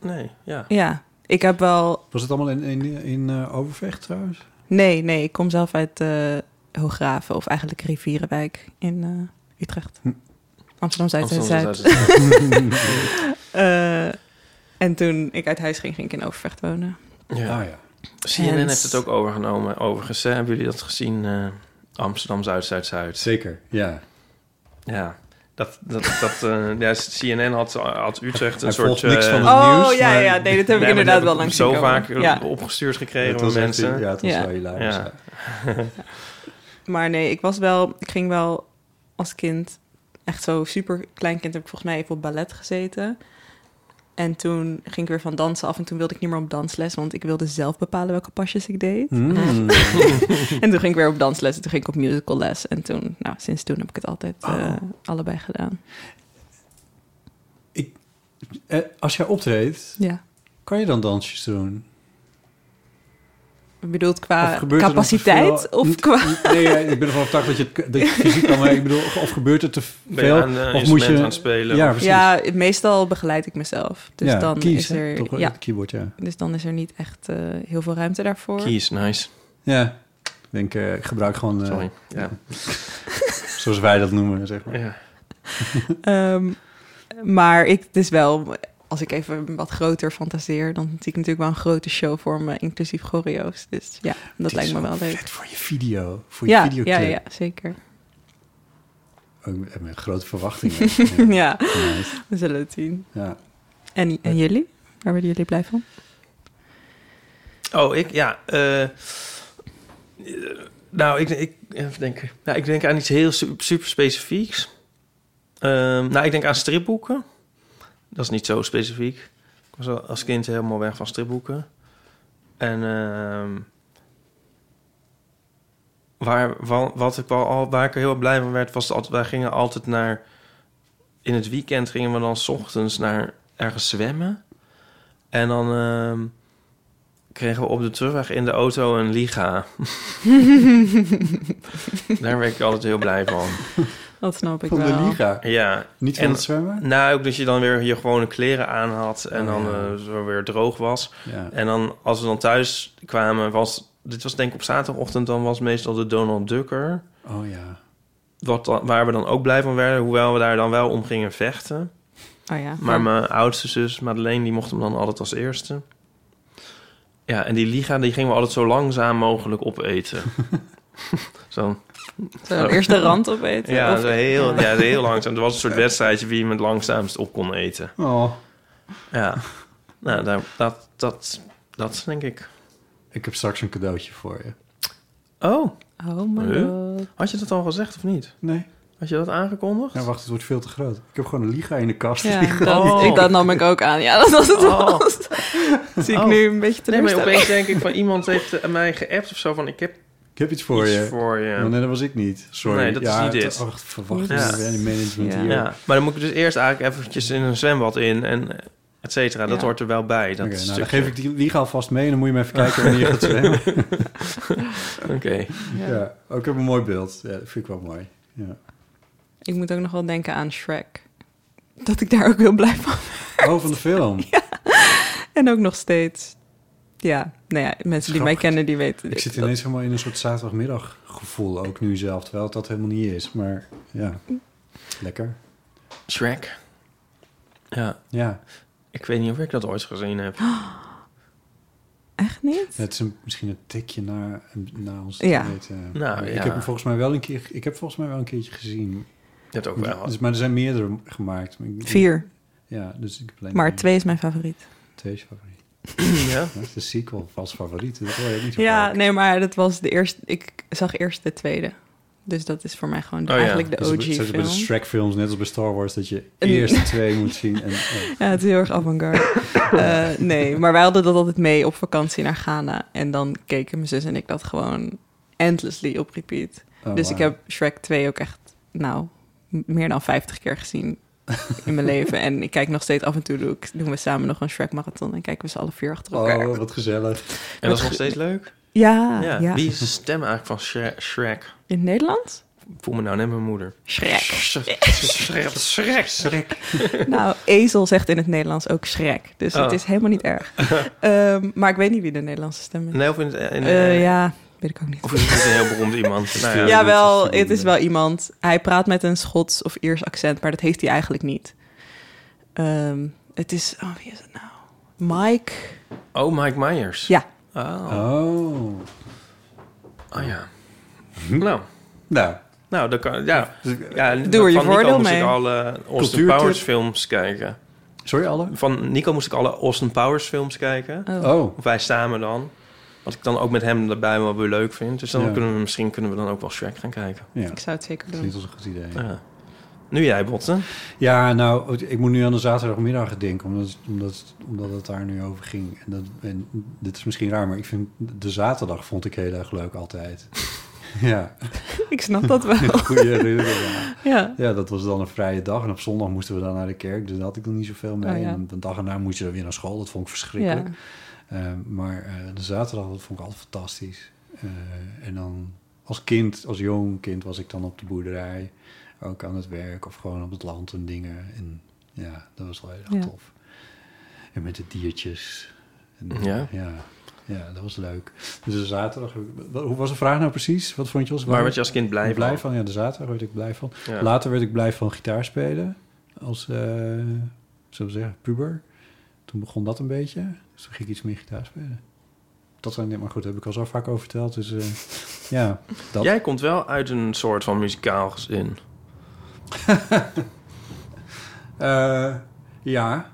[SPEAKER 2] nee, ja.
[SPEAKER 4] ja, ik heb wel.
[SPEAKER 3] Was het allemaal in, in, in eh, Overvecht trouwens?
[SPEAKER 4] Nee, nee, ik kom zelf uit eh Hoograven, of eigenlijk Rivierenwijk in eh, Utrecht.
[SPEAKER 3] Hm.
[SPEAKER 4] Amsterdam Zuid en
[SPEAKER 2] Amsterdam
[SPEAKER 4] Zuid.
[SPEAKER 2] is uit het-
[SPEAKER 4] Eh, en toen ik uit huis ging, ging ik in Overvecht wonen.
[SPEAKER 2] Ja.
[SPEAKER 3] Ah ja.
[SPEAKER 2] CNN
[SPEAKER 4] En-
[SPEAKER 2] heeft het ook overgenomen, overigens. hè. Hebben jullie dat gezien? eh, Amsterdam, Zuid, Zuid, Zuid.
[SPEAKER 3] Zeker, ja.
[SPEAKER 2] Ja, dat, dat, dat, eh, ja CNN had, had Utrecht een
[SPEAKER 3] Hij
[SPEAKER 2] soort...
[SPEAKER 3] volgt niks
[SPEAKER 2] eh,
[SPEAKER 3] van het
[SPEAKER 4] Oh
[SPEAKER 3] nieuws,
[SPEAKER 4] ja,
[SPEAKER 3] maar-
[SPEAKER 4] ja, nee, dat heb ik
[SPEAKER 2] nee, maar
[SPEAKER 4] inderdaad
[SPEAKER 2] dat
[SPEAKER 4] wel
[SPEAKER 2] heb
[SPEAKER 4] lang
[SPEAKER 2] ik zo
[SPEAKER 4] zien komen.
[SPEAKER 2] vaak eh,
[SPEAKER 4] Ja.
[SPEAKER 2] opgestuurd
[SPEAKER 3] Het
[SPEAKER 2] gekregen
[SPEAKER 3] was
[SPEAKER 2] van
[SPEAKER 3] echt-
[SPEAKER 2] mensen.
[SPEAKER 3] ja, het was
[SPEAKER 4] Ja.
[SPEAKER 3] wel hilarisch.
[SPEAKER 2] Ja.
[SPEAKER 3] Ja.
[SPEAKER 4] Maar nee, ik was wel, ik ging wel als kind, echt zo super klein kind, heb ik volgens mij even op ballet gezeten. En toen ging ik weer van dansen af en toen wilde ik niet meer op dansles, want ik wilde zelf bepalen welke pasjes ik deed.
[SPEAKER 2] Hmm.
[SPEAKER 3] Mm.
[SPEAKER 4] en toen ging ik weer op dansles en toen ging ik op musicalles. En toen, nou, sinds toen heb ik het altijd eh,
[SPEAKER 3] Oh.
[SPEAKER 4] allebei gedaan.
[SPEAKER 3] Eh, als jij optreedt,
[SPEAKER 4] Ja.
[SPEAKER 3] kan je dan dansjes doen?
[SPEAKER 4] Ik bedoel, qua
[SPEAKER 3] Of gebeurt er dan te
[SPEAKER 4] capaciteit
[SPEAKER 3] veel?
[SPEAKER 4] of
[SPEAKER 3] Niet-
[SPEAKER 4] qua...
[SPEAKER 3] niet- Nee, ja, ik ben ervan overtuigd dat je, het- dat je het fysiek kan, maar ik bedoel, of gebeurt er te
[SPEAKER 2] Ben je
[SPEAKER 3] veel?
[SPEAKER 2] aan, eh,
[SPEAKER 3] of moet
[SPEAKER 2] instrument
[SPEAKER 3] je
[SPEAKER 2] aan het spelen?
[SPEAKER 3] Ja,
[SPEAKER 2] Of-
[SPEAKER 3] precies.
[SPEAKER 4] Ja, meestal begeleid ik mezelf. Dus
[SPEAKER 3] Ja,
[SPEAKER 4] dan
[SPEAKER 3] keys,
[SPEAKER 4] is
[SPEAKER 3] hè?
[SPEAKER 4] er...
[SPEAKER 3] Toch wel,
[SPEAKER 4] ja,
[SPEAKER 3] het keyboard, ja.
[SPEAKER 4] dus dan is er niet echt eh, heel veel ruimte daarvoor.
[SPEAKER 2] Keys, nice.
[SPEAKER 3] Ja, ik denk, eh, ik gebruik gewoon, eh,
[SPEAKER 2] Sorry. Ja.
[SPEAKER 3] zoals wij dat noemen, zeg maar.
[SPEAKER 2] Ja.
[SPEAKER 4] Ehm, maar ik, het is wel, als ik even wat groter fantaseer, dan zie ik natuurlijk wel een grote show voor me, inclusief choreo's. Dus ja, dat
[SPEAKER 3] Dit
[SPEAKER 4] lijkt
[SPEAKER 3] is
[SPEAKER 4] me wel leuk.
[SPEAKER 3] Vet voor je video, voor je
[SPEAKER 4] Ja, ja,
[SPEAKER 3] videoclip.
[SPEAKER 4] ja, zeker.
[SPEAKER 3] Oh, ik heb een grote verwachtingen.
[SPEAKER 4] Ja,
[SPEAKER 3] Nice.
[SPEAKER 4] we zullen het zien.
[SPEAKER 3] ja.
[SPEAKER 4] En, en jullie? Waar worden jullie blij van?
[SPEAKER 2] Oh, ik? Ja. eh, eh, nou, ik, ik, even denken. Nou, ik denk aan iets heel su- super specifieks. Ehm, nou, ik denk aan stripboeken. Dat is niet zo specifiek. Ik was al als kind helemaal weg van stripboeken. En ehm, waar, wa- wat ik wel al, waar ik heel blij van werd, was dat wij gingen altijd naar... In het weekend gingen we dan 's ochtends naar ergens zwemmen. En dan... ehm, kregen we op de terugweg in de auto een liga. Daar ben ik altijd heel blij van.
[SPEAKER 4] Dat snap ik
[SPEAKER 3] Van de
[SPEAKER 4] wel.
[SPEAKER 3] liga.
[SPEAKER 2] Ja.
[SPEAKER 3] Niet van
[SPEAKER 2] En-
[SPEAKER 3] het zwemmen?
[SPEAKER 2] Nou, ook dat je dan weer je gewone kleren aan had en dan eh, zo weer droog was.
[SPEAKER 3] Ja.
[SPEAKER 2] En dan als we dan thuis kwamen, was... Dit was denk ik op zaterdagochtend, dan was meestal de Donald Ducker.
[SPEAKER 3] Oh ja.
[SPEAKER 2] Wat dan- waar we dan ook blij van werden, hoewel we daar dan wel om gingen vechten.
[SPEAKER 4] Oh ja.
[SPEAKER 2] Maar ah, mijn oudste zus, Madeleine, die mocht hem dan altijd als eerste. Ja, en die liga, die gingen we altijd zo langzaam mogelijk opeten. zo,
[SPEAKER 4] Zullen we eerst de rand opeten?
[SPEAKER 2] ja,
[SPEAKER 4] Of-
[SPEAKER 2] zo heel,
[SPEAKER 4] ja.
[SPEAKER 2] ja. zo heel langzaam. Er was een soort wedstrijdje wie hem het langzaamst op kon eten.
[SPEAKER 3] Oh.
[SPEAKER 2] Ja, nou, daar, dat, dat, dat denk ik.
[SPEAKER 3] Ik heb straks een cadeautje voor je.
[SPEAKER 2] Oh,
[SPEAKER 4] Oh my
[SPEAKER 2] Huh?
[SPEAKER 4] god.
[SPEAKER 2] had je dat al gezegd of niet?
[SPEAKER 3] Nee.
[SPEAKER 2] Had je dat aangekondigd?
[SPEAKER 3] Ja, wacht, het wordt veel te groot. Ik heb gewoon een liga in de kast
[SPEAKER 4] Ja,
[SPEAKER 3] liggen.
[SPEAKER 4] dat,
[SPEAKER 2] Oh.
[SPEAKER 4] ik, dat nam ik ook aan. Ja, dat was het
[SPEAKER 2] Oh.
[SPEAKER 4] wel. Zie ik
[SPEAKER 2] Oh.
[SPEAKER 4] nu een beetje
[SPEAKER 2] nee, maar
[SPEAKER 4] teleurstelling.
[SPEAKER 2] opeens denk ik van iemand heeft eh, mij geappt of zo van ik heb
[SPEAKER 3] Ik heb iets voor
[SPEAKER 2] iets
[SPEAKER 3] je.
[SPEAKER 2] voor je.
[SPEAKER 3] Oh, nee, dat was ik niet. Sorry.
[SPEAKER 2] Nee, dat is
[SPEAKER 3] ja, oh,
[SPEAKER 2] niet
[SPEAKER 3] te-
[SPEAKER 2] dit.
[SPEAKER 3] Ach, verwachtingen
[SPEAKER 2] Ja.
[SPEAKER 3] en die management
[SPEAKER 4] Ja.
[SPEAKER 3] hier.
[SPEAKER 2] Ja, maar dan moet ik dus eerst eigenlijk eventjes in een zwembad in en eh, et cetera. Dat
[SPEAKER 4] Ja.
[SPEAKER 2] hoort er wel bij. Dat
[SPEAKER 3] Oké, nou,
[SPEAKER 2] stukje.
[SPEAKER 3] dan geef ik die liga alvast mee en dan moet je me even kijken wanneer je gaat zwemmen.
[SPEAKER 2] Oké.
[SPEAKER 3] ja. ook ik heb een mooi beeld. Ja, dat vind ik wel mooi. Ja.
[SPEAKER 4] Ik moet ook nog wel denken aan Shrek. Dat ik daar ook heel blij van
[SPEAKER 3] Oh, van de film.
[SPEAKER 4] En ook nog steeds. Ja, nou ja, mensen die mij
[SPEAKER 3] Grappig.
[SPEAKER 4] kennen, die weten
[SPEAKER 3] Ik
[SPEAKER 4] dit.
[SPEAKER 3] zit
[SPEAKER 4] Dat-
[SPEAKER 3] ineens helemaal in een soort zaterdagmiddag gevoel ook nu zelf. Terwijl het dat helemaal niet is. Maar ja, lekker.
[SPEAKER 2] Shrek. Ja,
[SPEAKER 3] Ja,
[SPEAKER 2] ik weet niet of ik dat ooit gezien heb.
[SPEAKER 4] Echt niet?
[SPEAKER 3] het is een, misschien een tikje naar, naar ons
[SPEAKER 4] Ja.
[SPEAKER 3] te weten.
[SPEAKER 2] Nou,
[SPEAKER 3] Maar ik
[SPEAKER 2] ja.
[SPEAKER 3] heb hem volgens mij wel een keer, ik heb volgens mij wel een keertje gezien.
[SPEAKER 2] Dat ook wel.
[SPEAKER 3] Dus, maar er zijn meerdere gemaakt. Maar ik-
[SPEAKER 4] Vier.
[SPEAKER 3] Ja, dus ik heb alleen
[SPEAKER 4] Maar
[SPEAKER 3] één.
[SPEAKER 4] twee is mijn favoriet.
[SPEAKER 3] Twee is favoriet.
[SPEAKER 2] Ja.
[SPEAKER 3] Dat is de sequel als favoriet. dus Dat hoor je niet zo
[SPEAKER 4] Ja,
[SPEAKER 3] vaak.
[SPEAKER 4] nee, maar dat was de eerste. Ik zag eerst de tweede. Dus dat is voor mij gewoon de-
[SPEAKER 2] Oh ja,
[SPEAKER 4] eigenlijk de
[SPEAKER 3] Dus het is bij de
[SPEAKER 4] OG-film.
[SPEAKER 3] Shrek films, net als bij Star Wars, dat je
[SPEAKER 4] En-
[SPEAKER 3] eerst de twee moet zien. En, oh,
[SPEAKER 4] Ja, het is heel erg avant-garde. Eh, nee, maar wij hadden dat altijd mee op vakantie naar Ghana. En dan keken mijn zus en ik dat gewoon endlessly op repeat.
[SPEAKER 3] oh,
[SPEAKER 4] dus ik
[SPEAKER 3] wauw.
[SPEAKER 4] heb Shrek 2 ook echt, nou, m- meer dan 50 keer gezien in mijn leven. En ik kijk nog steeds af en toe, doe ik, doen we samen nog een Shrek-marathon en kijken we ze alle vier achter elkaar.
[SPEAKER 3] Oh, wat gezellig.
[SPEAKER 2] En dat is nog steeds leuk.
[SPEAKER 4] Ja,
[SPEAKER 2] Ja.
[SPEAKER 4] ja,
[SPEAKER 2] Wie is de stem eigenlijk van Shre- Shrek?
[SPEAKER 4] In het Nederlands?
[SPEAKER 2] Ik voel me nou net mijn moeder.
[SPEAKER 4] Shrek.
[SPEAKER 2] Shrek. Shrek. Shrek. Shrek.
[SPEAKER 4] nou, ezel zegt in het Nederlands ook Shrek. Dus
[SPEAKER 2] Oh.
[SPEAKER 4] het is helemaal niet erg. Ehm, maar ik weet niet wie de Nederlandse stem is.
[SPEAKER 2] Nee, of in, het- in,
[SPEAKER 4] Eh,
[SPEAKER 2] eh,
[SPEAKER 4] ja, weet ik ook niet.
[SPEAKER 2] Of is het een heel beroemd iemand? Nou ja.
[SPEAKER 4] Ja, wel,
[SPEAKER 3] dat is-
[SPEAKER 4] het is wel iemand. Hij praat met een Schots of Iers accent, maar dat heeft hij eigenlijk niet. Ehm, het is, oh, wie is het nou? Mike.
[SPEAKER 2] Oh, Mike Myers.
[SPEAKER 4] Ja,
[SPEAKER 2] Oh,
[SPEAKER 3] Oh.
[SPEAKER 2] oh ja. Nou,
[SPEAKER 3] Nou, dus
[SPEAKER 2] nou dat kan... Ja, ja
[SPEAKER 4] Doe er je
[SPEAKER 2] van Nico
[SPEAKER 4] voordeel
[SPEAKER 2] moest
[SPEAKER 4] mee.
[SPEAKER 2] ik al eh, Austin
[SPEAKER 3] Cultuurtip.
[SPEAKER 2] Powers films kijken.
[SPEAKER 3] sorry alle?
[SPEAKER 2] Van Nico moest ik alle Austin Powers films kijken.
[SPEAKER 3] Oh,
[SPEAKER 2] Of wij samen dan. Wat ik dan ook met hem daarbij wel weer leuk vind. Dus dan
[SPEAKER 3] Ja.
[SPEAKER 2] kunnen we misschien kunnen we dan ook wel Shrek gaan kijken.
[SPEAKER 3] ja.
[SPEAKER 4] ik zou het zeker
[SPEAKER 3] Dat is niet
[SPEAKER 4] doen.
[SPEAKER 3] als een goed idee.
[SPEAKER 2] Ja. Nu jij, Botten.
[SPEAKER 3] Ja, nou, ik moet nu aan de zaterdagmiddag denken, omdat, omdat, omdat het daar nu over ging. En, dat, en dit is misschien raar, maar ik vind de zaterdag vond ik heel erg leuk altijd. ja.
[SPEAKER 4] Ik snap dat wel.
[SPEAKER 3] Goeie herinnering. Ja.
[SPEAKER 4] Ja.
[SPEAKER 3] ja, dat was dan een vrije dag. En op zondag moesten we dan naar de kerk, dus daar had ik dan niet zoveel mee.
[SPEAKER 4] Oh, ja.
[SPEAKER 3] En de dag erna moest je dan weer naar school, dat vond ik verschrikkelijk. Eh, maar eh, de zaterdag, dat vond ik altijd fantastisch. Eh, en dan als kind, als jong kind, was ik dan op de boerderij. Ook aan het werk of gewoon op het land en dingen. En ja, dat was wel heel erg
[SPEAKER 4] Ja.
[SPEAKER 3] tof. En met de diertjes. En,
[SPEAKER 2] Ja.
[SPEAKER 3] ja. Ja, dat was leuk. Dus de zaterdag... Hoe was de vraag nou precies? Wat vond je als...
[SPEAKER 2] Waar werd je als kind blij
[SPEAKER 3] blij,
[SPEAKER 2] van?
[SPEAKER 3] blij van? Ja, de zaterdag werd ik blij van.
[SPEAKER 2] Ja.
[SPEAKER 3] Later werd ik blij van gitaar spelen. Als, eh zullen we zeggen, puber. Toen begon dat een beetje. Dus toen ging ik iets meer gitaar spelen. Dat zijn, maar goed, daar heb ik al zo vaak over verteld. Dus eh, ja, dat.
[SPEAKER 2] Jij komt wel uit een soort van muzikaal gezin.
[SPEAKER 3] Eh, ja,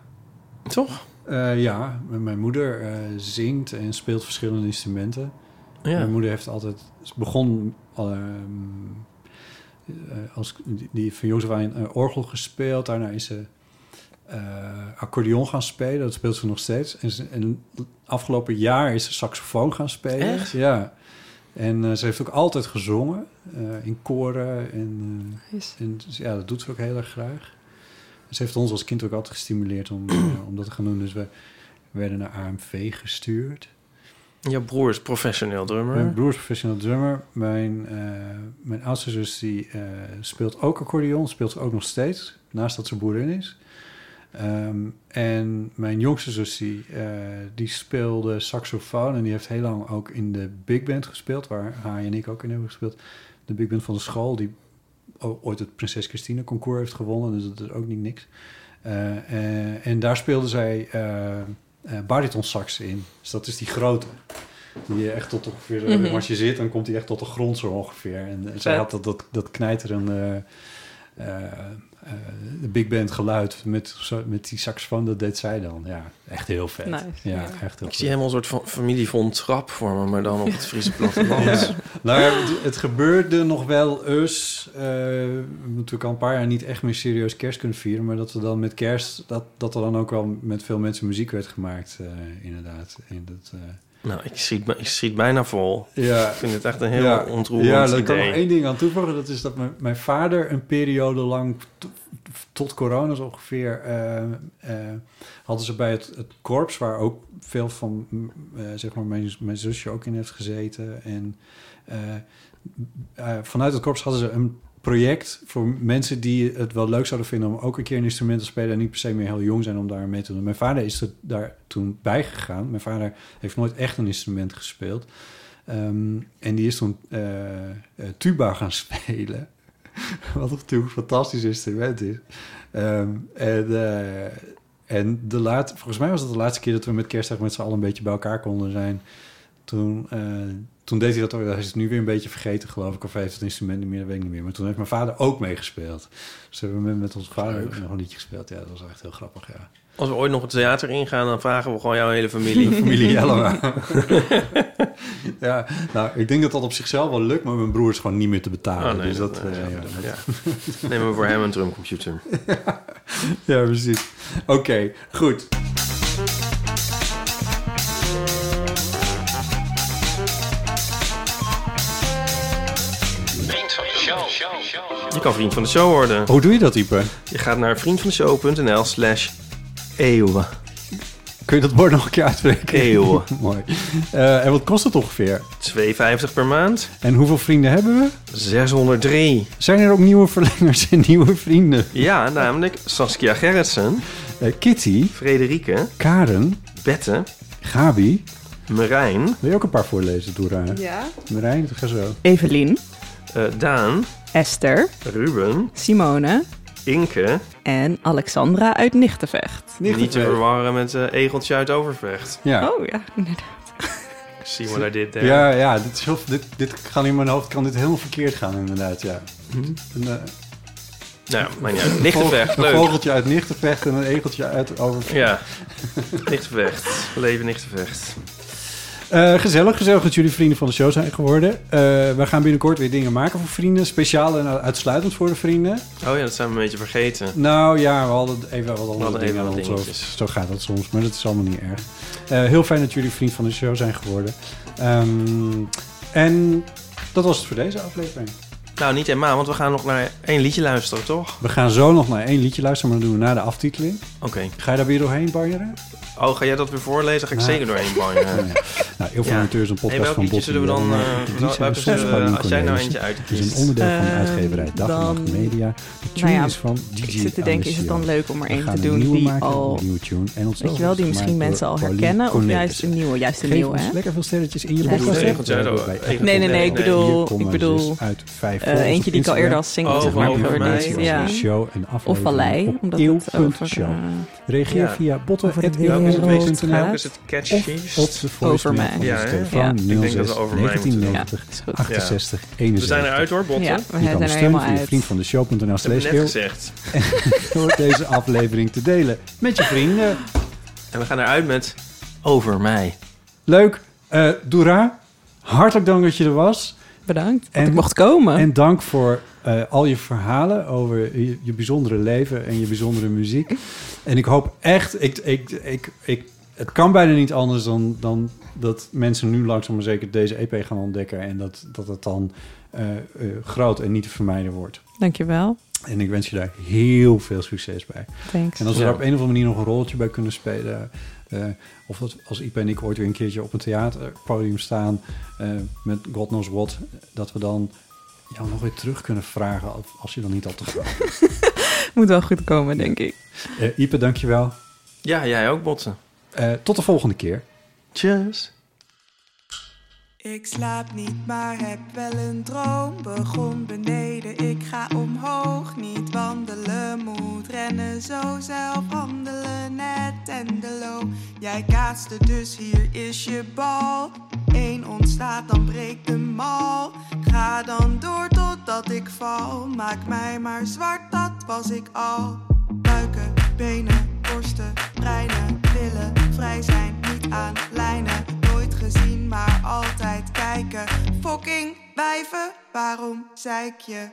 [SPEAKER 2] Toch?
[SPEAKER 3] Eh, ja. M- mijn moeder eh, zingt en speelt verschillende instrumenten. Mijn moeder heeft altijd... Ze begon ehm, eh, als, die, die van jongs af aan eh, orgel gespeeld. Daarna is ze eh, accordeon gaan spelen. Dat speelt ze nog steeds. En, ze, en afgelopen jaar is ze saxofoon gaan spelen.
[SPEAKER 2] Echt?
[SPEAKER 3] Ja. En eh, ze heeft ook altijd gezongen. eh, in koren en... eh,
[SPEAKER 4] Nice.
[SPEAKER 3] En dus ja, dat doet ze ook heel erg graag. Ze heeft ons als kind ook altijd gestimuleerd om, eh, om dat te gaan doen. Dus we werden naar AMV gestuurd.
[SPEAKER 2] Jouw broer is professioneel
[SPEAKER 3] Mijn
[SPEAKER 2] drummer.
[SPEAKER 3] broer is professioneel drummer. Mijn, eh, mijn oudste zus die, eh, speelt ook accordeon. Speelt ze ook nog steeds, naast dat ze boerin is. Ehm, en mijn jongste zus die, eh, die speelde saxofoon. En die heeft heel lang ook in de big band gespeeld. Waar hij en ik ook in hebben gespeeld. De big band van de school. Die o- ooit het Prinses Christine concours heeft gewonnen. Dus dat is ook niet niks. Eh, eh, en daar speelde zij eh eh, bariton sax in. Dus dat is die grote. Die je echt tot ongeveer... eh,
[SPEAKER 4] Mhm.
[SPEAKER 3] Als je zit, dan komt die echt tot de grond zo ongeveer. En, eh, zij
[SPEAKER 4] Vet.
[SPEAKER 3] had dat, dat, dat knijterende... eh, eh, de big band geluid met, zo- met die saxofoon, dat deed zij dan. Ja, echt heel vet.
[SPEAKER 4] Nice,
[SPEAKER 3] ja,
[SPEAKER 4] ja.
[SPEAKER 3] echt heel
[SPEAKER 2] Ik
[SPEAKER 3] vet.
[SPEAKER 2] zie helemaal een soort van familie van trap vormen, maar dan op het Friese platteland.
[SPEAKER 3] Ja. Nou, ja, het, het gebeurde nog wel eens. eh, we hebben natuurlijk al een paar jaar niet echt meer serieus kerst kunnen vieren. Maar dat we dan met kerst, dat, dat er dan ook wel met veel mensen muziek werd gemaakt, eh, inderdaad. En dat, eh,
[SPEAKER 2] Nou, ik schiet, ik schiet bijna vol.
[SPEAKER 3] ja,
[SPEAKER 2] Ik vind het echt een heel
[SPEAKER 3] ja,
[SPEAKER 2] ontroerend
[SPEAKER 3] Ja, daar kan
[SPEAKER 2] idee.
[SPEAKER 3] nog één ding aan toevoegen. Dat is dat mijn, mijn vader een periode lang, t- tot corona zo ongeveer, eh, eh, hadden ze bij het, het korps, waar ook veel van mm, eh, zeg maar mijn, mijn zusje ook in heeft gezeten. En eh, eh, vanuit het korps hadden ze een project voor mensen die het wel leuk zouden vinden om ook een keer een instrument te spelen en niet per se meer heel jong zijn om daar mee te doen. Mijn vader is er daar toen bij gegaan. Mijn vader heeft nooit echt een instrument gespeeld. Ehm, en die is toen eh, eh, tuba gaan spelen. Wat natuurlijk een fantastisch instrument is. Ehm, en, eh, en de laat, volgens mij was het de laatste keer dat we met kerstdag met z'n allen een beetje bij elkaar konden zijn. Toen, eh, toen deed hij dat ook. Hij is het nu weer een beetje vergeten, geloof ik. Of hij heeft het instrument niet meer, dat weet ik niet meer. Maar toen heeft mijn vader ook meegespeeld. Dus hebben we met onze vader nog een liedje gespeeld. Ja, dat was echt heel grappig, ja.
[SPEAKER 2] Als we ooit nog het theater ingaan, dan vragen we gewoon jouw hele familie.
[SPEAKER 3] familie Jellema. ja, nou, ik denk dat dat op zichzelf wel lukt, maar mijn broer is gewoon niet meer te betalen.
[SPEAKER 2] Oh, nee,
[SPEAKER 3] dus dat,
[SPEAKER 2] dat-
[SPEAKER 3] eh,
[SPEAKER 2] nee,
[SPEAKER 3] ja,
[SPEAKER 2] ja. Neem maar voor hem een drumcomputer.
[SPEAKER 3] ja, precies. Oké, goed.
[SPEAKER 2] Je kan vriend van de show worden.
[SPEAKER 3] Hoe doe je dat, Ipe?
[SPEAKER 2] Je gaat naar vriendvandeshow.nl slash eeuwen.
[SPEAKER 3] Kun je dat woord nog een keer uitspreken?
[SPEAKER 2] Eeuwen.
[SPEAKER 3] Mooi. Eh, en wat kost het ongeveer?
[SPEAKER 2] 2,50 per maand.
[SPEAKER 3] En hoeveel vrienden hebben we?
[SPEAKER 2] 603.
[SPEAKER 3] Zijn er ook nieuwe verlengers en nieuwe vrienden?
[SPEAKER 2] Ja, namelijk Saskia Gerritsen,
[SPEAKER 3] Eh, Kitty,
[SPEAKER 2] Frederike,
[SPEAKER 3] Karen,
[SPEAKER 2] Bette,
[SPEAKER 3] Gabi.
[SPEAKER 2] Marijn,
[SPEAKER 3] Wil je ook een paar voorlezen, Dora?
[SPEAKER 4] Ja.
[SPEAKER 3] Marijn, ga zo.
[SPEAKER 4] Evelien,
[SPEAKER 2] eh, Daan,
[SPEAKER 4] Esther,
[SPEAKER 2] Ruben,
[SPEAKER 4] Simone
[SPEAKER 2] Inke.
[SPEAKER 4] en Alexandra uit Nichtenvecht.
[SPEAKER 2] Niet te verwarren met eh Egeltje uit Overvecht.
[SPEAKER 3] Ja.
[SPEAKER 4] Oh ja, inderdaad.
[SPEAKER 2] Zie maar naar dit. eh, daar.
[SPEAKER 3] Ja, ja, dit, is heel, dit, dit kan in mijn hoofd kan dit helemaal verkeerd gaan, inderdaad, ja. Een, eh,
[SPEAKER 2] Nou, ja, maar niet uit. Lichtenvecht,
[SPEAKER 3] een
[SPEAKER 2] leuk.
[SPEAKER 3] vogeltje uit Nichtenvecht en een egeltje uit over...
[SPEAKER 2] Ja, Lichtenvecht. We leven in Lichtenvecht.
[SPEAKER 3] Eh, gezellig, gezellig dat jullie vrienden van de show zijn geworden. Eh we gaan binnenkort weer dingen maken voor vrienden. Speciaal en uitsluitend voor de vrienden.
[SPEAKER 2] Oh ja, dat zijn we een beetje vergeten.
[SPEAKER 3] Nou ja, we hadden even wat andere
[SPEAKER 2] hadden
[SPEAKER 3] dingen
[SPEAKER 2] even wat
[SPEAKER 3] aan ons
[SPEAKER 2] dingetjes.
[SPEAKER 3] hoofd. Zo gaat dat soms, maar dat is allemaal niet erg. Eh, heel fijn dat jullie vriend van de show zijn geworden. Ehm, en dat was het voor deze aflevering.
[SPEAKER 2] Nou, niet helemaal, want we gaan nog naar één liedje luisteren, toch?
[SPEAKER 3] We gaan zo nog naar één liedje luisteren, maar dat doen we na de aftiteling.
[SPEAKER 2] Oké.
[SPEAKER 3] Ga je daar weer doorheen, Barjeren?
[SPEAKER 2] Oh, ga jij dat weer voorlezen? Ga ik
[SPEAKER 3] Nou.
[SPEAKER 2] zeker doorheen bangen.
[SPEAKER 3] Ja. Nou, heel veel
[SPEAKER 2] Ja.
[SPEAKER 3] amateurs een podcast
[SPEAKER 2] Hey, welk
[SPEAKER 3] van
[SPEAKER 2] liedje
[SPEAKER 3] Botte
[SPEAKER 2] zullen we dan,
[SPEAKER 3] Jong.
[SPEAKER 2] eh,
[SPEAKER 3] Die
[SPEAKER 2] welke
[SPEAKER 3] zijn
[SPEAKER 2] zullen we-
[SPEAKER 3] geschreven door
[SPEAKER 2] als jij nou
[SPEAKER 3] Cornelis.
[SPEAKER 2] eentje uitkiest?
[SPEAKER 3] Het is een onderdeel van
[SPEAKER 4] Ehm,
[SPEAKER 3] uitgeverij Dag en Nacht
[SPEAKER 4] dan-
[SPEAKER 3] Media. De tune
[SPEAKER 4] Nou ja,
[SPEAKER 3] is van DJ
[SPEAKER 4] Ik zit te denken, is het dan
[SPEAKER 3] Alessio.
[SPEAKER 4] leuk om er
[SPEAKER 3] We
[SPEAKER 4] één
[SPEAKER 3] gaan
[SPEAKER 4] te
[SPEAKER 3] een
[SPEAKER 4] doen
[SPEAKER 3] nieuwe
[SPEAKER 4] die
[SPEAKER 3] maken,
[SPEAKER 4] al,
[SPEAKER 3] een nieuwe tune. En ons
[SPEAKER 4] weet je wel, die misschien mensen al herkennen? Of juist een nieuwe, juist een
[SPEAKER 3] Geef
[SPEAKER 4] nieuwe,
[SPEAKER 3] ons
[SPEAKER 4] hè?
[SPEAKER 3] lekker veel sterretjes in je
[SPEAKER 4] Leuk.
[SPEAKER 3] podcast.
[SPEAKER 2] Nee, nee,
[SPEAKER 4] nee, nee, ik bedoel- ik bedoel,
[SPEAKER 3] uit vijf
[SPEAKER 4] Eh, eentje die ik al eerder als single
[SPEAKER 2] Oh,
[SPEAKER 4] heb
[SPEAKER 2] van
[SPEAKER 4] gemaakt
[SPEAKER 2] Over
[SPEAKER 4] hoor,
[SPEAKER 2] Mij,
[SPEAKER 4] die-
[SPEAKER 2] was
[SPEAKER 4] ja.
[SPEAKER 3] ja. show en
[SPEAKER 4] Of
[SPEAKER 3] aflevering
[SPEAKER 4] Vallei,
[SPEAKER 3] op
[SPEAKER 4] omdat het over,
[SPEAKER 3] eeuw.show.
[SPEAKER 4] eh,
[SPEAKER 3] Reageer
[SPEAKER 2] Ja.
[SPEAKER 3] via
[SPEAKER 4] over het
[SPEAKER 2] Welke is het
[SPEAKER 4] wereld
[SPEAKER 2] meest
[SPEAKER 4] gaat.
[SPEAKER 2] welke is het catchiest?
[SPEAKER 3] op de voicemail
[SPEAKER 4] mij.
[SPEAKER 3] van
[SPEAKER 2] Ja,
[SPEAKER 3] ons
[SPEAKER 2] hè?
[SPEAKER 4] Ja.
[SPEAKER 3] telefoon
[SPEAKER 2] Ik
[SPEAKER 3] 06
[SPEAKER 2] denk dat we over mij moeten doen.
[SPEAKER 3] 1990
[SPEAKER 4] is goed.
[SPEAKER 3] 68
[SPEAKER 2] We
[SPEAKER 3] 71.
[SPEAKER 2] zijn eruit hoor, Botten.
[SPEAKER 4] Ja,
[SPEAKER 2] Ik
[SPEAKER 4] we
[SPEAKER 3] Je
[SPEAKER 4] zijn
[SPEAKER 3] kan
[SPEAKER 4] er
[SPEAKER 3] de steun
[SPEAKER 4] helemaal
[SPEAKER 3] van je
[SPEAKER 4] uit.
[SPEAKER 3] vriend van de show.nl
[SPEAKER 2] heb
[SPEAKER 3] slash
[SPEAKER 2] het net
[SPEAKER 3] deel
[SPEAKER 2] gezegd.
[SPEAKER 3] door deze aflevering te delen met je vrienden.
[SPEAKER 2] En we gaan eruit met Over mij.
[SPEAKER 3] Leuk. Eh Doera, hartelijk dank dat je er was.
[SPEAKER 4] Bedankt dat
[SPEAKER 3] En-
[SPEAKER 4] ik mocht komen.
[SPEAKER 3] En dank voor eh, al je verhalen over je, je bijzondere leven en je bijzondere muziek. En ik hoop echt, ik, ik, ik, ik, het kan bijna niet anders dan, dan dat mensen nu langzaam maar zeker deze EP gaan ontdekken. En dat, dat het dan eh, eh, groot en niet te vermijden wordt.
[SPEAKER 4] Dankjewel.
[SPEAKER 3] En ik wens je daar heel veel succes bij.
[SPEAKER 4] Thanks.
[SPEAKER 3] En als we
[SPEAKER 2] Ja.
[SPEAKER 3] daar op een of andere manier nog een rolletje bij kunnen spelen. eh, of dat als Ipe en ik ooit weer een keertje op een theaterpodium staan eh, met God knows what, dat we dan jou nog weer terug kunnen vragen als- als je dan niet al te groot bent.
[SPEAKER 4] Moet wel goed komen, denk ik.
[SPEAKER 3] Eh, Ipe, dankjewel.
[SPEAKER 2] Ja, jij ook, Botten.
[SPEAKER 3] Eh tot de volgende keer.
[SPEAKER 2] Cheers.
[SPEAKER 5] Ik slaap niet, maar heb wel een droom. Begon beneden, ik ga omhoog. Niet wandelen, moet rennen, zo zelf handelen. Net en de loop. Jij kaatste, dus hier is je bal. Eén ontstaat, dan breekt de mal. Ga dan door totdat ik val. Maak mij maar zwart, dat was ik al. Buiken, benen, borsten, breinen, willen vrij zijn, niet aan lijnen. Nooit gezien, maar altijd kijken. Fucking wijven, waarom zeik je?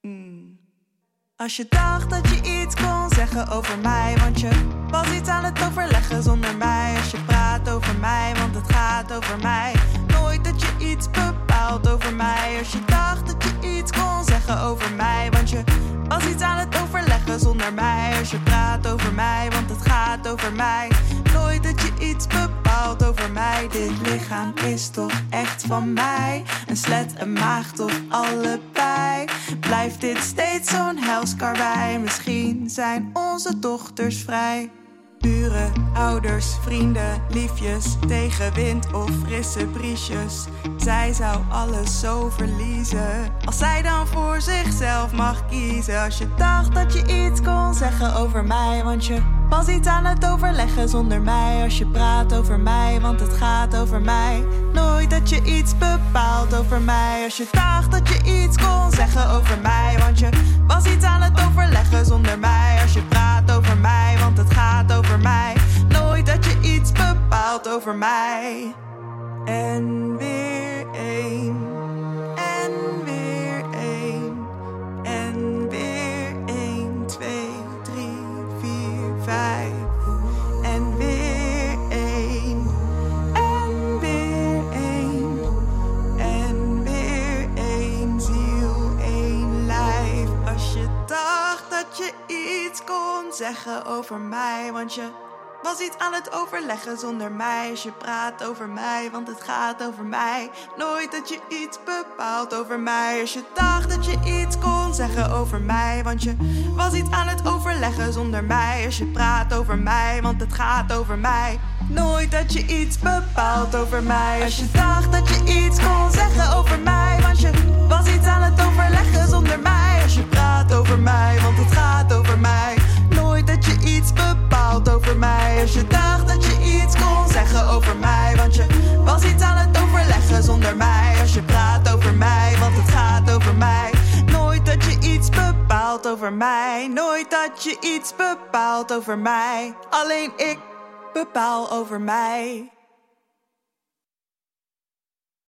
[SPEAKER 5] Hmm. Als je dacht dat je iets kon zeggen over mij, want je was iets aan het overleggen zonder mij. Als je praat over mij, want het gaat over mij. Nooit dat je iets bepaalt over mij. Als je dacht dat je iets kon zeggen over mij, want je was iets aan het overleggen zonder mij. Als je praat over mij, want het gaat over mij. Nooit dat je iets bepaalt over mij. Dit lichaam is toch echt van mij. Een slet, een maag, toch allebei. Blijft dit steeds zo'n helskarwei? Misschien zijn onze dochters vrij. Buren, ouders, vrienden, liefjes, tegenwind of frisse briesjes. Zij zou alles zo verliezen. Als zij dan voor zichzelf mag kiezen. Als je dacht dat je iets kon zeggen over mij, want je was iets aan het overleggen zonder mij. Als je praat over mij, want het gaat over mij. Nooit dat je iets bepaalt over mij. Als je dacht dat je iets kon zeggen over mij, want je was iets aan het overleggen zonder mij. Als je praat over mij, want het gaat over mij. Nooit dat je iets bepaalt over mij. En weer één. En weer één. En weer één, twee, drie, vier, vijf. En weer één. En weer één. En weer één ziel, één lijf. Als je dacht dat je iets kon zeggen over mij, want je was iets aan het overleggen zonder mij. Als je praat over mij, want het gaat over mij. Nooit dat je iets bepaalt over mij. Als je dacht dat je iets kon zeggen over mij, want je was iets aan het overleggen zonder mij. Als je praat over mij, want het gaat over mij. Nooit dat je iets bepaalt over mij. Als je dacht dat je iets kon zeggen over mij, want je was iets aan het overleggen zonder mij. Als je praat over mij, want het gaat over mij. Nooit dat je iets bepaalt over mij. Als je dacht dat je iets kon zeggen over mij, want je was iets aan het overleggen zonder mij. Als je praat over mij, want het gaat over mij. Nooit dat je iets bepaalt over mij. Nooit dat je iets bepaalt over mij. Alleen ik bepaal over mij.